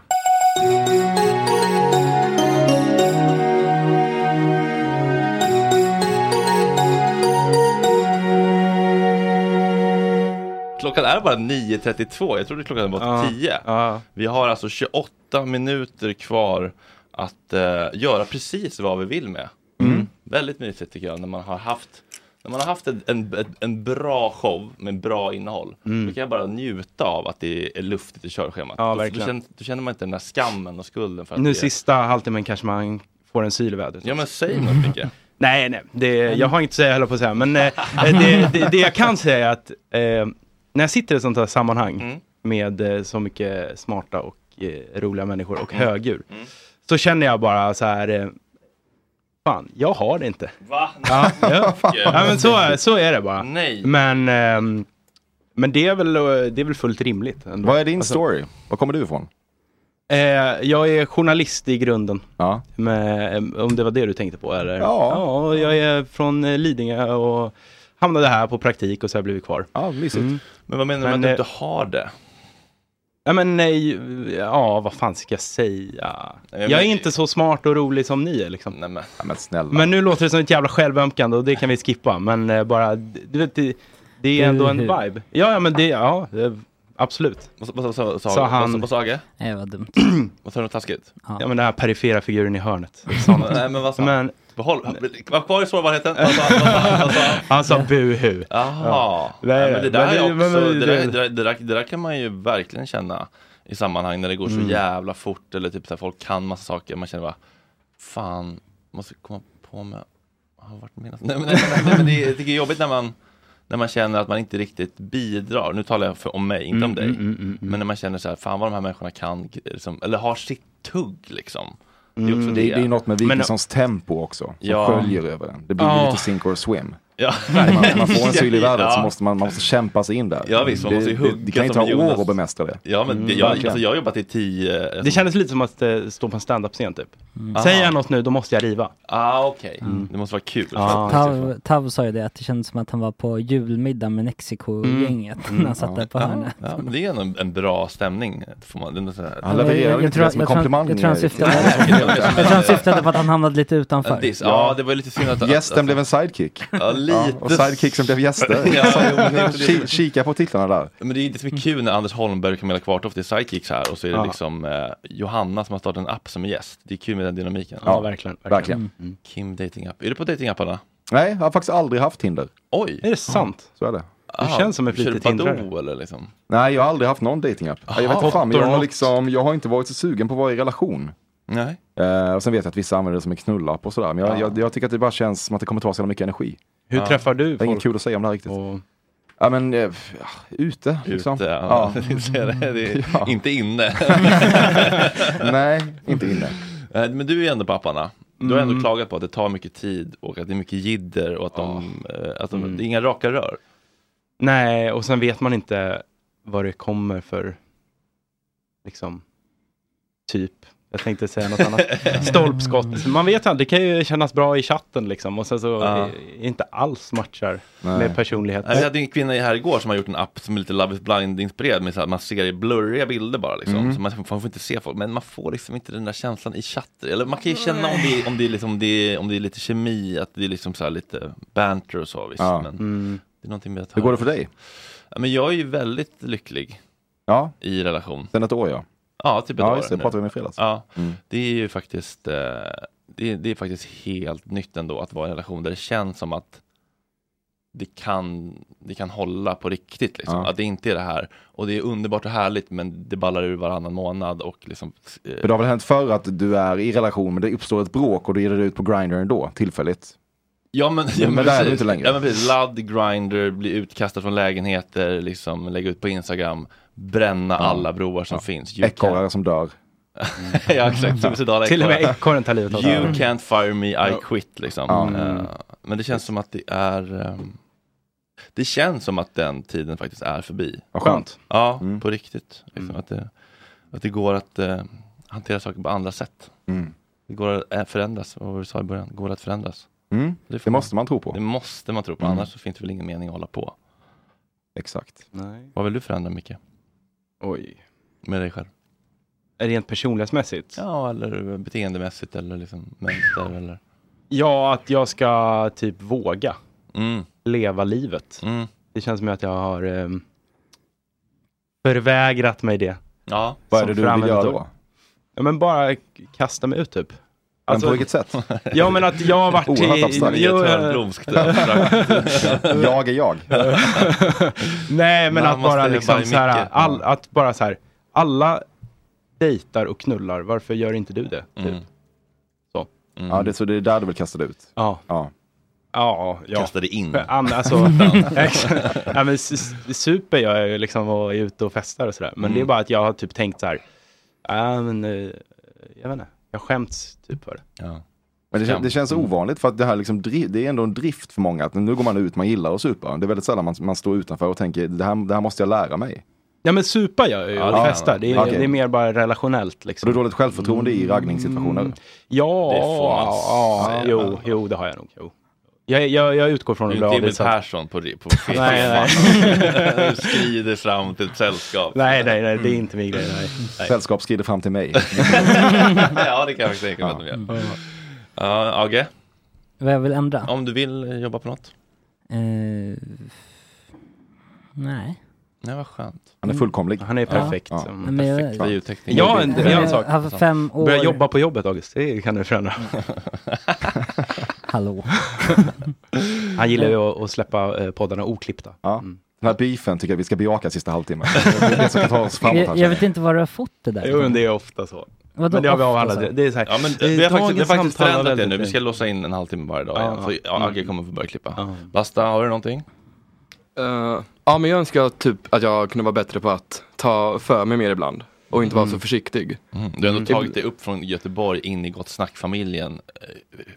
Speaker 1: Klockan är bara 9.32. Jag trodde klockan var
Speaker 8: Ja.
Speaker 1: 10. Vi har alltså 28 minuter kvar att eh, göra precis vad vi vill med.
Speaker 8: Mm.
Speaker 1: Mm. Väldigt mysigt tycker jag när man har haft när man har haft en, en, en bra show med bra innehåll,
Speaker 8: Mm.
Speaker 1: då kan jag bara njuta av att det är luftigt i körschemat.
Speaker 8: Ja,
Speaker 1: Då- då,
Speaker 8: verkligen.
Speaker 1: känner, då känner man inte den där skammen och skulden. För att
Speaker 8: Nu
Speaker 1: det-
Speaker 8: sista halvtimmen kanske man får en syl i vädret.
Speaker 1: Ja men säg något Micke.
Speaker 8: Nej, nej, det, jag har inget att säga, jag höll på att säga. Men eh, det, det, det jag kan säga är att eh, när jag sitter i ett sånt här sammanhang
Speaker 1: Mm.
Speaker 8: med eh, så mycket smarta och eh, roliga människor och
Speaker 1: Mm.
Speaker 8: högdjur, så känner jag bara så här, eh, fan, jag har det inte.
Speaker 1: Va?
Speaker 8: Ja,
Speaker 1: (laughs)
Speaker 8: ja. ja men så, är- så är det bara.
Speaker 1: Nej.
Speaker 8: Men, ehm, men det, är väl, eh, det är väl fullt rimligt. Ändå. Alltså,
Speaker 7: Vad är din story? Var kommer du ifrån?
Speaker 8: Eh, jag är journalist i grunden. Men, eh, om det var det du tänkte på eller?
Speaker 7: Ja.
Speaker 8: och jag är från eh, Lidingö och hamnade här på praktik och så har jag blivit kvar. Mm. eh,
Speaker 7: Ja, mysigt.
Speaker 1: Men vad menar du med att du inte har det?
Speaker 8: Ja, men nej, ja, vad fan ska jag säga?
Speaker 1: men-
Speaker 8: jag är inte så (laughs) smart och rolig som ni är liksom.
Speaker 1: Nej, men.
Speaker 7: Ja, men snälla.
Speaker 8: Men nu låter det som ett jävla självömkande och det kan vi skippa. Men eh, bara, du vet, det, det är ändå en vibe. Ja, ja, men det, ja, det, absolut.
Speaker 1: Vad, vad, vad, vad,
Speaker 8: Sa han-
Speaker 1: vad, vad sa Agge?
Speaker 9: Nej, vad dumt.
Speaker 1: (clears throat) Vad sa du något taskigt?
Speaker 8: Ja. men den här perifera figuren
Speaker 1: (laughs)
Speaker 8: i hörnet. Sa något.
Speaker 1: Nej men vad sa
Speaker 8: Men-
Speaker 1: han? Behåll, var kvar i sårbarheten. Vad sa han? Vad sa han? Vad sa han?
Speaker 8: (laughs) Han sa buhu.
Speaker 1: Jaha.
Speaker 8: Ja. Nej,
Speaker 1: Ja, men det där
Speaker 8: men
Speaker 1: är
Speaker 8: det- men-
Speaker 1: också,
Speaker 8: men
Speaker 1: det där-
Speaker 8: det-
Speaker 1: det där- det där- det där kan man ju verkligen känna i sammanhang när det går så
Speaker 8: Mm.
Speaker 1: jävla fort eller typ så här, folk kan massa saker. Man känner bara, fan, måste komma på med, har varit med Nej, men, nej, men, nej, men det,
Speaker 8: (laughs)
Speaker 1: jag tycker det är jobbigt när man, när man känner att man inte riktigt bidrar. Nu talar jag för, om mig, inte om
Speaker 8: Mm,
Speaker 1: dig.
Speaker 8: mm, mm, mm, mm.
Speaker 1: Men när man känner så här, fan vad de här människorna kan, liksom, eller har sitt tugg liksom.
Speaker 7: Det, det, Mm, det är något med
Speaker 1: Men-
Speaker 7: Wikingssons tempo också. Som
Speaker 1: Ja.
Speaker 7: sköljer över den. Det blir
Speaker 1: Ja.
Speaker 7: lite sink
Speaker 1: (laughs)
Speaker 7: or swim.
Speaker 1: Ja.
Speaker 7: När man, man får en syl i världen så
Speaker 1: (laughs) Ja.
Speaker 7: måste man, man måste kämpa sig in där.
Speaker 1: Ja, visst, man
Speaker 7: det,
Speaker 1: måste ju
Speaker 7: det-
Speaker 1: hugga
Speaker 7: det kan ju
Speaker 1: som
Speaker 7: ta
Speaker 1: Jonas.
Speaker 7: år att bemästra det.
Speaker 1: Ja, men det, jag, alltså, jag har jobbat i tio...
Speaker 8: Mm,
Speaker 1: alltså-
Speaker 8: Det kändes lite som att eh, stå på en standup-scen typ.
Speaker 1: Mm.
Speaker 8: Säger
Speaker 1: Aha.
Speaker 8: jag något nu, då måste jag riva. Mm. Ah,
Speaker 1: Ah, okej. Det måste vara kul.
Speaker 8: Ja.
Speaker 9: Tav, Tav sa ju det, att det kändes som att han var på julmiddag med Mexiko-gänget (laughs) när han satt där på
Speaker 1: Mm. ja.
Speaker 9: hörnet.
Speaker 1: Ja, men det är ändå en, en bra stämning. Får man, det är så här-
Speaker 7: Han levererar
Speaker 9: Jag- jag
Speaker 7: inte
Speaker 9: tror-
Speaker 7: ens med
Speaker 9: jag tror-
Speaker 7: komplimanger.
Speaker 9: jag tror han syftade-
Speaker 8: (laughs)
Speaker 7: Nej,
Speaker 9: jag tror han syftade på att han hamnade lite
Speaker 1: (laughs)
Speaker 9: utanför.
Speaker 1: En diss. Ja, det var ju lite synd att...
Speaker 7: Gästen blev en sidekick.
Speaker 1: Ja, lite.
Speaker 7: och sidekicksen blev gäster.
Speaker 1: (laughs) Ja, jo, men det är-
Speaker 7: Ki- Kika på titlarna där.
Speaker 1: Men det är det som är kul när Anders Holmberg och Camilla Kvartoft är sidekicks här och så är det
Speaker 7: Ja.
Speaker 1: liksom eh, Johanna som har startat en app som är gäst. Det är kul med den dynamiken.
Speaker 8: Ja, verkligen, verkligen. verkligen.
Speaker 1: Kim Dating App. Är du på datingapparna?
Speaker 7: Nej, jag har faktiskt aldrig haft Tinder.
Speaker 1: Oj!
Speaker 8: Är det sant?
Speaker 7: Så är det.
Speaker 1: Ah,
Speaker 8: känns som ett
Speaker 1: kör du
Speaker 8: litet hindrare.
Speaker 1: Badoo eller liksom?
Speaker 7: Nej, jag har aldrig haft någon datingapp. Jag vet
Speaker 1: Aha.
Speaker 7: inte fan, men jag har,
Speaker 1: Hotdog.
Speaker 7: liksom, jag har inte varit så sugen på att vara i relation.
Speaker 1: Nej.
Speaker 7: Eh, och sen vet jag att vissa använder det som en knullapp och sådär. Men jag,
Speaker 8: Ja.
Speaker 7: jag, jag tycker att det bara känns som att det kommer ta så jävla mycket energi.
Speaker 8: Hur
Speaker 7: Ja.
Speaker 8: träffar du
Speaker 7: Det är inget
Speaker 8: folk?
Speaker 7: kul att säga om det här riktigt. Ja men, eh, ja, ute liksom.
Speaker 1: Ute, ja. (laughs) Det är det. Det
Speaker 7: (laughs)
Speaker 1: är Inte inne.
Speaker 7: Nej, inte inne.
Speaker 1: Eh, Men du är ändå på apparna. Du har ändå
Speaker 8: Mm.
Speaker 1: klagat på att det tar mycket tid och att det är mycket jidder och att, de, eh, att de, det är inga raka rör.
Speaker 8: Mm. Nej, och sen vet man inte vad det kommer för, liksom, typ. Jag tänkte säga något annat.
Speaker 1: (laughs)
Speaker 8: Stolpskott. Man vet inte, det kan ju kännas bra i chatten liksom. Och sen så
Speaker 1: Ja.
Speaker 8: eh, inte alls matchar
Speaker 1: Nej.
Speaker 8: med personlighet.
Speaker 1: Jag hade en kvinna här igår som har gjort en app som är lite Love is blind-inspirerad med så här, man ser i blurriga bilder bara liksom.
Speaker 8: Mm.
Speaker 1: Så man, man får inte se folk, men man får liksom inte den där känslan i chatten. Eller man kan ju känna om det, är- om det, är, liksom, om det, är, om det är lite kemi, att det är liksom så här lite banter och så visst.
Speaker 7: Ja.
Speaker 1: Men
Speaker 7: Mm.
Speaker 1: det är någonting med att
Speaker 7: Hur går det för dig?
Speaker 1: Ja, men jag är ju väldigt lycklig
Speaker 7: Ja.
Speaker 1: i relation.
Speaker 7: Sen ett år ja.
Speaker 1: Ja, typ ett
Speaker 7: Ja,
Speaker 1: år
Speaker 7: just det.
Speaker 1: nu.
Speaker 7: Pratade vi om i fredags.
Speaker 1: Ja,
Speaker 7: Mm.
Speaker 1: det är ju faktiskt eh, det är, det är faktiskt helt nytt ändå att vara i en relation där det känns som att det kan, det kan hålla på riktigt. Liksom.
Speaker 7: Ja.
Speaker 1: Att det inte är det här. Och det är underbart och härligt men det ballar ur varannan månad. Och liksom, eh,
Speaker 7: För det har väl hänt förr att du är i relation men det uppstår ett bråk och då ger du dig ut på Grindr ändå, tillfälligt.
Speaker 1: ja, men, ja,
Speaker 7: Men
Speaker 1: men
Speaker 7: där är
Speaker 1: precis.
Speaker 7: det inte längre.
Speaker 1: Ja, men precis. Ladd, grinder, bli utkastad från lägenheter, liksom, lägga ut på Instagram, bränna alla broar som finns. You
Speaker 7: Ekorrar som dör.
Speaker 1: ja
Speaker 8: (laughs)
Speaker 1: exakt, suicidala
Speaker 8: Till och med
Speaker 1: ekorrar.
Speaker 8: ekorren tar livet av sig.
Speaker 1: You
Speaker 8: Mm.
Speaker 1: can't fire me, I
Speaker 8: Ja.
Speaker 1: quit liksom.
Speaker 8: Ja.
Speaker 1: Eh, Men det känns som att det är ehm, Det känns som att den tiden faktiskt är förbi.
Speaker 7: Vad skönt. Mm.
Speaker 1: Ja, på riktigt. Liksom, att, det, att det går att eh, hantera saker på andra sätt.
Speaker 7: Mm.
Speaker 1: Det går att eh, förändras, vad var det vi sa i början, går att förändras.
Speaker 7: Mm.
Speaker 1: Det,
Speaker 7: måste man tro på.
Speaker 1: Det måste man tro på,
Speaker 7: Mm.
Speaker 1: annars så finns det väl ingen mening att hålla på.
Speaker 7: Exakt.
Speaker 8: Nej.
Speaker 1: Vad vill du förändra Micke?
Speaker 8: Oj.
Speaker 1: Med dig själv?
Speaker 8: Rent personlighetsmässigt?
Speaker 1: Ja, eller beteendemässigt eller liksom mönster eller
Speaker 8: Ja, att jag ska typ våga
Speaker 1: Mm.
Speaker 8: leva livet.
Speaker 1: Mm.
Speaker 8: Det känns som att jag har ehm, förvägrat mig det.
Speaker 1: Ja.
Speaker 7: Vad är
Speaker 8: Som
Speaker 7: det du vill
Speaker 8: framöver-
Speaker 7: göra då?
Speaker 8: Ja, men bara k- kasta mig ut typ.
Speaker 7: Men på vilket sätt?
Speaker 8: (laughs) Ja, men att jag har varit
Speaker 7: Oerhört abstrakt.
Speaker 8: Jo,
Speaker 7: Det är
Speaker 8: eh,
Speaker 7: törnblomskt abstrakt. Jag är jag.
Speaker 8: (laughs) Nej, men
Speaker 7: Man
Speaker 8: att bara
Speaker 7: måste
Speaker 8: liksom
Speaker 7: bara
Speaker 8: så här,
Speaker 7: mycket.
Speaker 8: all, att bara så här, alla dejtar och knullar, varför gör inte du det?
Speaker 1: Mm.
Speaker 8: Typ. Så.
Speaker 7: Ja, det, är så det är där du vill kasta dig ut?
Speaker 8: Ja.
Speaker 7: ja.
Speaker 8: Ja, ja.
Speaker 1: Kastade in.
Speaker 8: An,
Speaker 7: (laughs)
Speaker 8: alltså, exakt. ja, men s- s- super gör jag ju liksom och är ute och festar och sådär. Men
Speaker 1: Mm.
Speaker 8: det är bara att jag har typ tänkt så här, ja men, eh, jag vet inte, jag skämts typ för det.
Speaker 1: Ja.
Speaker 7: Men det, kän-
Speaker 8: Skam.
Speaker 7: det känns
Speaker 8: Mm.
Speaker 7: ovanligt för att det här liksom, dri- det är ändå en drift för många. Att nu går man ut, man gillar att supa. Det är väldigt sällan man, man står utanför och tänker det här, det här måste jag lära mig.
Speaker 8: Ja men supa gör jag ju
Speaker 7: Ja,
Speaker 8: och
Speaker 7: det-
Speaker 8: festar. Det är,
Speaker 7: Okej.
Speaker 8: det är mer bara relationellt liksom.
Speaker 7: Har du dåligt självförtroende i raggningssituationer?
Speaker 8: Ja,
Speaker 7: Det får man
Speaker 8: ja,
Speaker 7: säga.
Speaker 8: jo, jo, det har jag nog. Jo. Jag, jag, jag utgår från
Speaker 1: Du
Speaker 8: att
Speaker 1: är
Speaker 8: bli
Speaker 1: inte Emil
Speaker 8: avvisad.
Speaker 1: Persson på, på film.
Speaker 8: (laughs) Nej, nej.
Speaker 1: (laughs) Du
Speaker 7: (laughs)
Speaker 1: skrider fram till ett sällskap. Mm.
Speaker 8: Nej, nej, nej, det är inte min grej. Nej.
Speaker 7: Sällskap skrider fram till mig.
Speaker 1: (laughs) ja, det kan jag säkert att de gör. Ja, Agge,
Speaker 9: Vad jag vill ändra?
Speaker 1: om du vill eh, jobba på något?
Speaker 9: Eh, nej.
Speaker 1: Nej, vad skönt.
Speaker 7: Han är fullkomlig.
Speaker 8: Han är perfekt.
Speaker 9: Ja.
Speaker 8: Mm,
Speaker 9: Men jag-
Speaker 8: perfekt.
Speaker 9: Biotekniker.
Speaker 8: Ja, en, det är en
Speaker 9: Jag
Speaker 8: sak.
Speaker 9: har fem år-
Speaker 8: Börja jobba på jobbet, August. Det kan du förändra.
Speaker 9: (laughs) Hallå.
Speaker 8: (laughs) Han gillar ju att, att släppa eh, poddarna oklippta. Mm.
Speaker 7: Ja. Den här beefen tycker jag vi ska bejaka sista halvtimmen. Det är det som kan ta oss framåt.
Speaker 9: Jag,
Speaker 7: här,
Speaker 9: jag
Speaker 7: känner
Speaker 9: vet inte var du har fått det där.
Speaker 8: Jo, men det är ofta så.
Speaker 9: Vadå
Speaker 8: men det har vi
Speaker 9: ofta
Speaker 8: avhandlat.
Speaker 9: så?
Speaker 8: Det, det är så här.
Speaker 1: Ja, men
Speaker 8: eh,
Speaker 1: vi har faktiskt, vi har
Speaker 8: dagens
Speaker 1: faktiskt
Speaker 8: samtal var
Speaker 1: förändrat det
Speaker 8: väldigt-
Speaker 1: nu. Vi ska låsa in en halvtimme varje dag
Speaker 8: Ja.
Speaker 1: igen. Så ja, Agge kommer få börja klippa. Basta, har du någonting?
Speaker 16: Eh, ja, men jag önskar typ att jag kunde vara bättre på att ta för mig mer ibland och inte vara så försiktig.
Speaker 1: Mm. Du har ändå
Speaker 16: Mm.
Speaker 1: tagit (laughs) dig upp från Göteborg in i Gott Snack-familjen eh,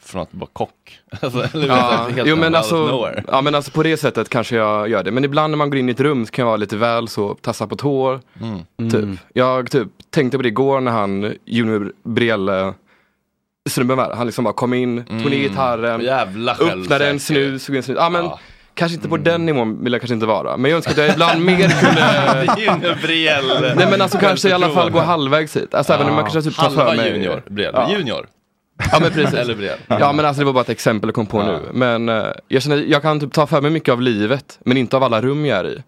Speaker 1: från att vara kock. (laughs) Alltså, eller
Speaker 16: Ja,
Speaker 1: helt
Speaker 16: jo,
Speaker 1: out
Speaker 16: men
Speaker 1: of
Speaker 16: alltså,
Speaker 1: nowhere.
Speaker 16: ja, men alltså på det sättet kanske jag gör det. Men ibland när man går in i ett rum så kan jag vara lite väl så tassa på tår.
Speaker 1: Mm.
Speaker 16: Typ. Jag typ tänkte på det igår när han Junior Brielle snubben var. Han liksom bara kom in, tog ner
Speaker 1: Mm.
Speaker 16: gitarren,
Speaker 1: Jävla
Speaker 16: öppnade en
Speaker 1: självsäker. Mm.
Speaker 16: snus, såg en snus. Ja, men, Kanske inte på den nivån vill jag kanske inte vara. Men jag önskar att jag ibland
Speaker 1: (laughs)
Speaker 16: mer kunde...
Speaker 1: Junior Brielle.
Speaker 16: eh, (laughs) Nej men alltså kanske i alla fall
Speaker 1: (laughs)
Speaker 16: gå halvvägs hit. Alltså även om
Speaker 1: Ja.
Speaker 16: man kanske typ tar
Speaker 1: Halva
Speaker 16: för mig.
Speaker 1: junior, Brielle. Junior.
Speaker 16: Ja men precis.
Speaker 1: (laughs) Eller Brielle.
Speaker 16: Ja men alltså det var bara ett exempel jag kom på nu. Men eh, jag känner, jag kan typ ta för mig mycket av livet. Men inte av alla rum jag är i.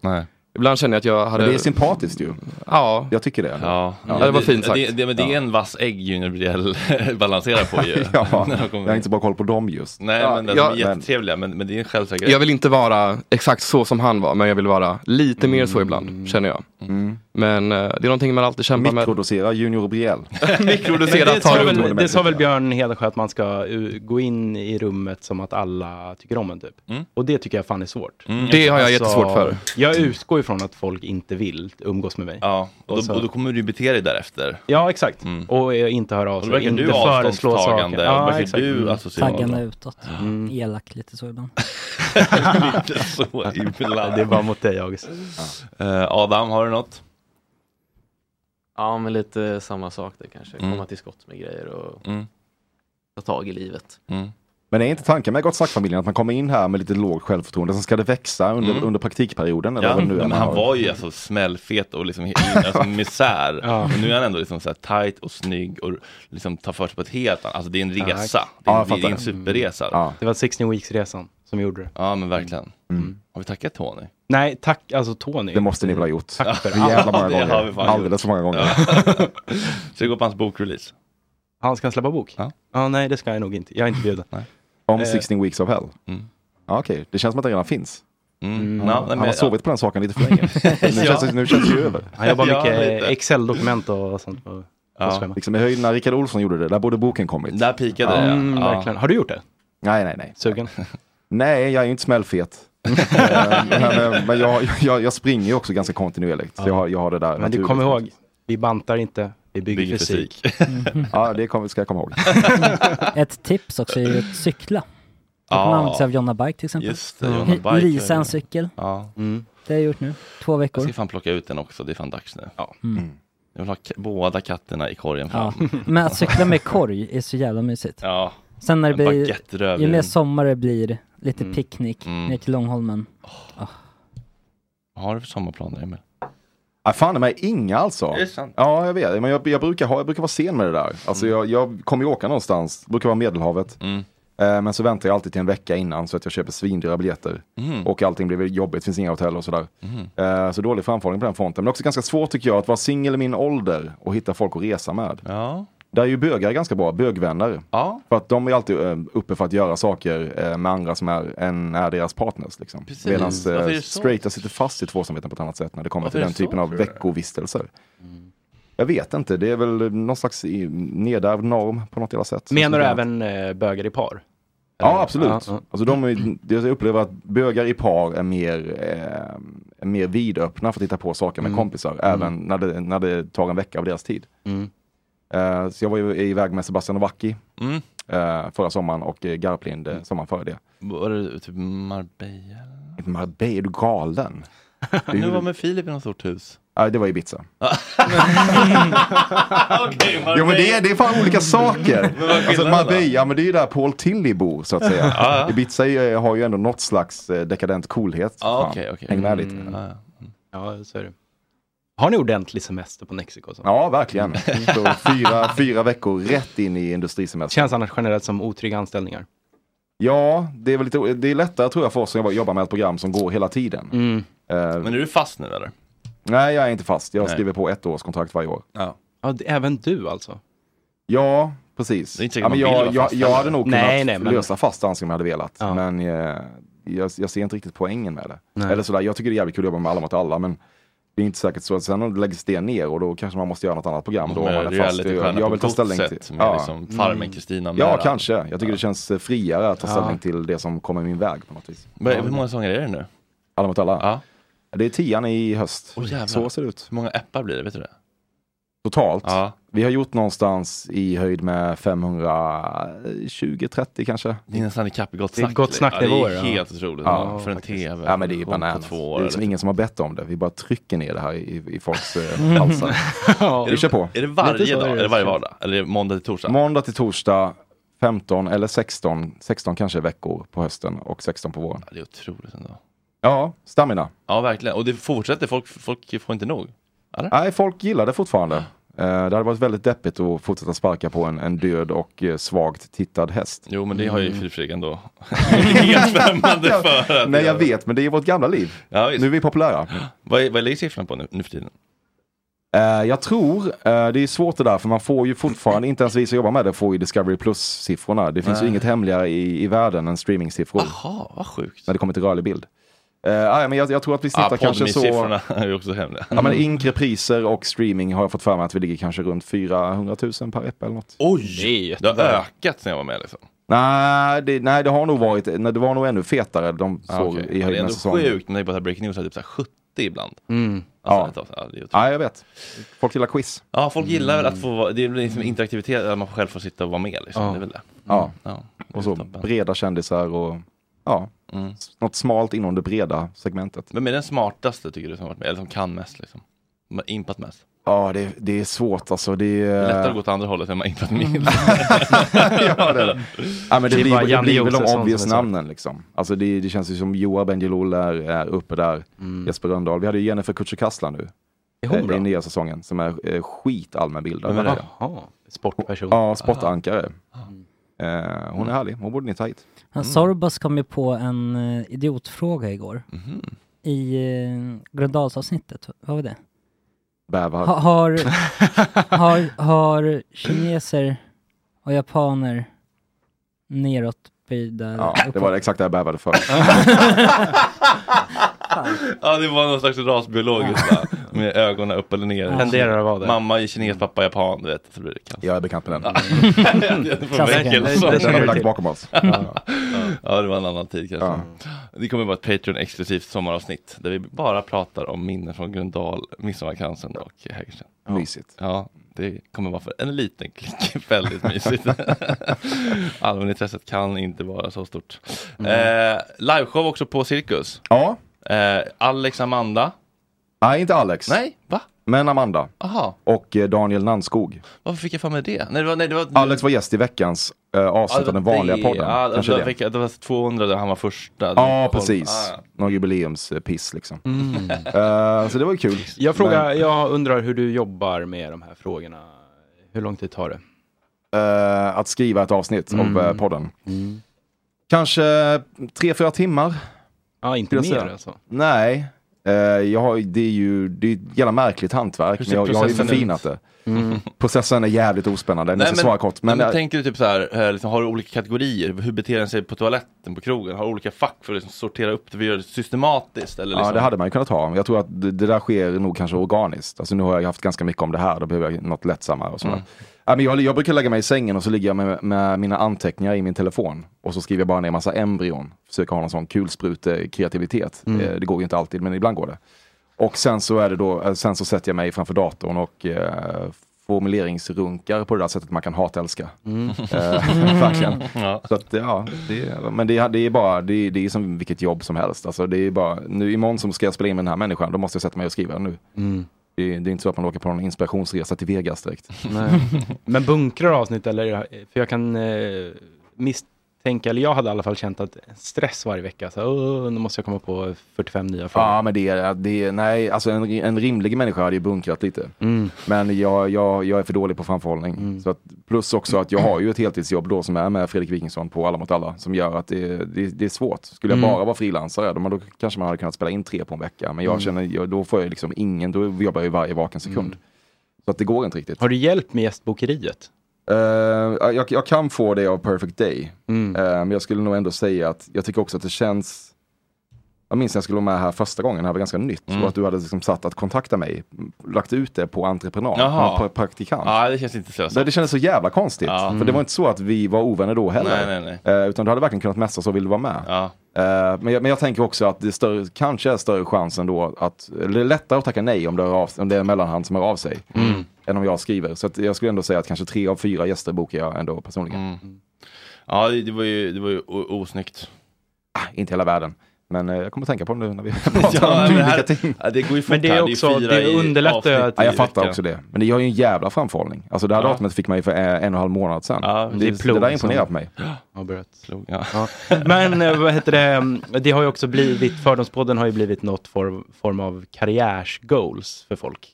Speaker 16: Ibland känner jag att jag hade...
Speaker 7: Men det är sympatiskt ju.
Speaker 16: Ja.
Speaker 7: Jag tycker det.
Speaker 1: Ja,
Speaker 16: Ja, det var fint sagt.
Speaker 1: Det, det, men det är en vass ägg Junior Brielle (laughs) balanserar
Speaker 16: (laughs)
Speaker 1: på ju.
Speaker 7: ja,
Speaker 1: (laughs) När de
Speaker 7: jag
Speaker 1: kommer
Speaker 7: har
Speaker 1: in.
Speaker 7: inte så bra koll på dem just.
Speaker 1: Nej,
Speaker 7: Ja,
Speaker 1: men de
Speaker 7: jag-
Speaker 1: är jättetrevliga, men, men det är en självsäkerhet.
Speaker 16: Jag vill inte vara exakt så som han var, men jag vill vara lite mer
Speaker 7: Mm.
Speaker 16: så ibland, känner jag. Men eh, det är någonting man alltid kämpar med.
Speaker 7: Mikrodosera Junior Briel.
Speaker 16: (laughs)
Speaker 8: Men
Speaker 16: Mikrodosera,
Speaker 8: det,
Speaker 16: ta
Speaker 8: sa
Speaker 16: det
Speaker 8: väl,
Speaker 16: otroligt.
Speaker 8: det sa väl Björn Hedensjö att man ska uh, gå in i rummet som att alla tycker om en typ.
Speaker 1: Mm.
Speaker 8: Och det tycker jag fan är svårt. Alltså,
Speaker 16: Det har jag jättesvårt för.
Speaker 8: Jag utgår ifrån att folk inte vill umgås med mig.
Speaker 1: Ja, och då, och då kommer du ju bete dig därefter. Mm.
Speaker 8: Ja, exakt. Och eh, inte höra av
Speaker 1: Och då
Speaker 8: sig,
Speaker 1: Alltså, verkar
Speaker 8: inte
Speaker 1: du
Speaker 8: föreslå
Speaker 1: avståndstagande,
Speaker 8: saker.
Speaker 1: och verkar du
Speaker 8: Mm.
Speaker 1: asocial.
Speaker 9: Taggarna utåt. Elak lite så ibland.
Speaker 1: Mm. (laughs) Lite så ibland.
Speaker 8: Det är bara mot dig, August.
Speaker 1: Eh, Adam, har du något?
Speaker 17: Ja, men lite samma sak där kanske.
Speaker 1: Mm.
Speaker 17: Komma till skott med grejer och
Speaker 1: Mm.
Speaker 17: ta tag i livet.
Speaker 7: Men är inte tanken med Gott snack-familjen att man kommer in här med lite lågt självförtroende, sen ska det växa under,
Speaker 1: Mm.
Speaker 7: under praktikperioden? Eller
Speaker 1: Ja,
Speaker 7: vad det nu är
Speaker 1: men
Speaker 7: man
Speaker 1: han
Speaker 7: har.
Speaker 1: var ju alltså smällfet och liksom, alltså misär.
Speaker 7: Ja.
Speaker 1: Men nu är han ändå liksom så här tight och snygg och liksom tar för sig på ett helt annat, alltså det är en resa.
Speaker 8: Tack.
Speaker 1: Det är,
Speaker 8: Ja, jag
Speaker 1: det är
Speaker 8: fattar. Mm.
Speaker 1: en superresa.
Speaker 8: Det var 16 Weeks-resan som gjorde det.
Speaker 1: Ja men verkligen.
Speaker 8: Mm.
Speaker 1: Mm. Har vi tackat Tony?
Speaker 8: Nej, tack alltså Tony.
Speaker 7: Det måste ni väl ha gjort?
Speaker 8: Tack för
Speaker 7: Hur jävla
Speaker 1: Ja, (laughs)
Speaker 7: många
Speaker 1: det
Speaker 7: gånger?
Speaker 1: har vi fan
Speaker 7: Alldeles
Speaker 1: gjort.
Speaker 7: för många gånger.
Speaker 1: Ska vi gå på hans bokrelease?
Speaker 8: Han ska släppa bok? Ja. nej, det ska jag nog inte. Jag är inte bjuden.
Speaker 7: Om
Speaker 8: Eh,
Speaker 7: 16 weeks of hell?
Speaker 1: Mm.
Speaker 7: Ja, Okej, det känns som att det redan finns.
Speaker 8: Mm.
Speaker 7: Han,
Speaker 8: Ja, nej,
Speaker 7: han
Speaker 8: men-
Speaker 7: har sovit på den saken lite
Speaker 1: (laughs)
Speaker 7: för länge. nu,
Speaker 8: (laughs)
Speaker 7: känns, det- nu känns
Speaker 8: (clears throat)
Speaker 7: det ju över.
Speaker 8: Han jobbar mycket Excel-dokument och sånt på, på
Speaker 7: Ja.
Speaker 8: schema.
Speaker 7: Liksom i höjden när Rickard Olsson gjorde det, där borde boken kommit.
Speaker 1: Där pikade
Speaker 8: det, ja. Mm, Ja. verkligen. Har du gjort det?
Speaker 7: Nej, nej, nej.
Speaker 8: Sugen?
Speaker 7: (laughs) Nej, jag är ju
Speaker 8: (laughs)
Speaker 7: inte smällfet. Eh, men eh, men jag, jag, jag springer ju också ganska kontinuerligt. Så jag, har, jag har det där
Speaker 8: Men du
Speaker 7: naturligt.
Speaker 8: kommer ihåg, vi bantar (laughs) inte, vi bygger,
Speaker 7: Bygger
Speaker 8: fysik.
Speaker 7: Ja, det kommer, ska jag komma ihåg.
Speaker 9: Ett tips också är ju att cykla. Att
Speaker 7: Ja.
Speaker 9: man använder sig av Jonna Bike till exempel.
Speaker 1: Just det, Jonna Bike är
Speaker 9: Leasa
Speaker 1: det.
Speaker 9: en cykel.
Speaker 1: Ja.
Speaker 9: Det har jag gjort nu. Två
Speaker 1: Jag
Speaker 9: veckor.
Speaker 1: ska fan plocka ut den också, det är fan dags nu.
Speaker 9: Mm.
Speaker 1: Jag vill ha ka- båda katterna i korgen
Speaker 9: Ja.
Speaker 1: fram.
Speaker 9: (laughs) Men att cykla med korg är så jävla mysigt.
Speaker 1: Ja.
Speaker 9: Sen när det
Speaker 1: En baguette
Speaker 9: blir, ju
Speaker 1: rödvin.
Speaker 9: mer sommar det blir, lite
Speaker 1: Mm.
Speaker 9: picknick
Speaker 1: Mm.
Speaker 9: ner till Långholmen. Ah.
Speaker 1: Vad har du för sommarplaner Emil?
Speaker 7: Ja, Ah, fan det är inga alltså.
Speaker 1: Är det sant?
Speaker 7: Ja, jag vet. Men jag, jag, brukar ha, jag brukar vara sen med det där. Alltså,
Speaker 1: Mm.
Speaker 7: jag, jag kommer ju åka någonstans, brukar vara Medelhavet. Eh, men så väntar jag alltid till en vecka innan så att jag köper svindyra biljetter.
Speaker 1: Mm.
Speaker 7: Och allting blir väl jobbigt, finns inga hotell och sådär. Eh, så dålig framförhållning på den fronten. Men också ganska svårt tycker jag att vara singel i min ålder och hitta folk att resa med.
Speaker 1: Ja.
Speaker 7: Där är ju bögar ganska bra, bögvänner.
Speaker 1: Ja.
Speaker 7: För att de är alltid eh, uppe för att göra saker eh, med andra som är, än är deras partners. Liksom.
Speaker 1: Precis.
Speaker 7: Medan
Speaker 1: Varför är det så?
Speaker 7: straighta sitter fast i tvåsamheten på ett annat sätt när det kommer
Speaker 1: Varför
Speaker 7: till
Speaker 1: är
Speaker 7: den
Speaker 1: det så, Mm.
Speaker 7: typen av
Speaker 1: tror du?
Speaker 7: veckovistelser. Jag vet inte, det är väl någon slags i- nedärvd norm på något jävla sätt.
Speaker 8: Menar du
Speaker 7: Som-
Speaker 8: även eh, bögar i par?
Speaker 7: Ja, absolut.
Speaker 8: Ja, ja.
Speaker 7: Alltså de är, jag upplever att bögar i par är mer, eh, är mer vidöppna för att hitta på saker med
Speaker 8: Mm.
Speaker 7: kompisar, även när det, när det tar en vecka av deras tid.
Speaker 8: Mm.
Speaker 7: Eh, så jag var ju iväg med Sebastian Novacki
Speaker 1: Mm.
Speaker 7: eh, förra sommaren och eh, Garplind eh, sommaren före det.
Speaker 1: (laughs) Var det typ Marbella?
Speaker 7: Marbella, är du
Speaker 1: (laughs)
Speaker 7: galen? Det är ju-
Speaker 1: Nu var med Filip i något stort hus.
Speaker 7: Ja, det var Ibiza.
Speaker 1: Okej,
Speaker 7: Jo men
Speaker 12: (laughs)
Speaker 7: det är, det är
Speaker 1: (laughs)
Speaker 7: fan olika saker.
Speaker 1: Men vad är
Speaker 7: Alltså
Speaker 1: skillnaden
Speaker 7: Marbella, men det är ju där Paul Tilly bor så att säga.
Speaker 1: Ja, ja.
Speaker 7: Ibiza är- har ju ändå något slags eh, dekadent coolhet.
Speaker 8: Ja,
Speaker 7: Fan,
Speaker 8: okej, okej.
Speaker 7: Häng med lite.
Speaker 8: Mm. Ja, så är det. Har ni ordentlig semester på Mexiko? Så?
Speaker 7: Ja, verkligen. Så fyra, fyra veckor rätt in i industrisemestern.
Speaker 8: Känns annars generellt som otrygga anställningar.
Speaker 7: Ja, det är, väl lite, det är lättare tror jag för oss som jobbar- jobbar med ett program som går hela tiden. Eh,
Speaker 1: Mm. Men är du fast nu eller?
Speaker 7: nej, jag är inte fast. Jag
Speaker 1: Nej.
Speaker 7: skriver på ett års kontrakt varje år.
Speaker 1: Ja.
Speaker 8: Ja, det, även du alltså?
Speaker 7: Ja, precis.
Speaker 8: Det är inte säkert
Speaker 7: ja, men
Speaker 8: man vill
Speaker 7: jag,
Speaker 8: vara
Speaker 7: jag,
Speaker 8: fast
Speaker 7: jag
Speaker 8: heller.
Speaker 7: hade nog kunnat
Speaker 8: Nej, nej, men-
Speaker 7: lösa fast ansikten om jag hade velat. Men eh, jag, jag ser inte riktigt poängen med det.
Speaker 8: Nej.
Speaker 7: Eller sådär, jag tycker det är jävligt kul att jobba med alla mot alla, men det är inte säkert så att sen läggs det ner och då kanske man måste göra något annat program. Då
Speaker 1: Med
Speaker 7: man
Speaker 1: realitystjärna
Speaker 7: jag, jag vill
Speaker 1: på
Speaker 7: ta
Speaker 1: gott
Speaker 7: ställning
Speaker 1: sätt,
Speaker 7: till.
Speaker 1: med liksom
Speaker 8: Mm.
Speaker 1: Farmen Kristina
Speaker 7: Ja,
Speaker 1: Mera.
Speaker 7: kanske. Jag tycker det känns eh, friare att ta
Speaker 1: Ja.
Speaker 7: ställning till det som kommer min väg på något vis.
Speaker 1: Vad- Hur många sånger är det nu?
Speaker 7: Alla mot alla? Det är tian i höst.
Speaker 1: Åh, jävlar.
Speaker 7: så ser det ut.
Speaker 1: Hur många appar blir det? Vet du det?
Speaker 7: Totalt. Vi har gjort någonstans i höjd med 520-30 kanske.
Speaker 1: Det är nästan ikapp i Gott
Speaker 7: Det är
Speaker 1: Snack.
Speaker 7: Gott Snack-nivåer,
Speaker 1: Ja, det
Speaker 7: ja.
Speaker 1: är helt otroligt.
Speaker 7: Ja,
Speaker 1: för en tv.
Speaker 7: Ja men det är
Speaker 1: produktion
Speaker 7: ju
Speaker 1: på
Speaker 7: bananas.
Speaker 1: Två år, (laughs)
Speaker 7: det är liksom
Speaker 1: eller?
Speaker 7: ingen som har bett om det. Vi bara trycker ner det här i, i folks eh,
Speaker 1: Mm.
Speaker 7: (laughs) halsar. Vi kör på.
Speaker 1: Är det varje
Speaker 7: Lite så
Speaker 1: dag?
Speaker 7: är
Speaker 1: Är
Speaker 7: det.
Speaker 1: det varje vardag? Eller är det måndag till torsdag?
Speaker 7: Måndag till torsdag, 15 eller 16, 16 kanske veckor på hösten och 16 på våren.
Speaker 1: Det är otroligt ändå.
Speaker 7: Ja, stamina.
Speaker 1: Ja, verkligen. Och det fortsätter. Folk, folk får inte nog. Eller? Ah.
Speaker 7: Nej, folk gillar det fortfarande. Eh, Det hade varit väldigt deppigt att fortsätta sparka på en, en död och eh, svagt tittad häst.
Speaker 1: Jo, men det har ju Filip Fredrik
Speaker 7: (laughs)
Speaker 1: ändå helt främmande för. Att
Speaker 7: Mm. Nej, jag
Speaker 1: göra.
Speaker 7: vet, men det är vårt gamla liv.
Speaker 1: Ja, visst.
Speaker 7: Nu är vi populära.
Speaker 1: Vad, är- vad ligger siffran på nu, nu för tiden?
Speaker 7: Eh, jag tror, eh, det är svårt det där för man får ju fortfarande, inte ens vi som jobbar med det får ju Discovery Plus-siffrorna. Det finns ju
Speaker 1: Nej.
Speaker 7: inget hemligare i, i världen än streaming-siffror.
Speaker 1: Jaha, vad sjukt.
Speaker 7: När det kommer till rörlig bild. Eh, ah, ja, men jag, jag tror att vi snittar
Speaker 1: Ah,
Speaker 7: kanske så...
Speaker 1: Podme-siffrorna (laughs) är ju också hemliga.
Speaker 7: Ja men inkrepriser och streaming har jag fått för mig att vi ligger kanske runt 400 000 per epp eller något.
Speaker 1: Oj! Det har ökat sen jag var med liksom.
Speaker 7: Nej det, nej, det har nog varit, nej, det var nog ännu fetare de
Speaker 1: Ja,
Speaker 7: såg
Speaker 1: okej.
Speaker 7: i
Speaker 1: Ja, Det är
Speaker 7: höjden
Speaker 1: ändå
Speaker 7: säsong.
Speaker 1: sjukt när det är bara så här breaking news, är typ så här 70 ibland.
Speaker 7: Mm.
Speaker 1: Alltså, ja. det är otroligt.
Speaker 7: Ja, jag vet. Folk gillar quiz. Mm.
Speaker 1: ja, folk gillar väl att få vara, det är väl liksom interaktivitet, att man själv får sitta och vara med liksom.
Speaker 7: Ja.
Speaker 1: Det är väl det.
Speaker 7: Ja.
Speaker 1: ja.
Speaker 7: Mm. Och så breda kändisar och ja,
Speaker 8: Mm.
Speaker 7: s- något smalt inom det breda segmentet.
Speaker 1: Vem är den smartaste tycker du som har varit med, eller som kan mest liksom? Som har Impat mest?
Speaker 7: Ja, det, det är svårt alltså. Det
Speaker 1: Det
Speaker 7: är
Speaker 1: är lättare att gå åt andra hållet än man (laughs) inte vill.
Speaker 7: (laughs) ja, det är det. Ja, men det,
Speaker 8: Det är bara
Speaker 7: blir, det
Speaker 8: Janne
Speaker 7: blir väl de
Speaker 8: Josefsson
Speaker 7: obvious
Speaker 8: som är så.
Speaker 7: namnen liksom. Alltså det, det känns ju som Joa Bendjelloul är, är uppe där. Jesper Rönndahl. Vi hade ju Jennifer Kutschekasla nu.
Speaker 8: Mm. Är hon
Speaker 7: Eh,
Speaker 8: bra?
Speaker 7: I nya säsongen som är eh, skitallmänbildad.
Speaker 8: Vem är det?
Speaker 7: Jaha, sportperson. Ja, sportankare.
Speaker 8: Ah.
Speaker 7: Eh, hon är härlig. Hon borde ni ta hit.
Speaker 9: Mm. Sorbas kom ju på en eh, idiotfråga igår. I uh, Gröndalsavsnittet, vad var det?
Speaker 7: Bävar. (laughs)
Speaker 9: Ha, har, har, har kineser och japaner neråtböjda...
Speaker 7: Ja, det var exakt det jag bävade för.
Speaker 1: Ja, det var någon slags rasbiologiskt va? Med ögonen upp eller ner.
Speaker 9: Ja. Tenderar
Speaker 1: att vara det. Mamma är kines, pappa är japan, du vet. Så blir det kaos.
Speaker 7: Jag är bekant
Speaker 1: (laughs)
Speaker 7: med den.
Speaker 1: Klassiken.
Speaker 7: Klassiken. Den har vi lagt bakom oss.
Speaker 1: Ja. ja, det var en annan tid kanske. Det kommer vara ett Patreon-exklusivt sommaravsnitt där vi bara pratar om minnen från Gröndal, Midsommarkransen och Hägersten.
Speaker 7: Ja. Mysigt.
Speaker 1: Ja, det kommer vara för en liten klick. (laughs) Väldigt
Speaker 7: (laughs)
Speaker 1: mysigt. Allmänintresset kan inte vara så stort. Eh, liveshow också på Cirkus.
Speaker 7: Mm. Ja.
Speaker 1: Eh, Alex Amanda.
Speaker 7: (laughs) Nej, inte Alex.
Speaker 1: Nej, va?
Speaker 7: Men Amanda.
Speaker 1: Aha.
Speaker 7: Och eh, Daniel Nanskog.
Speaker 1: Varför fick jag för mig det? Nej, det var, nej, det var, Alltså,
Speaker 7: Alex var gäst i veckans eh, avsnitt av den vanliga
Speaker 1: det-
Speaker 7: podden.
Speaker 1: Ja, det,
Speaker 7: Kanske
Speaker 1: det,
Speaker 7: det.
Speaker 1: fick- det var 200 där han var första.
Speaker 7: Ja,
Speaker 1: Koll-
Speaker 7: precis.
Speaker 1: Ah, ja.
Speaker 7: Någon jubileumspiss liksom.
Speaker 8: Mm.
Speaker 7: Eh, så det var ju kul.
Speaker 8: Jag,
Speaker 7: Men,
Speaker 8: frågar, jag undrar hur du jobbar med de här frågorna. Hur lång tid tar det?
Speaker 7: eh, att skriva ett avsnitt
Speaker 1: Mm.
Speaker 7: av eh, podden. Kanske tre, fyra timmar.
Speaker 8: Ja, inte
Speaker 7: skulle jag
Speaker 8: mer
Speaker 7: säga.
Speaker 8: alltså.
Speaker 7: Nej. Eh, jag har, det är ju det är ett jävla märkligt hantverk.
Speaker 1: Hur
Speaker 7: Men
Speaker 1: ser
Speaker 7: jag, jag har ju
Speaker 1: processen ut?
Speaker 7: förfinat det.
Speaker 1: Mm.
Speaker 7: Processen är jävligt ospännande. Men jag ska svara kort.
Speaker 1: nej,
Speaker 7: Men,
Speaker 1: men
Speaker 7: eh,
Speaker 1: tänker du typ så här, eh, liksom, har du olika kategorier? Hur beter den sig på toaletten, på krogen? Har du olika fack för att liksom, sortera upp det? Vi gör det systematiskt? Eller, liksom?
Speaker 7: Ja, det hade man ju kunnat ha. Jag tror att det, det där sker nog kanske organiskt. Alltså nu har jag haft ganska mycket om det här, då behöver jag något lättsammare och sådär.
Speaker 1: Mm.
Speaker 7: Ja, men jag, jag brukar lägga mig i sängen och så ligger jag med, med mina anteckningar i min telefon. Och så skriver jag bara ner massa embryon. Försöker ha någon sån kulsprute-kreativitet.
Speaker 8: Mm.
Speaker 7: Eh, Det går ju inte alltid, men ibland går det. Och sen så, är det då, eh, sen så sätter jag mig framför datorn och eh, formuleringsrunkar på det där sättet man kan hatälska.
Speaker 8: Mm.
Speaker 7: Eh, (laughs) verkligen.
Speaker 1: Ja.
Speaker 7: Så att, ja, det är, men det är, det är bara, det är, det är som vilket jobb som helst. Alltså, det är bara, nu imorgon som ska jag spela in med den här människan, då måste jag sätta mig och skriva den nu. Det, är- det är inte så att man åker på någon inspirationsresa till Vegas direkt.
Speaker 8: Nej. (laughs) Men bunkrar avsnitt eller? För jag kan eh, misstänka, eller jag hade i alla fall känt att stress varje vecka. Så, "Åh, nu måste jag komma på 45 nya frågor.
Speaker 7: Ja, men det är, det är nej, alltså en, en rimlig människa hade ju bunkrat lite.
Speaker 8: Mm.
Speaker 7: Men jag, jag, jag är för dålig på framförhållning. Så att, plus också att jag har ju ett heltidsjobb då som är med Fredrik Wikingsson på Alla mot alla som gör att det, det, det är svårt. Skulle jag
Speaker 8: Mm.
Speaker 7: bara vara frilansare då, då kanske man hade kunnat spela in tre på en vecka. Men jag
Speaker 8: Mm.
Speaker 7: känner, jag, då får jag liksom ingen, då jobbar jag ju varje vaken sekund. Så att det går inte riktigt.
Speaker 8: Har du hjälp med gästbokeriet?
Speaker 7: Eh, jag, jag kan få det av Perfect Day.
Speaker 1: Mm.
Speaker 7: Eh, men jag skulle nog ändå säga att jag tycker också att det känns... Jag minns när jag skulle vara med här första gången, det här var ganska nytt.
Speaker 1: Mm.
Speaker 7: Och att du hade liksom satt att kontakta mig, lagt ut det på entreprenad,
Speaker 1: Jaha.
Speaker 7: på en pra- praktikant.
Speaker 1: Ja, det känns inte
Speaker 7: Det,
Speaker 1: slösat.
Speaker 7: det kändes så jävla konstigt.
Speaker 1: Ja.
Speaker 7: För det var inte så att vi var ovänner då heller.
Speaker 1: Nej, nej,
Speaker 7: Eh, utan du hade verkligen kunnat messa så vill du vara med. Eh, men, jag, men jag tänker också att det är större, kanske är större chans ändå att, eller det är lättare att tacka nej om det, är av, om det är en mellanhand som hör av sig.
Speaker 1: Mm.
Speaker 7: Än om jag skriver. Så att jag skulle ändå säga att kanske tre av fyra gäster bokar jag ändå personligen.
Speaker 1: Mm. Ja, det det var ju, det var ju o- osnyggt.
Speaker 7: Inte hela världen. Men eh, jag kommer att tänka på det nu när
Speaker 1: (laughs)
Speaker 7: vi
Speaker 1: Ja,
Speaker 7: pratar
Speaker 1: men
Speaker 7: om dylika
Speaker 1: här-
Speaker 7: ting.
Speaker 1: ja, det går ju fort Men det är här, det är också- fyra det i underlättar avsnitt ju att-
Speaker 7: Ja,
Speaker 1: i
Speaker 7: jag fattar
Speaker 1: veckan.
Speaker 7: också det. Men det gör ju en jävla framförhållning. Alltså det här
Speaker 1: Ja.
Speaker 7: datumet fick man ju för eh, en och en halv månad sedan. det,
Speaker 8: är
Speaker 7: det,
Speaker 8: plog
Speaker 7: där
Speaker 8: som-
Speaker 7: imponerar på mig.
Speaker 8: Ja, börjat.
Speaker 1: Slog, ja.
Speaker 8: Men eh, vad heter det, det har ju också blivit, Fördomspodden har ju blivit något form, form av karriärsgoals för folk.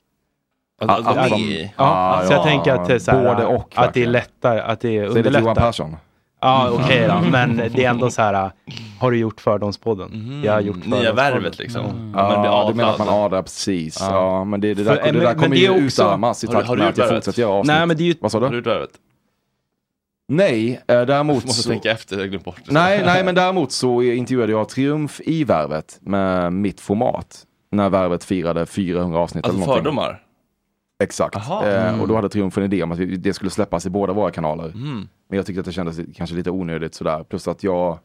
Speaker 7: Alltså,
Speaker 8: Att-
Speaker 7: som-
Speaker 8: ja,
Speaker 7: Ah,
Speaker 8: så jag
Speaker 7: ja.
Speaker 8: tänker att det är så här,
Speaker 7: Både och,
Speaker 8: att det är
Speaker 7: verkligen.
Speaker 8: lättare, att det
Speaker 7: Säg det till
Speaker 8: underlättar.
Speaker 7: Johan Persson.
Speaker 8: Ja, okej då, men det är ändå så här, har du gjort Fördomspodden? Jag har gjort
Speaker 1: Nya
Speaker 8: Fördomspodden.
Speaker 1: värvet, liksom. Mm. Att man blir
Speaker 7: Ja, du menar att man
Speaker 1: adlad.
Speaker 7: adlar, precis.
Speaker 1: Ja.
Speaker 7: Ja. men det, det
Speaker 8: För-
Speaker 7: där, det
Speaker 8: men-
Speaker 7: där
Speaker 8: men
Speaker 7: kommer
Speaker 8: det är
Speaker 7: ju
Speaker 8: också-
Speaker 7: utarmas i
Speaker 8: Har du-
Speaker 7: takt
Speaker 8: har du
Speaker 7: med att jag
Speaker 8: gjort
Speaker 7: fortsätter göra avsnitt.
Speaker 8: Nej, men det är ju...
Speaker 7: Vad sa du?
Speaker 1: Har du gjort värvet?
Speaker 7: Nej, eh, däremot
Speaker 1: Måste
Speaker 7: så...
Speaker 1: tänka efter, jag har glömt bort.
Speaker 7: Nej, nej, men däremot så intervjuade jag Triumf i Värvet med mitt format. När Värvet firade 400 avsnitt
Speaker 1: Alltså
Speaker 7: eller någonting.
Speaker 1: fördomar?
Speaker 7: Exakt.
Speaker 1: Aha.
Speaker 7: Eh,
Speaker 1: Mm.
Speaker 7: och då hade Triumf en idé om att vi, det skulle släppas i båda våra kanaler.
Speaker 1: Mm.
Speaker 7: Men jag tyckte att det kändes kanske lite onödigt sådär. Plus att jag,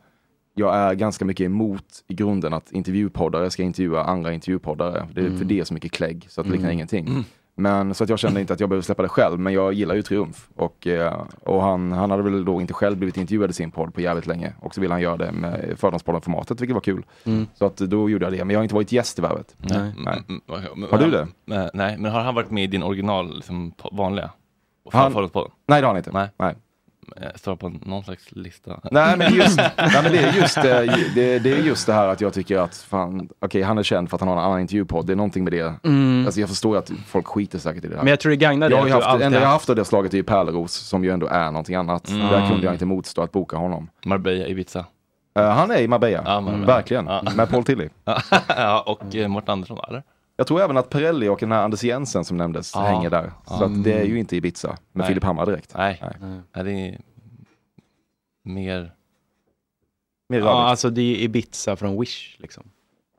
Speaker 7: jag är ganska mycket emot i grunden att intervjupoddare ska intervjua andra intervjupoddare. Det,
Speaker 8: Mm.
Speaker 7: För det är så mycket klägg så att det liknar
Speaker 8: Mm.
Speaker 7: ingenting.
Speaker 8: Mm.
Speaker 7: Men så att jag kände inte att jag behövde släppa det själv, men jag gillar ju Triumf. Och, eh, och han, han hade väl då inte själv blivit intervjuad i sin podd på jävligt länge. Och så ville han göra det med Fördomspodden-formatet, vilket var kul.
Speaker 1: Mm.
Speaker 7: Så att då gjorde jag det, men jag har inte varit gäst i Värvet.
Speaker 1: Nej. Mm, mm, men-
Speaker 7: Har du det?
Speaker 1: Nej, Nej, men har han varit med i din original, liksom, po- vanliga?
Speaker 7: Han-
Speaker 1: Fördomspodden?
Speaker 7: Nej, det har han inte.
Speaker 1: Nej.
Speaker 7: Nej.
Speaker 1: Jag eh, står på någon slags lista.
Speaker 7: Nej men,
Speaker 1: (laughs)
Speaker 7: just, nej men det är just eh, ju- det, det, är just det här att jag tycker att fan, okej han är känd för att han har en annan intervjupodd. Det är någonting med det.
Speaker 8: Mm.
Speaker 7: Alltså jag förstår att folk skiter säkert i det här.
Speaker 8: Men jag tror det gagnar dig
Speaker 7: jag har ju
Speaker 8: att du
Speaker 7: haft,
Speaker 8: alltid
Speaker 7: det enda jag
Speaker 8: haft-
Speaker 7: haft av det slaget är ju Pärleros som ju ändå är någonting annat.
Speaker 1: Mm.
Speaker 7: Där kunde jag inte motstå att boka honom.
Speaker 1: Marbella, Ibiza.
Speaker 7: Eh, han är i Marbella, Mm,
Speaker 1: Marbella.
Speaker 7: verkligen. Med Paul Tilly.
Speaker 1: (laughs) ja, och eh, Mårten Andersson, va, eller?
Speaker 7: Jag tror även att Perelli och den här Anders Jensen som nämndes
Speaker 1: Ja.
Speaker 7: hänger där. Så
Speaker 1: Ja.
Speaker 7: att det är ju inte Ibiza med
Speaker 1: Ah. Mm. Nej.
Speaker 7: Filip Hammar direkt.
Speaker 1: Nej. Mm. Nej, det är mer...
Speaker 7: Mer
Speaker 8: ja, alltså det är Ibiza från Wish liksom.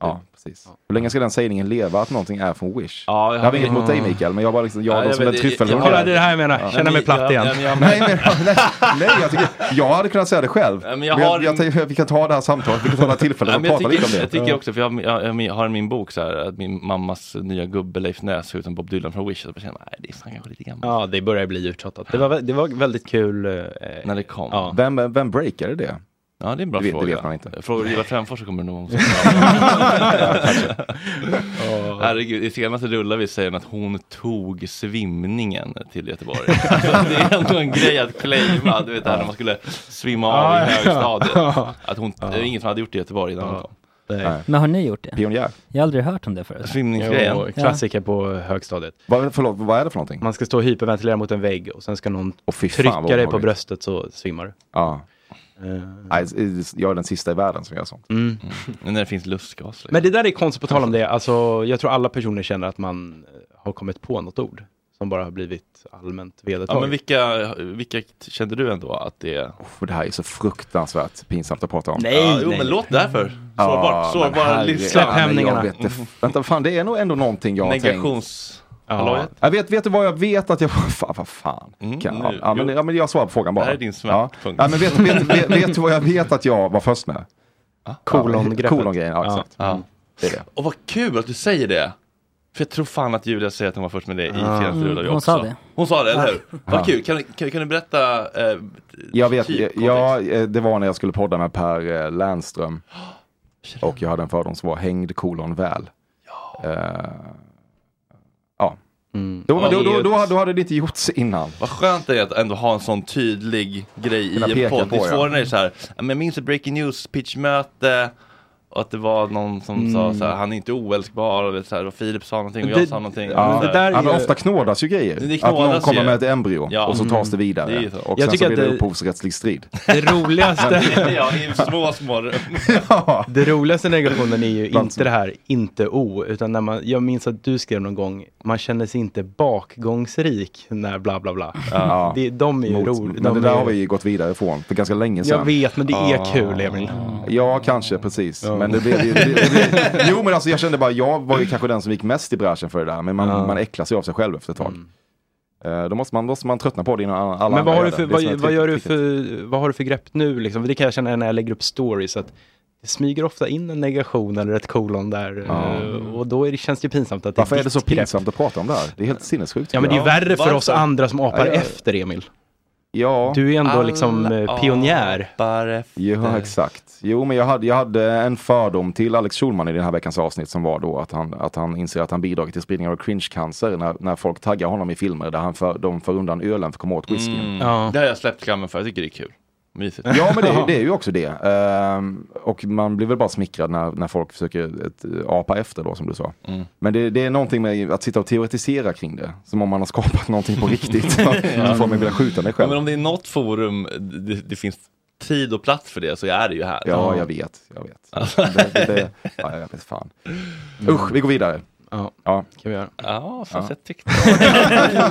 Speaker 7: Ja, precis. Hur länge ska den sägningen leva att någonting är från Wish?
Speaker 8: Ja, jag
Speaker 7: jag,
Speaker 8: har-
Speaker 7: har inget mot dig Mikael, men jag bara liksom, jag
Speaker 8: Ja,
Speaker 7: då
Speaker 8: jag
Speaker 7: som
Speaker 8: vet,
Speaker 7: en
Speaker 8: jag-
Speaker 7: tryffel.
Speaker 8: jag- Kolla, det är det här jag menar.
Speaker 7: Ja.
Speaker 8: Känner mig platt
Speaker 7: Ja,
Speaker 8: igen.
Speaker 7: ja, men jag- Nej, men- (laughs) nej, nej, jag tycker, jag hade kunnat säga det själv.
Speaker 1: Ja, men
Speaker 7: men
Speaker 1: jag
Speaker 7: jag
Speaker 1: har-
Speaker 7: jag, tänker- vi kan ta det här samtalet, vi kan ta det här tillfället
Speaker 1: Nej,
Speaker 7: och
Speaker 1: men jag,
Speaker 7: prata lite om
Speaker 1: tycker,
Speaker 7: det.
Speaker 1: jag tycker också, för jag, jag, jag har i min bok så här, att min mammas nya gubbe Leif Näshus som Bob Dylan från Wish, och jag bara känner, nej det är fan kanske lite gammalt.
Speaker 8: Ja, det börjar bli uttjatat. Det var, det var väldigt kul. När
Speaker 1: det kom.
Speaker 8: Ja.
Speaker 7: Vem, vem breakade det?
Speaker 1: Ja, det är en bra
Speaker 7: Det vet- det
Speaker 1: fråga.
Speaker 7: vet man inte.
Speaker 1: Frågar du Ivar Frändfors så kommer det nog
Speaker 8: (laughs)
Speaker 7: Ja.
Speaker 1: Herregud, i senaste rullar vi säger att hon tog svimningen till
Speaker 8: (laughs)
Speaker 1: Göteborg. Alltså, det är ändå en grej att claima, du vet det här när man skulle svimma av
Speaker 9: Ja,
Speaker 1: i
Speaker 9: ja.
Speaker 8: (laughs)
Speaker 1: högstadiet.
Speaker 9: Ja.
Speaker 1: Att hon, det är ingen som hade gjort det i Göteborg innan hon kom.
Speaker 9: (laughs) Men har ni gjort det?
Speaker 7: Pionjär.
Speaker 9: Jag har aldrig hört om det förut.
Speaker 8: Svimningsgrejen. Jo, klassiker på högstadiet.
Speaker 7: Vad, förlåt, vad är det för någonting?
Speaker 8: Man ska stå och hyperventilera mot en vägg och sen ska någon
Speaker 7: fy fan,
Speaker 8: trycka
Speaker 7: vad
Speaker 8: dig på
Speaker 7: obehagligt.
Speaker 8: bröstet så svimmar du.
Speaker 7: Ja. Nej, jag är den sista i världen som gör sånt.
Speaker 8: Eh. Mm.
Speaker 1: Men när det finns lustgas. liksom.
Speaker 8: Men det där är konstigt, på tal om det. Alltså, jag tror alla personer känner att man eh, har kommit på något ord som bara har blivit allmänt vedertaget.
Speaker 1: Ja, men vilka, vilka kände du ändå att det är?
Speaker 7: För det här är så fruktansvärt pinsamt att prata om.
Speaker 1: Nej, Ja, jo, nej. men låt därför. Sårbart,
Speaker 7: men
Speaker 1: sårbara
Speaker 7: herre-
Speaker 1: livsläpp.
Speaker 7: Ja, men jag vet
Speaker 1: Mm.
Speaker 7: inte. Vänta, fan det är nog ändå någonting jag har
Speaker 1: Negations-
Speaker 7: tänkt.
Speaker 1: Hallå?
Speaker 7: Ja. Jag vet, vet du vad jag vet att jag... (laughs) Fan, vad fan. kan,
Speaker 1: Mm, nu.
Speaker 7: ja, ja, men,
Speaker 1: Jo.
Speaker 7: ja, men jag svarar på frågan bara.
Speaker 1: Det här är din
Speaker 7: ja.
Speaker 1: smärtpunkt.
Speaker 7: ja, men vet, vet, vet,
Speaker 1: (laughs)
Speaker 7: vet du vad jag vet att jag var först med?
Speaker 1: Kolongreppet.
Speaker 7: Kolongrejen, ja exakt.
Speaker 1: Ja. Mm.
Speaker 7: Det är det.
Speaker 1: Och vad kul att du säger det! För jag tror fan att Julia säger att hon var först med det i
Speaker 7: Ja.
Speaker 1: senaste
Speaker 7: Mm,
Speaker 1: rullar vi
Speaker 7: hon
Speaker 1: också.
Speaker 7: sa det.
Speaker 1: Hon sa det, eller hur?
Speaker 7: Ja.
Speaker 1: Vad kul! Kan, kan, kan du berätta? Eh,
Speaker 7: Jag vet, ja, eh, det var när jag skulle podda med Per eh,
Speaker 1: (gasps)
Speaker 7: Lernström. Och jag hade en fördom som var hängd kolon väl. Ja. ja. Då, men då, då, då, då hade det inte gjorts innan.
Speaker 1: Vad skönt det är att ändå ha en sån tydlig grej
Speaker 7: Kunna
Speaker 1: i en
Speaker 7: peka
Speaker 1: podd. Det är
Speaker 7: på, ja.
Speaker 1: svårare när det är så här, "Ja, men jag minns ett breaking news pitchmöte och att det var någon som
Speaker 7: Mm.
Speaker 1: sa så här, han är inte oälskbar och, det är så här, och Filip sa någonting och
Speaker 7: Det-
Speaker 1: jag sa någonting.
Speaker 7: Ja,
Speaker 1: Och så
Speaker 7: det
Speaker 1: här.
Speaker 7: där ja, men ofta knådas ju grejer.
Speaker 1: Det knådas
Speaker 7: att någon kommer
Speaker 1: ju.
Speaker 7: med ett embryo
Speaker 1: Ja.
Speaker 7: och så tas det vidare.
Speaker 1: Det är ju så.
Speaker 7: och
Speaker 1: Jag
Speaker 7: sen så
Speaker 1: tycker
Speaker 7: blir
Speaker 1: att
Speaker 7: det
Speaker 1: det-
Speaker 7: upphovsrättslig strid.
Speaker 8: Det roligaste...
Speaker 1: (laughs) ja, i små, små
Speaker 7: (laughs)
Speaker 1: rum.
Speaker 8: (laughs) Det roligaste negationen är ju inte det här inte o, utan när man, jag minns att du skrev någon gång, man känner sig inte bakgångsrik när bla bla bla.
Speaker 7: Ja.
Speaker 8: Det, de är ju
Speaker 7: Mot-
Speaker 8: roliga.
Speaker 7: Men det där
Speaker 8: är...
Speaker 7: har vi ju gått vidare från för ganska länge sedan.
Speaker 8: Jag vet, men det är kul, Emil.
Speaker 7: Ja, kanske, precis. Men det blev, det, det, det blev... Jo, men alltså jag kände bara, jag var ju kanske den som gick mest i bräschen för det där. Men man,
Speaker 8: Ja.
Speaker 7: man äcklar sig av sig själv efter ett tag. Eh, Då måste man, måste man tröttna på det innan alla
Speaker 8: men
Speaker 7: andra
Speaker 8: vad har,
Speaker 7: gör
Speaker 8: du för,
Speaker 7: det. Det är typ- som
Speaker 8: vad,
Speaker 7: ett
Speaker 8: vad, gör du
Speaker 7: riktigt-
Speaker 8: för, vad har du för grepp nu? Liksom? Det kan jag känna när jag lägger upp stories. Att det smyger ofta in en negation eller ett kolon där.
Speaker 7: Ja.
Speaker 8: eh, Och då är det, känns det ju pinsamt att det
Speaker 7: Varför är det
Speaker 8: ditt
Speaker 7: så
Speaker 8: grepp.
Speaker 7: pinsamt att prata om det här? Det är helt sinnessjukt.
Speaker 8: Ja, men det är ju
Speaker 7: tycker jag.
Speaker 8: värre för oss andra som apar
Speaker 7: Ja, ja.
Speaker 8: efter, Emil.
Speaker 7: Ja.
Speaker 8: Du är ändå liksom eh, pionjär.
Speaker 7: Ja, exakt. Jo, men jag hade, jag hade en fördom till Alex Schulman i den här veckans avsnitt som var då att han, att han inser att han bidragit till spridningen av cringe-cancer när, när folk taggar honom i filmer där han för, de för undan ölen för att komma åt whiskyn.
Speaker 1: Mm. Det har jag släppt skammen för, jag tycker det är kul. Mysigt.
Speaker 7: Ja, men det, det är ju också det. Ehm, och man blir väl bara smickrad när, när folk försöker ett, apa efter då, som du sa.
Speaker 1: Mm.
Speaker 7: Men det, det är någonting med att sitta och teoretisera kring det, som om man har skapat någonting på riktigt. Så
Speaker 1: (laughs) Ja.
Speaker 7: får man vilja skjuta mig
Speaker 1: Ja,
Speaker 7: själv.
Speaker 1: men om det är något forum det, det finns tid och plats för det så är det ju här.
Speaker 7: Ja, jag vet. Jag vet. det, det, det, ja, jag vet fan. Usch, vi går vidare.
Speaker 8: Ja,
Speaker 7: kan
Speaker 8: vi göra.
Speaker 1: Ja, fast
Speaker 7: Ja.
Speaker 1: jag tyckte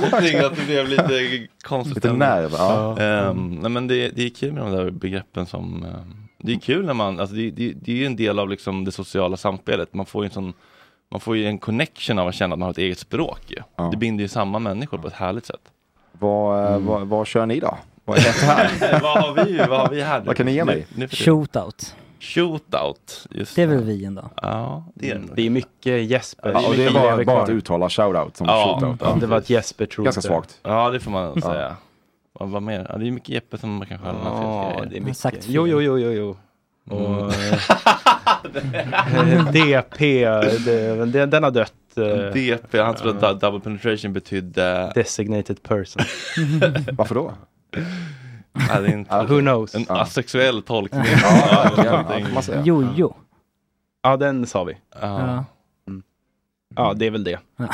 Speaker 1: (laughs)
Speaker 7: (laughs)
Speaker 1: någonting att det blev lite konstigt.
Speaker 7: Lite nerv, ja. Mm.
Speaker 1: Ehm, nej, men det, det är kul med de där begreppen som... ehm, det är kul när man... Alltså det, det, det är ju en del av liksom det sociala samspelet. Man får ju en sån... Man får ju en connection av att känna att man har ett eget språk ju.
Speaker 7: Ja.
Speaker 1: Det binder ju samman människor på ett härligt sätt. Mm.
Speaker 7: Vad, eh, vad, vad kör ni då? Vad är det här?
Speaker 1: (laughs) vad, har vi, vad har vi här nu?
Speaker 7: Vad kan ni ge mig?
Speaker 1: Nu, nu för tiden.
Speaker 9: Shootout.
Speaker 1: Shootout. Just
Speaker 9: Det är väl vi ändå.
Speaker 1: Ja, det är det nog.
Speaker 8: Det är mycket Jesper.
Speaker 7: Ja, och Mm. det
Speaker 8: mycket
Speaker 7: var
Speaker 8: lever
Speaker 7: bara
Speaker 8: kvar.
Speaker 7: att uttala shoutout som
Speaker 1: Ja.
Speaker 7: shootout.
Speaker 1: Mm.
Speaker 8: Det var ett Jesper tror
Speaker 7: Ganska
Speaker 8: jag.
Speaker 7: svagt.
Speaker 1: Ja, det får man
Speaker 8: Ja.
Speaker 1: säga. Vad, vad mer? Ja, det är mycket Jeppe som man kanske har lämnat
Speaker 8: Ja,
Speaker 1: fel grejer.
Speaker 8: det är mycket. Sagt jo, jo, jo, jo, jo.
Speaker 1: Mm. (laughs)
Speaker 8: Och, (laughs) eh, DP, det, väl det- den har dött. eh,
Speaker 1: DP, han trodde att double penetration betydde...
Speaker 8: Designated person.
Speaker 7: (laughs) Varför då?
Speaker 1: Ja, det är inte,
Speaker 8: Who knows?
Speaker 1: En
Speaker 8: Ja.
Speaker 1: asexuell tolkning.
Speaker 9: Jojo.
Speaker 8: Ja, den sa vi.
Speaker 1: Ja.
Speaker 8: Mm. ja, det är väl det.
Speaker 1: Mm.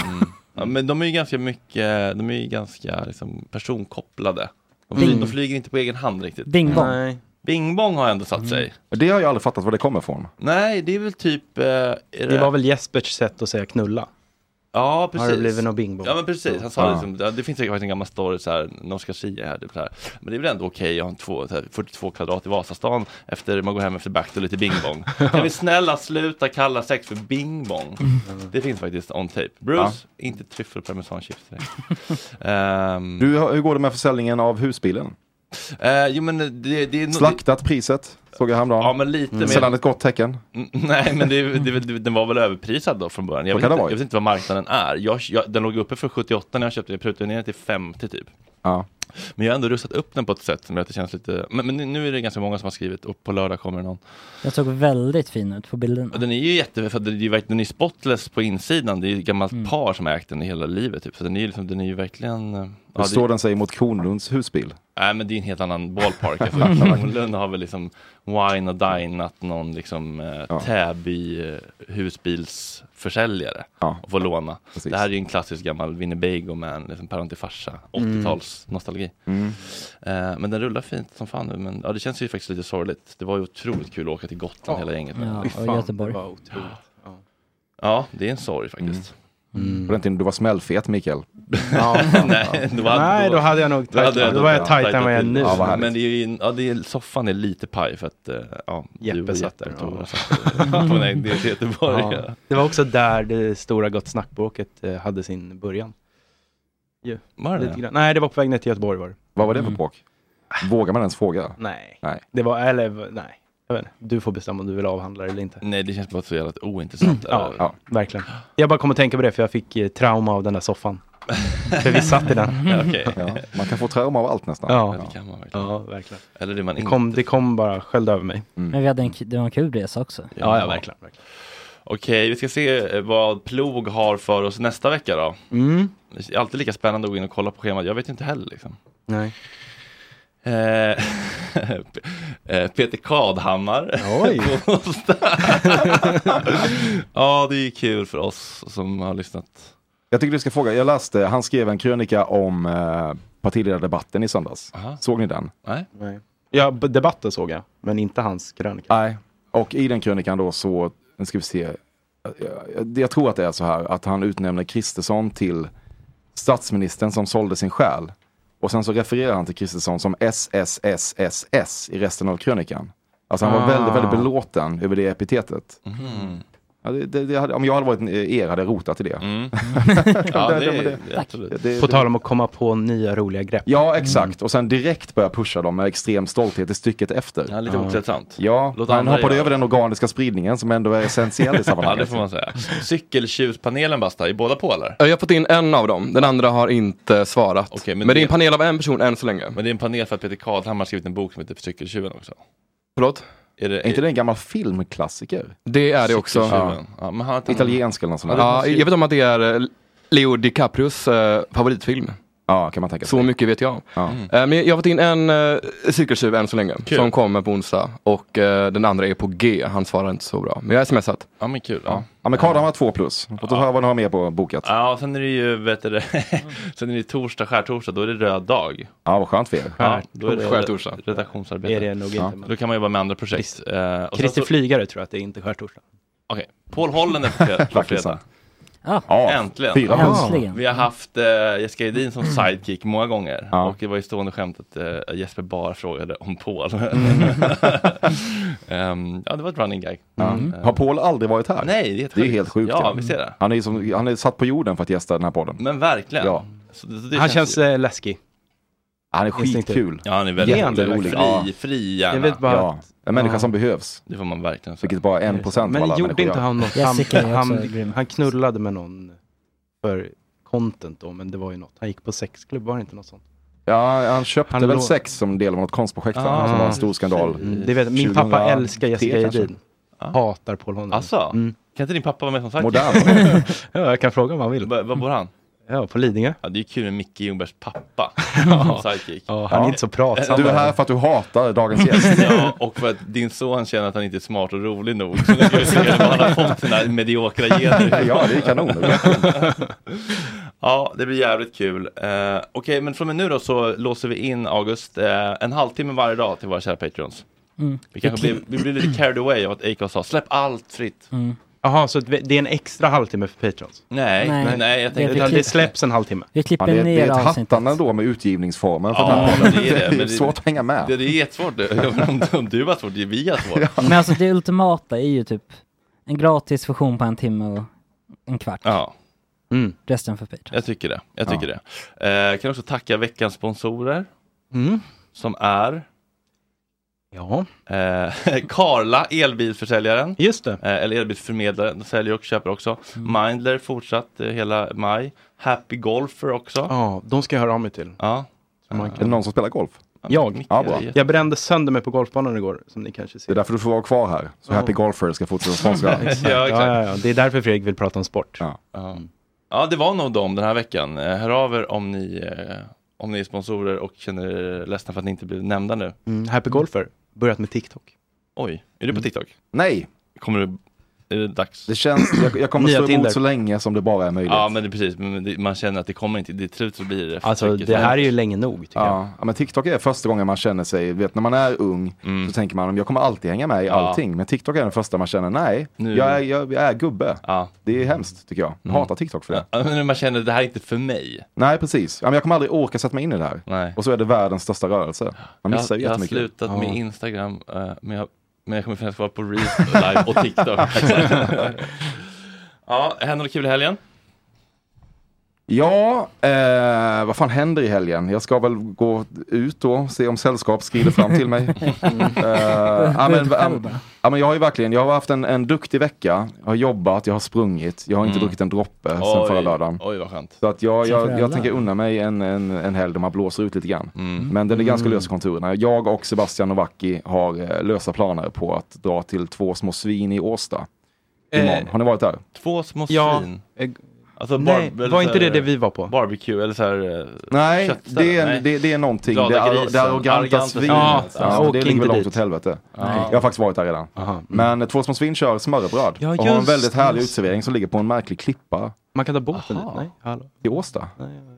Speaker 1: Ja, men de är ju ganska mycket, de är ju ganska liksom, personkopplade. De, fly-
Speaker 7: Bing.
Speaker 1: de flyger inte på egen hand riktigt.
Speaker 7: Bing bong.
Speaker 1: Nej. Bing bong har ändå satt sig.
Speaker 7: Det har jag aldrig fattat var det kommer ifrån.
Speaker 1: Nej, det är väl typ... eh, är
Speaker 8: Det var väl Jespers sätt att säga knulla.
Speaker 1: Ja,
Speaker 8: det
Speaker 1: precis.
Speaker 8: blivit någon bing bong?
Speaker 1: Ja, men (laughs) precis. Han sa
Speaker 8: Ja.
Speaker 1: liksom, ja, det finns säkert en gammal story så här, någon ska säga här, typ så här. Men det är väl ändå okej att ha en två, så här, 42 kvadrat i Vasastan efter man går hem efter back och lite bing
Speaker 8: (laughs)
Speaker 1: bong. kan vi snälla sluta kalla sex för bing bong?
Speaker 8: Mm.
Speaker 1: Det finns faktiskt on tape. Bruce, inte tryffel parmesanchips (laughs) direkt. Ehm,
Speaker 7: Du, hur går det med försäljningen av husbilen?
Speaker 1: eh, jo, men det, det är nog-
Speaker 7: Slaktat priset, såg jag häromdagen. Mm.
Speaker 1: Ja, men lite mer-
Speaker 7: Sällan ett gott tecken.
Speaker 1: Mm, Nej, men det, det, det, den var väl överprisad då från början. Jag
Speaker 7: Så
Speaker 1: vet,
Speaker 7: kan det
Speaker 1: inte, jag
Speaker 7: vara ju.
Speaker 1: vet inte vad marknaden är. Jag, jag, den låg uppe för 78 när jag köpte den. Jag prutade ner den till 50 typ.
Speaker 7: Ja.
Speaker 1: Men jag har ändå rustat upp den på ett sätt som gör att det känns lite... Men, men nu är det ganska många som har skrivit och på lördag kommer det någon.
Speaker 9: Den såg väldigt fin ut på bilden.
Speaker 1: Och den är ju jätte... För att den är ju verkligen den är spotless på insidan. Det är ju ett gammalt par som har ägt den i hela livet. Typ. Så den är ju, liksom, den är ju verkligen... eh,
Speaker 7: Hur
Speaker 1: ja, det-
Speaker 7: står den sig mot Kronlunds husbil?
Speaker 1: Nej men det är en helt annan ballpark. Alltså, Kronlund har väl liksom wine och dinat någon liksom eh, Täby eh, husbilsförsäljare och får låna. Det här är ju en klassisk gammal Winnebago man, liksom päron till farsa, 80-tals nostalgi.
Speaker 7: Mm.
Speaker 1: Eh, men den rullar fint som fan nu, men ja, det känns ju faktiskt lite sorgligt. Det var ju otroligt kul att åka till Gotland hela gänget.
Speaker 9: Ja,
Speaker 1: Fy
Speaker 9: och
Speaker 1: fan.
Speaker 9: Göteborg.
Speaker 8: Det var otroligt. Ja.
Speaker 1: Ja, det är en sorg faktiskt.
Speaker 7: På den tiden du var
Speaker 1: (laughs)
Speaker 7: smällfet, Mikael.
Speaker 1: Nej, då, hade,
Speaker 8: Nej, då hade jag nog tajtat-
Speaker 1: hade
Speaker 8: då var jag tajtare än vad jag är
Speaker 1: till.
Speaker 8: nu. Ja, vad härligt.
Speaker 1: men det är ju, ja, det är, soffan är lite paj för att eh, ja,
Speaker 8: Jeppe satt där.
Speaker 1: Tore satt där. på en ägd
Speaker 7: (laughs)
Speaker 1: del till Göteborg.
Speaker 8: Ja.
Speaker 1: Ja.
Speaker 8: Det var också där det stora Gott snackbråket eh, hade sin början. Ju.
Speaker 1: Var det
Speaker 8: Lite
Speaker 1: det?
Speaker 8: grann. Nej, det var på väg ner till Göteborg var det.
Speaker 7: Vad var det
Speaker 1: Mm.
Speaker 7: för bråk? Vågar man ens fråga?
Speaker 8: Nej.
Speaker 7: Nej.
Speaker 8: Det var, eller nej. Jag vet inte. Du får bestämma om du vill avhandla det eller inte.
Speaker 1: Nej, det känns bara så jävla ointressant.
Speaker 8: Ja, verkligen. Jag bara kom att tänka på det för jag fick eh, trauma av den
Speaker 1: (laughs)
Speaker 8: där soffan. för vi satt i den.
Speaker 7: Ja, man kan få trauma av allt nästan.
Speaker 8: Ja.
Speaker 1: Det kan man verkligen.
Speaker 8: Ja, verkligen.
Speaker 1: Eller det man
Speaker 8: Det
Speaker 1: inte
Speaker 8: kom, det kom bara, sköljde över mig.
Speaker 7: Mm.
Speaker 9: Men vi hade en, k- det var en kul resa också.
Speaker 8: Ja, ja, (laughs) verkligen. verkligen.
Speaker 1: Okej, vi ska se eh, vad Plog har för oss nästa vecka då.
Speaker 8: Mm.
Speaker 1: Det är alltid lika spännande att gå in och kolla på schemat. Jag vet inte heller liksom.
Speaker 8: Nej.
Speaker 1: Eh, (laughs) P- eh, Peter Kadhammar.
Speaker 8: Oj.
Speaker 1: (laughs) på onsdag. ja, det är ju kul för oss som har lyssnat.
Speaker 7: Jag tycker du ska fråga, jag läste, han skrev en krönika om eh, partiledardebatten i söndags. Såg ni den?
Speaker 1: Nej.
Speaker 8: Nej. Ja, b- debatten såg jag, men inte hans krönika.
Speaker 7: Nej, och i den krönikan då så, nu ska vi se, jag, jag tror att det är så här att han utnämner Kristersson till statsministern som sålde sin själ. Och sen så refererar han till Kristersson som SSSSS i resten av krönikan. Alltså han var
Speaker 8: Ah.
Speaker 7: väldigt, väldigt belåten över det epitetet.
Speaker 1: Mhm.
Speaker 7: Ja, det, det, det hade, om jag hade varit eh, er hade jag rotat i det.
Speaker 1: Mm.
Speaker 7: (laughs)
Speaker 1: Ja, det,
Speaker 7: Det- det-
Speaker 1: är-
Speaker 7: det-
Speaker 1: absolut.
Speaker 7: det-
Speaker 8: På tal om att komma på nya roliga grepp.
Speaker 7: Ja, exakt. Och sen direkt börja pusha dem med extrem stolthet i stycket efter.
Speaker 1: Ja, lite otrevsamt.
Speaker 7: Ja,
Speaker 1: Låt
Speaker 7: han
Speaker 1: andra
Speaker 7: hoppade
Speaker 1: göra.
Speaker 7: över den organiska spridningen som ändå är essentiell
Speaker 1: (laughs)
Speaker 7: i
Speaker 1: Ja,
Speaker 7: sammanhanget.
Speaker 1: det får man säga. Cykeltjuvspanelen Basta, i båda på eller?
Speaker 16: Jag har fått in en av dem, den andra har inte svarat. men, det är en panel av en person än så länge.
Speaker 1: Men det är en panel för att Peter Kadhammar har skrivit en bok som heter Cykeltjuven också.
Speaker 16: Förlåt?
Speaker 1: Är, det,
Speaker 7: Är inte det en gammal filmklassiker?
Speaker 16: Det är det också.
Speaker 1: Cykeltjuven. Ja, men han har inte-
Speaker 7: Italiensk eller något sånt där.
Speaker 16: Ja, jag vet om att det är eh, Leo DiCaprios eh, favoritfilm.
Speaker 7: Ja, kan man tänka
Speaker 16: Så mycket vet jag.
Speaker 7: Ja.
Speaker 16: Eh, men jag har fått in en uh, cykeltjuv än så länge, som kommer på onsdag. Och eh, den andra är på G, han svarar inte så bra. Men jag har smsat.
Speaker 1: Ja, men kul. Ja.
Speaker 7: Ja, men Kardan var två plus. Låt oss höra vad ni har mer på bokat.
Speaker 1: Ja, och sen är det ju, vet du, det, (laughs) sen är det torsdag, skärtorsdag, då är det röd dag.
Speaker 7: Ja, vad skönt för er.
Speaker 1: Ja, då är det
Speaker 8: Skärtorsdag.
Speaker 1: Redaktionsarbete.
Speaker 8: Är det nog inte,
Speaker 1: Ja.
Speaker 8: men-
Speaker 1: Då kan man jobba med andra projekt. Eh, och sen
Speaker 8: Christer
Speaker 1: så-
Speaker 8: Flygare tror jag att det är, inte skärtorsdag.
Speaker 1: Okej, Paul Hollander på fred- på
Speaker 8: Verkligen
Speaker 1: fredag.
Speaker 9: Ja.
Speaker 1: Äntligen.
Speaker 8: Fyra plus. Äntligen. Mm.
Speaker 1: Vi har haft eh, Jessica Edin som sidekick många gånger. Och det var ju stående skämt att eh, Jesper bara frågade om
Speaker 8: (laughs)
Speaker 1: Paul. Ehm, ja, det var ett running gag.
Speaker 7: Ja.
Speaker 8: Mm.
Speaker 1: Eh,
Speaker 7: Har Paul aldrig varit här?
Speaker 1: Nej, det är
Speaker 7: Det är ju helt sjukt.
Speaker 1: Ja, vi ser det.
Speaker 7: Han är, ju som, han är satt på jorden för att gästa den här podden.
Speaker 1: Men verkligen.
Speaker 7: Ja.
Speaker 1: Så det- så det
Speaker 8: Han känns
Speaker 1: ju-
Speaker 8: eh, läskig.
Speaker 7: Han är
Speaker 1: Instinktiv.
Speaker 7: skitkul.
Speaker 1: Ja, han är väldigt
Speaker 7: Jätterolig.
Speaker 1: rolig.
Speaker 7: Ja.
Speaker 1: Fri, fri hjärna.
Speaker 7: Jag vet bara Ja, att- en människa som
Speaker 1: behövs. Det får man verkligen säga.
Speaker 7: Vilket bara är en procent av
Speaker 8: Men
Speaker 7: alla
Speaker 8: gjorde inte han något? Han, han,
Speaker 7: grym.
Speaker 8: han knullade med någon för content då, men det var ju något. Han gick på sexklubb, var det inte något sånt?
Speaker 7: Ja, han köpte
Speaker 8: Han
Speaker 7: väl
Speaker 8: lå-
Speaker 7: sex som del av något konstprojekt
Speaker 1: Ah,
Speaker 7: för honom, som var en stor skandal.
Speaker 8: Mm, Det vet, min pappa
Speaker 7: 2003
Speaker 8: älskar Jessica
Speaker 7: kanske.
Speaker 8: Jedin.
Speaker 1: Ah.
Speaker 8: Hatar Paul Mm. Holmgren.
Speaker 1: Alltså, Kan inte din pappa vara med som sagt?
Speaker 8: Modern.
Speaker 1: (laughs)
Speaker 8: ja, jag kan fråga om han vill.
Speaker 1: Var, var bor han?
Speaker 8: Ja, på Lidingö.
Speaker 1: Ja, det är kul med Micke Ljungbergs
Speaker 8: (laughs)
Speaker 1: pappa.
Speaker 8: Ja.
Speaker 1: som Sidekick.
Speaker 8: Ja, han är inte så pratsam.
Speaker 7: Du är här för att du
Speaker 8: (laughs)
Speaker 7: hatar dagens
Speaker 1: (laughs)
Speaker 7: gäst.
Speaker 1: Ja, och för att din son känner att han inte är smart och rolig nog. Så nu ska vi se om han har fått sina mediokra gener.
Speaker 7: Ja, det är kanon, verkligen.
Speaker 1: (laughs) Ja, det blir jävligt kul. Eh, Okej, men från och med nu då så låser vi in August eh, en halvtimme varje dag till våra kära Patreons.
Speaker 8: Mm.
Speaker 1: Vi kanske blir, vi blir lite carried away av att Acast sa släpp allt fritt.
Speaker 8: Mm. Jaha, så det det är en extra halvtimme för Patrons?
Speaker 1: Mm. Nej, Nej. nej, jag tänkte-
Speaker 8: Utan det släpps en halvtimme.
Speaker 7: Ja, det, det är ett hattande då med utgivningsformen för den
Speaker 1: Ja,
Speaker 7: här podden. (laughs)
Speaker 1: det är det. men
Speaker 7: svårt att hänga med.
Speaker 1: Det, det är jättesvårt. Jag undrar om- Om du har svårt, det är vi har
Speaker 7: (laughs)
Speaker 1: svårt.
Speaker 9: Men alltså det ultimata är ju typ en gratis version på en timme och en kvart.
Speaker 1: Ja.
Speaker 8: Mm.
Speaker 9: Resten för Patreon.
Speaker 1: Jag tycker det. Jag tycker det. Eh, kan också tacka veckans sponsorer. Som är
Speaker 8: Mm. Ja.
Speaker 1: eh, (laughs) Karla, elbilförsäljaren.
Speaker 8: Just det. Mm.
Speaker 1: Eh, eller elbilsförmedlaren. De Säljer och köper också. Mindler fortsatt eh, hela maj. Happy Golfer också.
Speaker 8: Ja, Eh. de ska jag höra av mig till.
Speaker 1: Ja.
Speaker 7: Är det någon som spelar golf?
Speaker 8: Jag?
Speaker 7: Ja, bra.
Speaker 8: Jag brände sönder mig på golfbanan igår, som ni kanske
Speaker 7: Det
Speaker 8: ser.
Speaker 7: är därför du får vara kvar här. Så Happy Golfer
Speaker 8: (laughs)
Speaker 7: ska fortsätta sponsra.
Speaker 8: ja, ja, ja. Det är därför Fredrik vill prata om sport.
Speaker 1: Ja. ja, det var nog dem den här veckan. Eh, Hör av er om ni, eh, om ni är sponsorer och känner er ledsna för att ni inte blev nämnda nu.
Speaker 8: Mm, happy Golfer, börjat med TikTok.
Speaker 1: Oj, är du på TikTok?
Speaker 7: Mm. Nej.
Speaker 1: Kommer du, är det dags?
Speaker 7: Det känns, jag, jag kommer
Speaker 1: Nya
Speaker 7: stå
Speaker 1: Tinder.
Speaker 7: emot så länge som det bara är möjligt.
Speaker 1: Ja, men det, precis. Men det, man känner att det kommer inte. Det är trut så blir det. efter
Speaker 8: Alltså,
Speaker 1: veckor.
Speaker 8: det här är ju länge nog, tycker jag.
Speaker 7: Ja, ja, men TikTok är första gången man känner sig, vet när man är ung så tänker man jag kommer alltid hänga med i
Speaker 1: Mm. Ja.
Speaker 7: allting. Men TikTok är den första man känner, nej,
Speaker 1: Nu-
Speaker 7: jag är, jag, jag är gubbe.
Speaker 1: Ja. Mm.
Speaker 7: Det är hemskt tycker jag. Jag hatar TikTok för det.
Speaker 1: Ja, men man känner att det här är inte för mig.
Speaker 7: Nej, precis. Ja, men jag kommer aldrig orka sätta mig in i det här. Och så är det världens största rörelse. Man missar
Speaker 1: jag,
Speaker 7: ju
Speaker 1: jag har
Speaker 7: jättemycket.
Speaker 1: slutat
Speaker 7: Ja.
Speaker 1: med Instagram, eh, men, jag, men jag kommer finnas vara på Reels live och
Speaker 7: (laughs)
Speaker 1: TikTok. ja, händer något kul i helgen?
Speaker 7: Ja, eh, vad fan händer i helgen? Jag ska väl gå ut då, se om sällskap skrider fram
Speaker 1: (laughs)
Speaker 7: till mig. Eh, ja, men, ja, ja, men jag har ju verkligen, jag har haft en, en duktig vecka. Jag har jobbat, jag har sprungit, jag har inte
Speaker 1: Mm.
Speaker 7: druckit en droppe
Speaker 1: Oj,
Speaker 7: sedan förra lördagen.
Speaker 1: Oj, vad skönt.
Speaker 7: Så att jag,
Speaker 1: Sen förra
Speaker 7: jag, jag
Speaker 1: lördagen?
Speaker 7: tänker unna mig en, en, en helg där man blåser ut lite grann.
Speaker 1: Mm.
Speaker 7: Men den är ganska lös i konturerna. Jag och Sebastian Novacki har eh, lösa planer på att dra till två små svin i Årsta. Imorgon.
Speaker 1: Eh,
Speaker 7: Har ni varit där?
Speaker 1: Två små
Speaker 8: Ja,
Speaker 1: svin.
Speaker 8: eh,
Speaker 1: Alltså,
Speaker 8: nej,
Speaker 1: barb- eller
Speaker 8: var inte
Speaker 1: så här-
Speaker 8: det det vi var på?
Speaker 1: Barbecue eller så här eh,
Speaker 7: Nej,
Speaker 1: köttställe?
Speaker 7: det är,
Speaker 1: Nej.
Speaker 7: det, det är någonting.
Speaker 1: Glada
Speaker 7: det, är,
Speaker 1: grisen.
Speaker 7: det arroganta svinet.
Speaker 1: Ja,
Speaker 7: Ja,
Speaker 1: åk
Speaker 7: Alltså, det ligger
Speaker 1: inte
Speaker 7: väl långt
Speaker 1: dit.
Speaker 7: åt helvete.
Speaker 1: Nej.
Speaker 7: Jag har faktiskt varit där redan. Men eh, Två små svin kör smörrebröd
Speaker 8: mm. Ja,
Speaker 7: och har en
Speaker 8: just
Speaker 7: väldigt härlig
Speaker 8: det.
Speaker 7: utservering som ligger på en märklig klippa
Speaker 8: Man kan ta båten dit? Nej, hallå.
Speaker 7: i Årsta.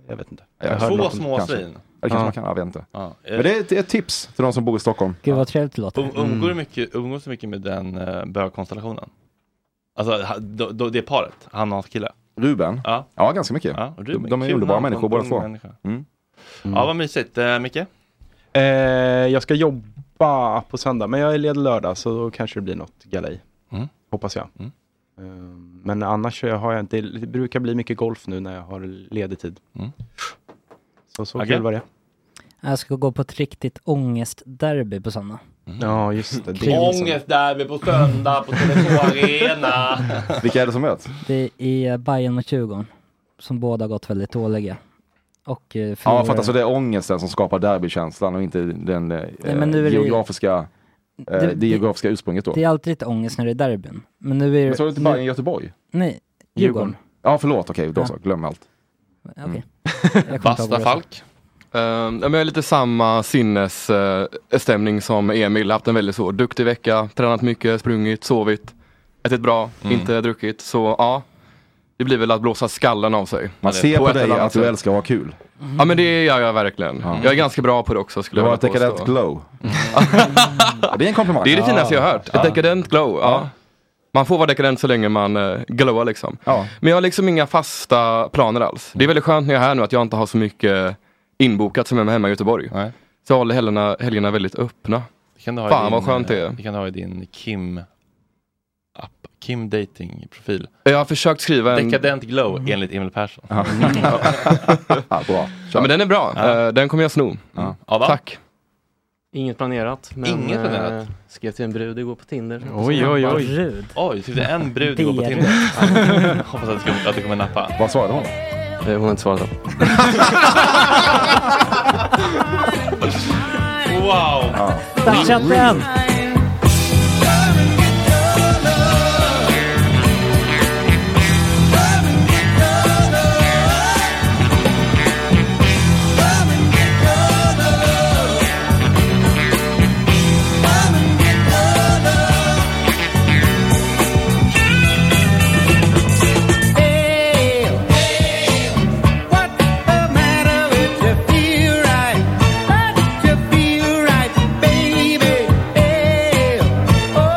Speaker 8: Jag vet inte.
Speaker 7: Ja,
Speaker 8: Jag
Speaker 7: hörde
Speaker 8: hörde något
Speaker 7: något om-
Speaker 8: om-
Speaker 1: små
Speaker 7: kanske.
Speaker 1: svin.
Speaker 7: Ja, det kanske
Speaker 1: Ja.
Speaker 7: man kan, ja, jag vet inte.
Speaker 1: Ja. eh.
Speaker 7: Men det är ett, ett tips till de som bor i Stockholm. Mm.
Speaker 9: Gud vad trevligt det låter.
Speaker 1: Um, umgår du mycket, umgås du mycket med den uh, bögkonstellationen? Alltså ha- då, då, det paret, han och hans kille.
Speaker 7: Ruben?
Speaker 1: Ja,
Speaker 7: ja ganska mycket.
Speaker 1: Ja, och
Speaker 7: de,
Speaker 1: Ruben,
Speaker 7: de är
Speaker 1: kul
Speaker 7: underbara
Speaker 1: namn på
Speaker 7: människor
Speaker 1: en
Speaker 7: båda
Speaker 1: ung
Speaker 7: två.
Speaker 1: människa.
Speaker 7: Mm.
Speaker 1: Ja, vad mysigt. Uh, Micke?
Speaker 8: Eh, jag ska jobba på söndag, men jag är ledig lördag, så då kanske det blir något galej.
Speaker 1: Mm.
Speaker 8: Hoppas jag. Eh, men annars så har jag inte, det brukar bli mycket golf nu när jag har ledig tid.
Speaker 7: Mm.
Speaker 8: Så, så
Speaker 1: Okej.
Speaker 8: kul var det.
Speaker 9: Jag ska gå på ett riktigt ångestderby på söndag.
Speaker 7: Mm.
Speaker 8: Ja, just det. det är liksom-
Speaker 1: Ångestderby på söndag på Tele2 Arena.
Speaker 7: (laughs) Vilka är det som möts?
Speaker 9: Det är Bayern mot Djurgården, som båda har gått väldigt dåliga. Och eh,
Speaker 7: Ja, jag
Speaker 9: förlorade-
Speaker 7: fattar. Så det är ångesten som skapar derbykänslan och inte den eh,
Speaker 9: men nu är det-
Speaker 7: geografiska, det,
Speaker 9: det-
Speaker 7: eh, det geografiska ursprunget då.
Speaker 9: det är alltid lite ångest när det är derbyn. Men nu är
Speaker 7: Men så är det inte
Speaker 9: nu-
Speaker 7: Bayern Göteborg?
Speaker 9: Nej, Djurgården.
Speaker 7: Ja, förlåt. Okej, då
Speaker 9: Ja.
Speaker 7: så. Glöm allt. Mm.
Speaker 9: Okej.
Speaker 16: Eh, ja, men jag är lite samma sinnesstämning eh, som Emil. Haft en väldigt så duktig vecka, tränat mycket, sprungit, sovit, ätit bra,
Speaker 7: Mm.
Speaker 16: inte druckit. Så ja, det blir väl att blåsa skallen av sig.
Speaker 7: Man ser på
Speaker 16: ett
Speaker 7: dig
Speaker 16: eller annat
Speaker 7: att du
Speaker 16: sätt.
Speaker 7: älskar att ha kul.
Speaker 16: Ja men det gör jag verkligen. Jag är ganska bra på det också skulle
Speaker 7: Du har
Speaker 16: jag
Speaker 7: ett dekadent
Speaker 16: påstå.
Speaker 7: glow. det är en komplimang.
Speaker 16: Det är det finaste jag har hört.
Speaker 7: Ja.
Speaker 16: Ett dekadent glow. Ja. Man får vara dekadent så länge man eh, glowar liksom.
Speaker 7: Ja.
Speaker 16: Men jag har liksom inga fasta planer alls. Det är väldigt skönt när jag är här nu att jag inte har så mycket inbokat som jag har hemma i Göteborg. Så jag håller helgerna, helgerna väldigt öppna.
Speaker 1: Det kan du ha i
Speaker 16: Fan
Speaker 1: din,
Speaker 16: vad skönt det
Speaker 1: eh,
Speaker 16: är.
Speaker 1: Det kan du ha i din Kim-app. Kim Dating-profil.
Speaker 16: Jag har försökt
Speaker 7: (laughs)
Speaker 16: skriva en...
Speaker 1: Dekadent glow enligt Emil Persson.
Speaker 16: Ja. bra. Ja, men den är bra.
Speaker 1: Ja.
Speaker 16: Eh, Den kommer jag sno.
Speaker 1: Adam?
Speaker 16: Tack.
Speaker 17: Inget planerat. Men
Speaker 1: Inget planerat?
Speaker 17: eh, skrev till en brud igår på Tinder.
Speaker 1: Oj, oj, oj. Brud. Oj, tyckte en brud igår på Tinder. (laughs) Ja. Hoppas att det, ska, att det kommer nappa.
Speaker 7: Vad svarade hon?
Speaker 17: Hon har inte svarat än.
Speaker 1: (laughs) Wow!
Speaker 9: Toucha inte än.
Speaker 5: eh, oh,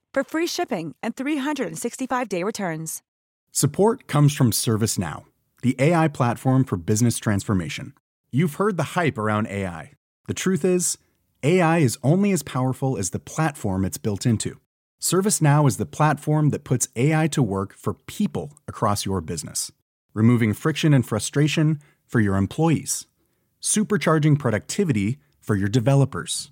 Speaker 18: for free shipping and 365-day returns.
Speaker 19: Support comes from ServiceNow, the AI platform for business transformation. You've heard the hype around AI. The truth is, AI is only as powerful as the platform it's built into. ServiceNow is the platform that puts AI to work for people across your business, removing friction and frustration for your employees, supercharging productivity for your developers,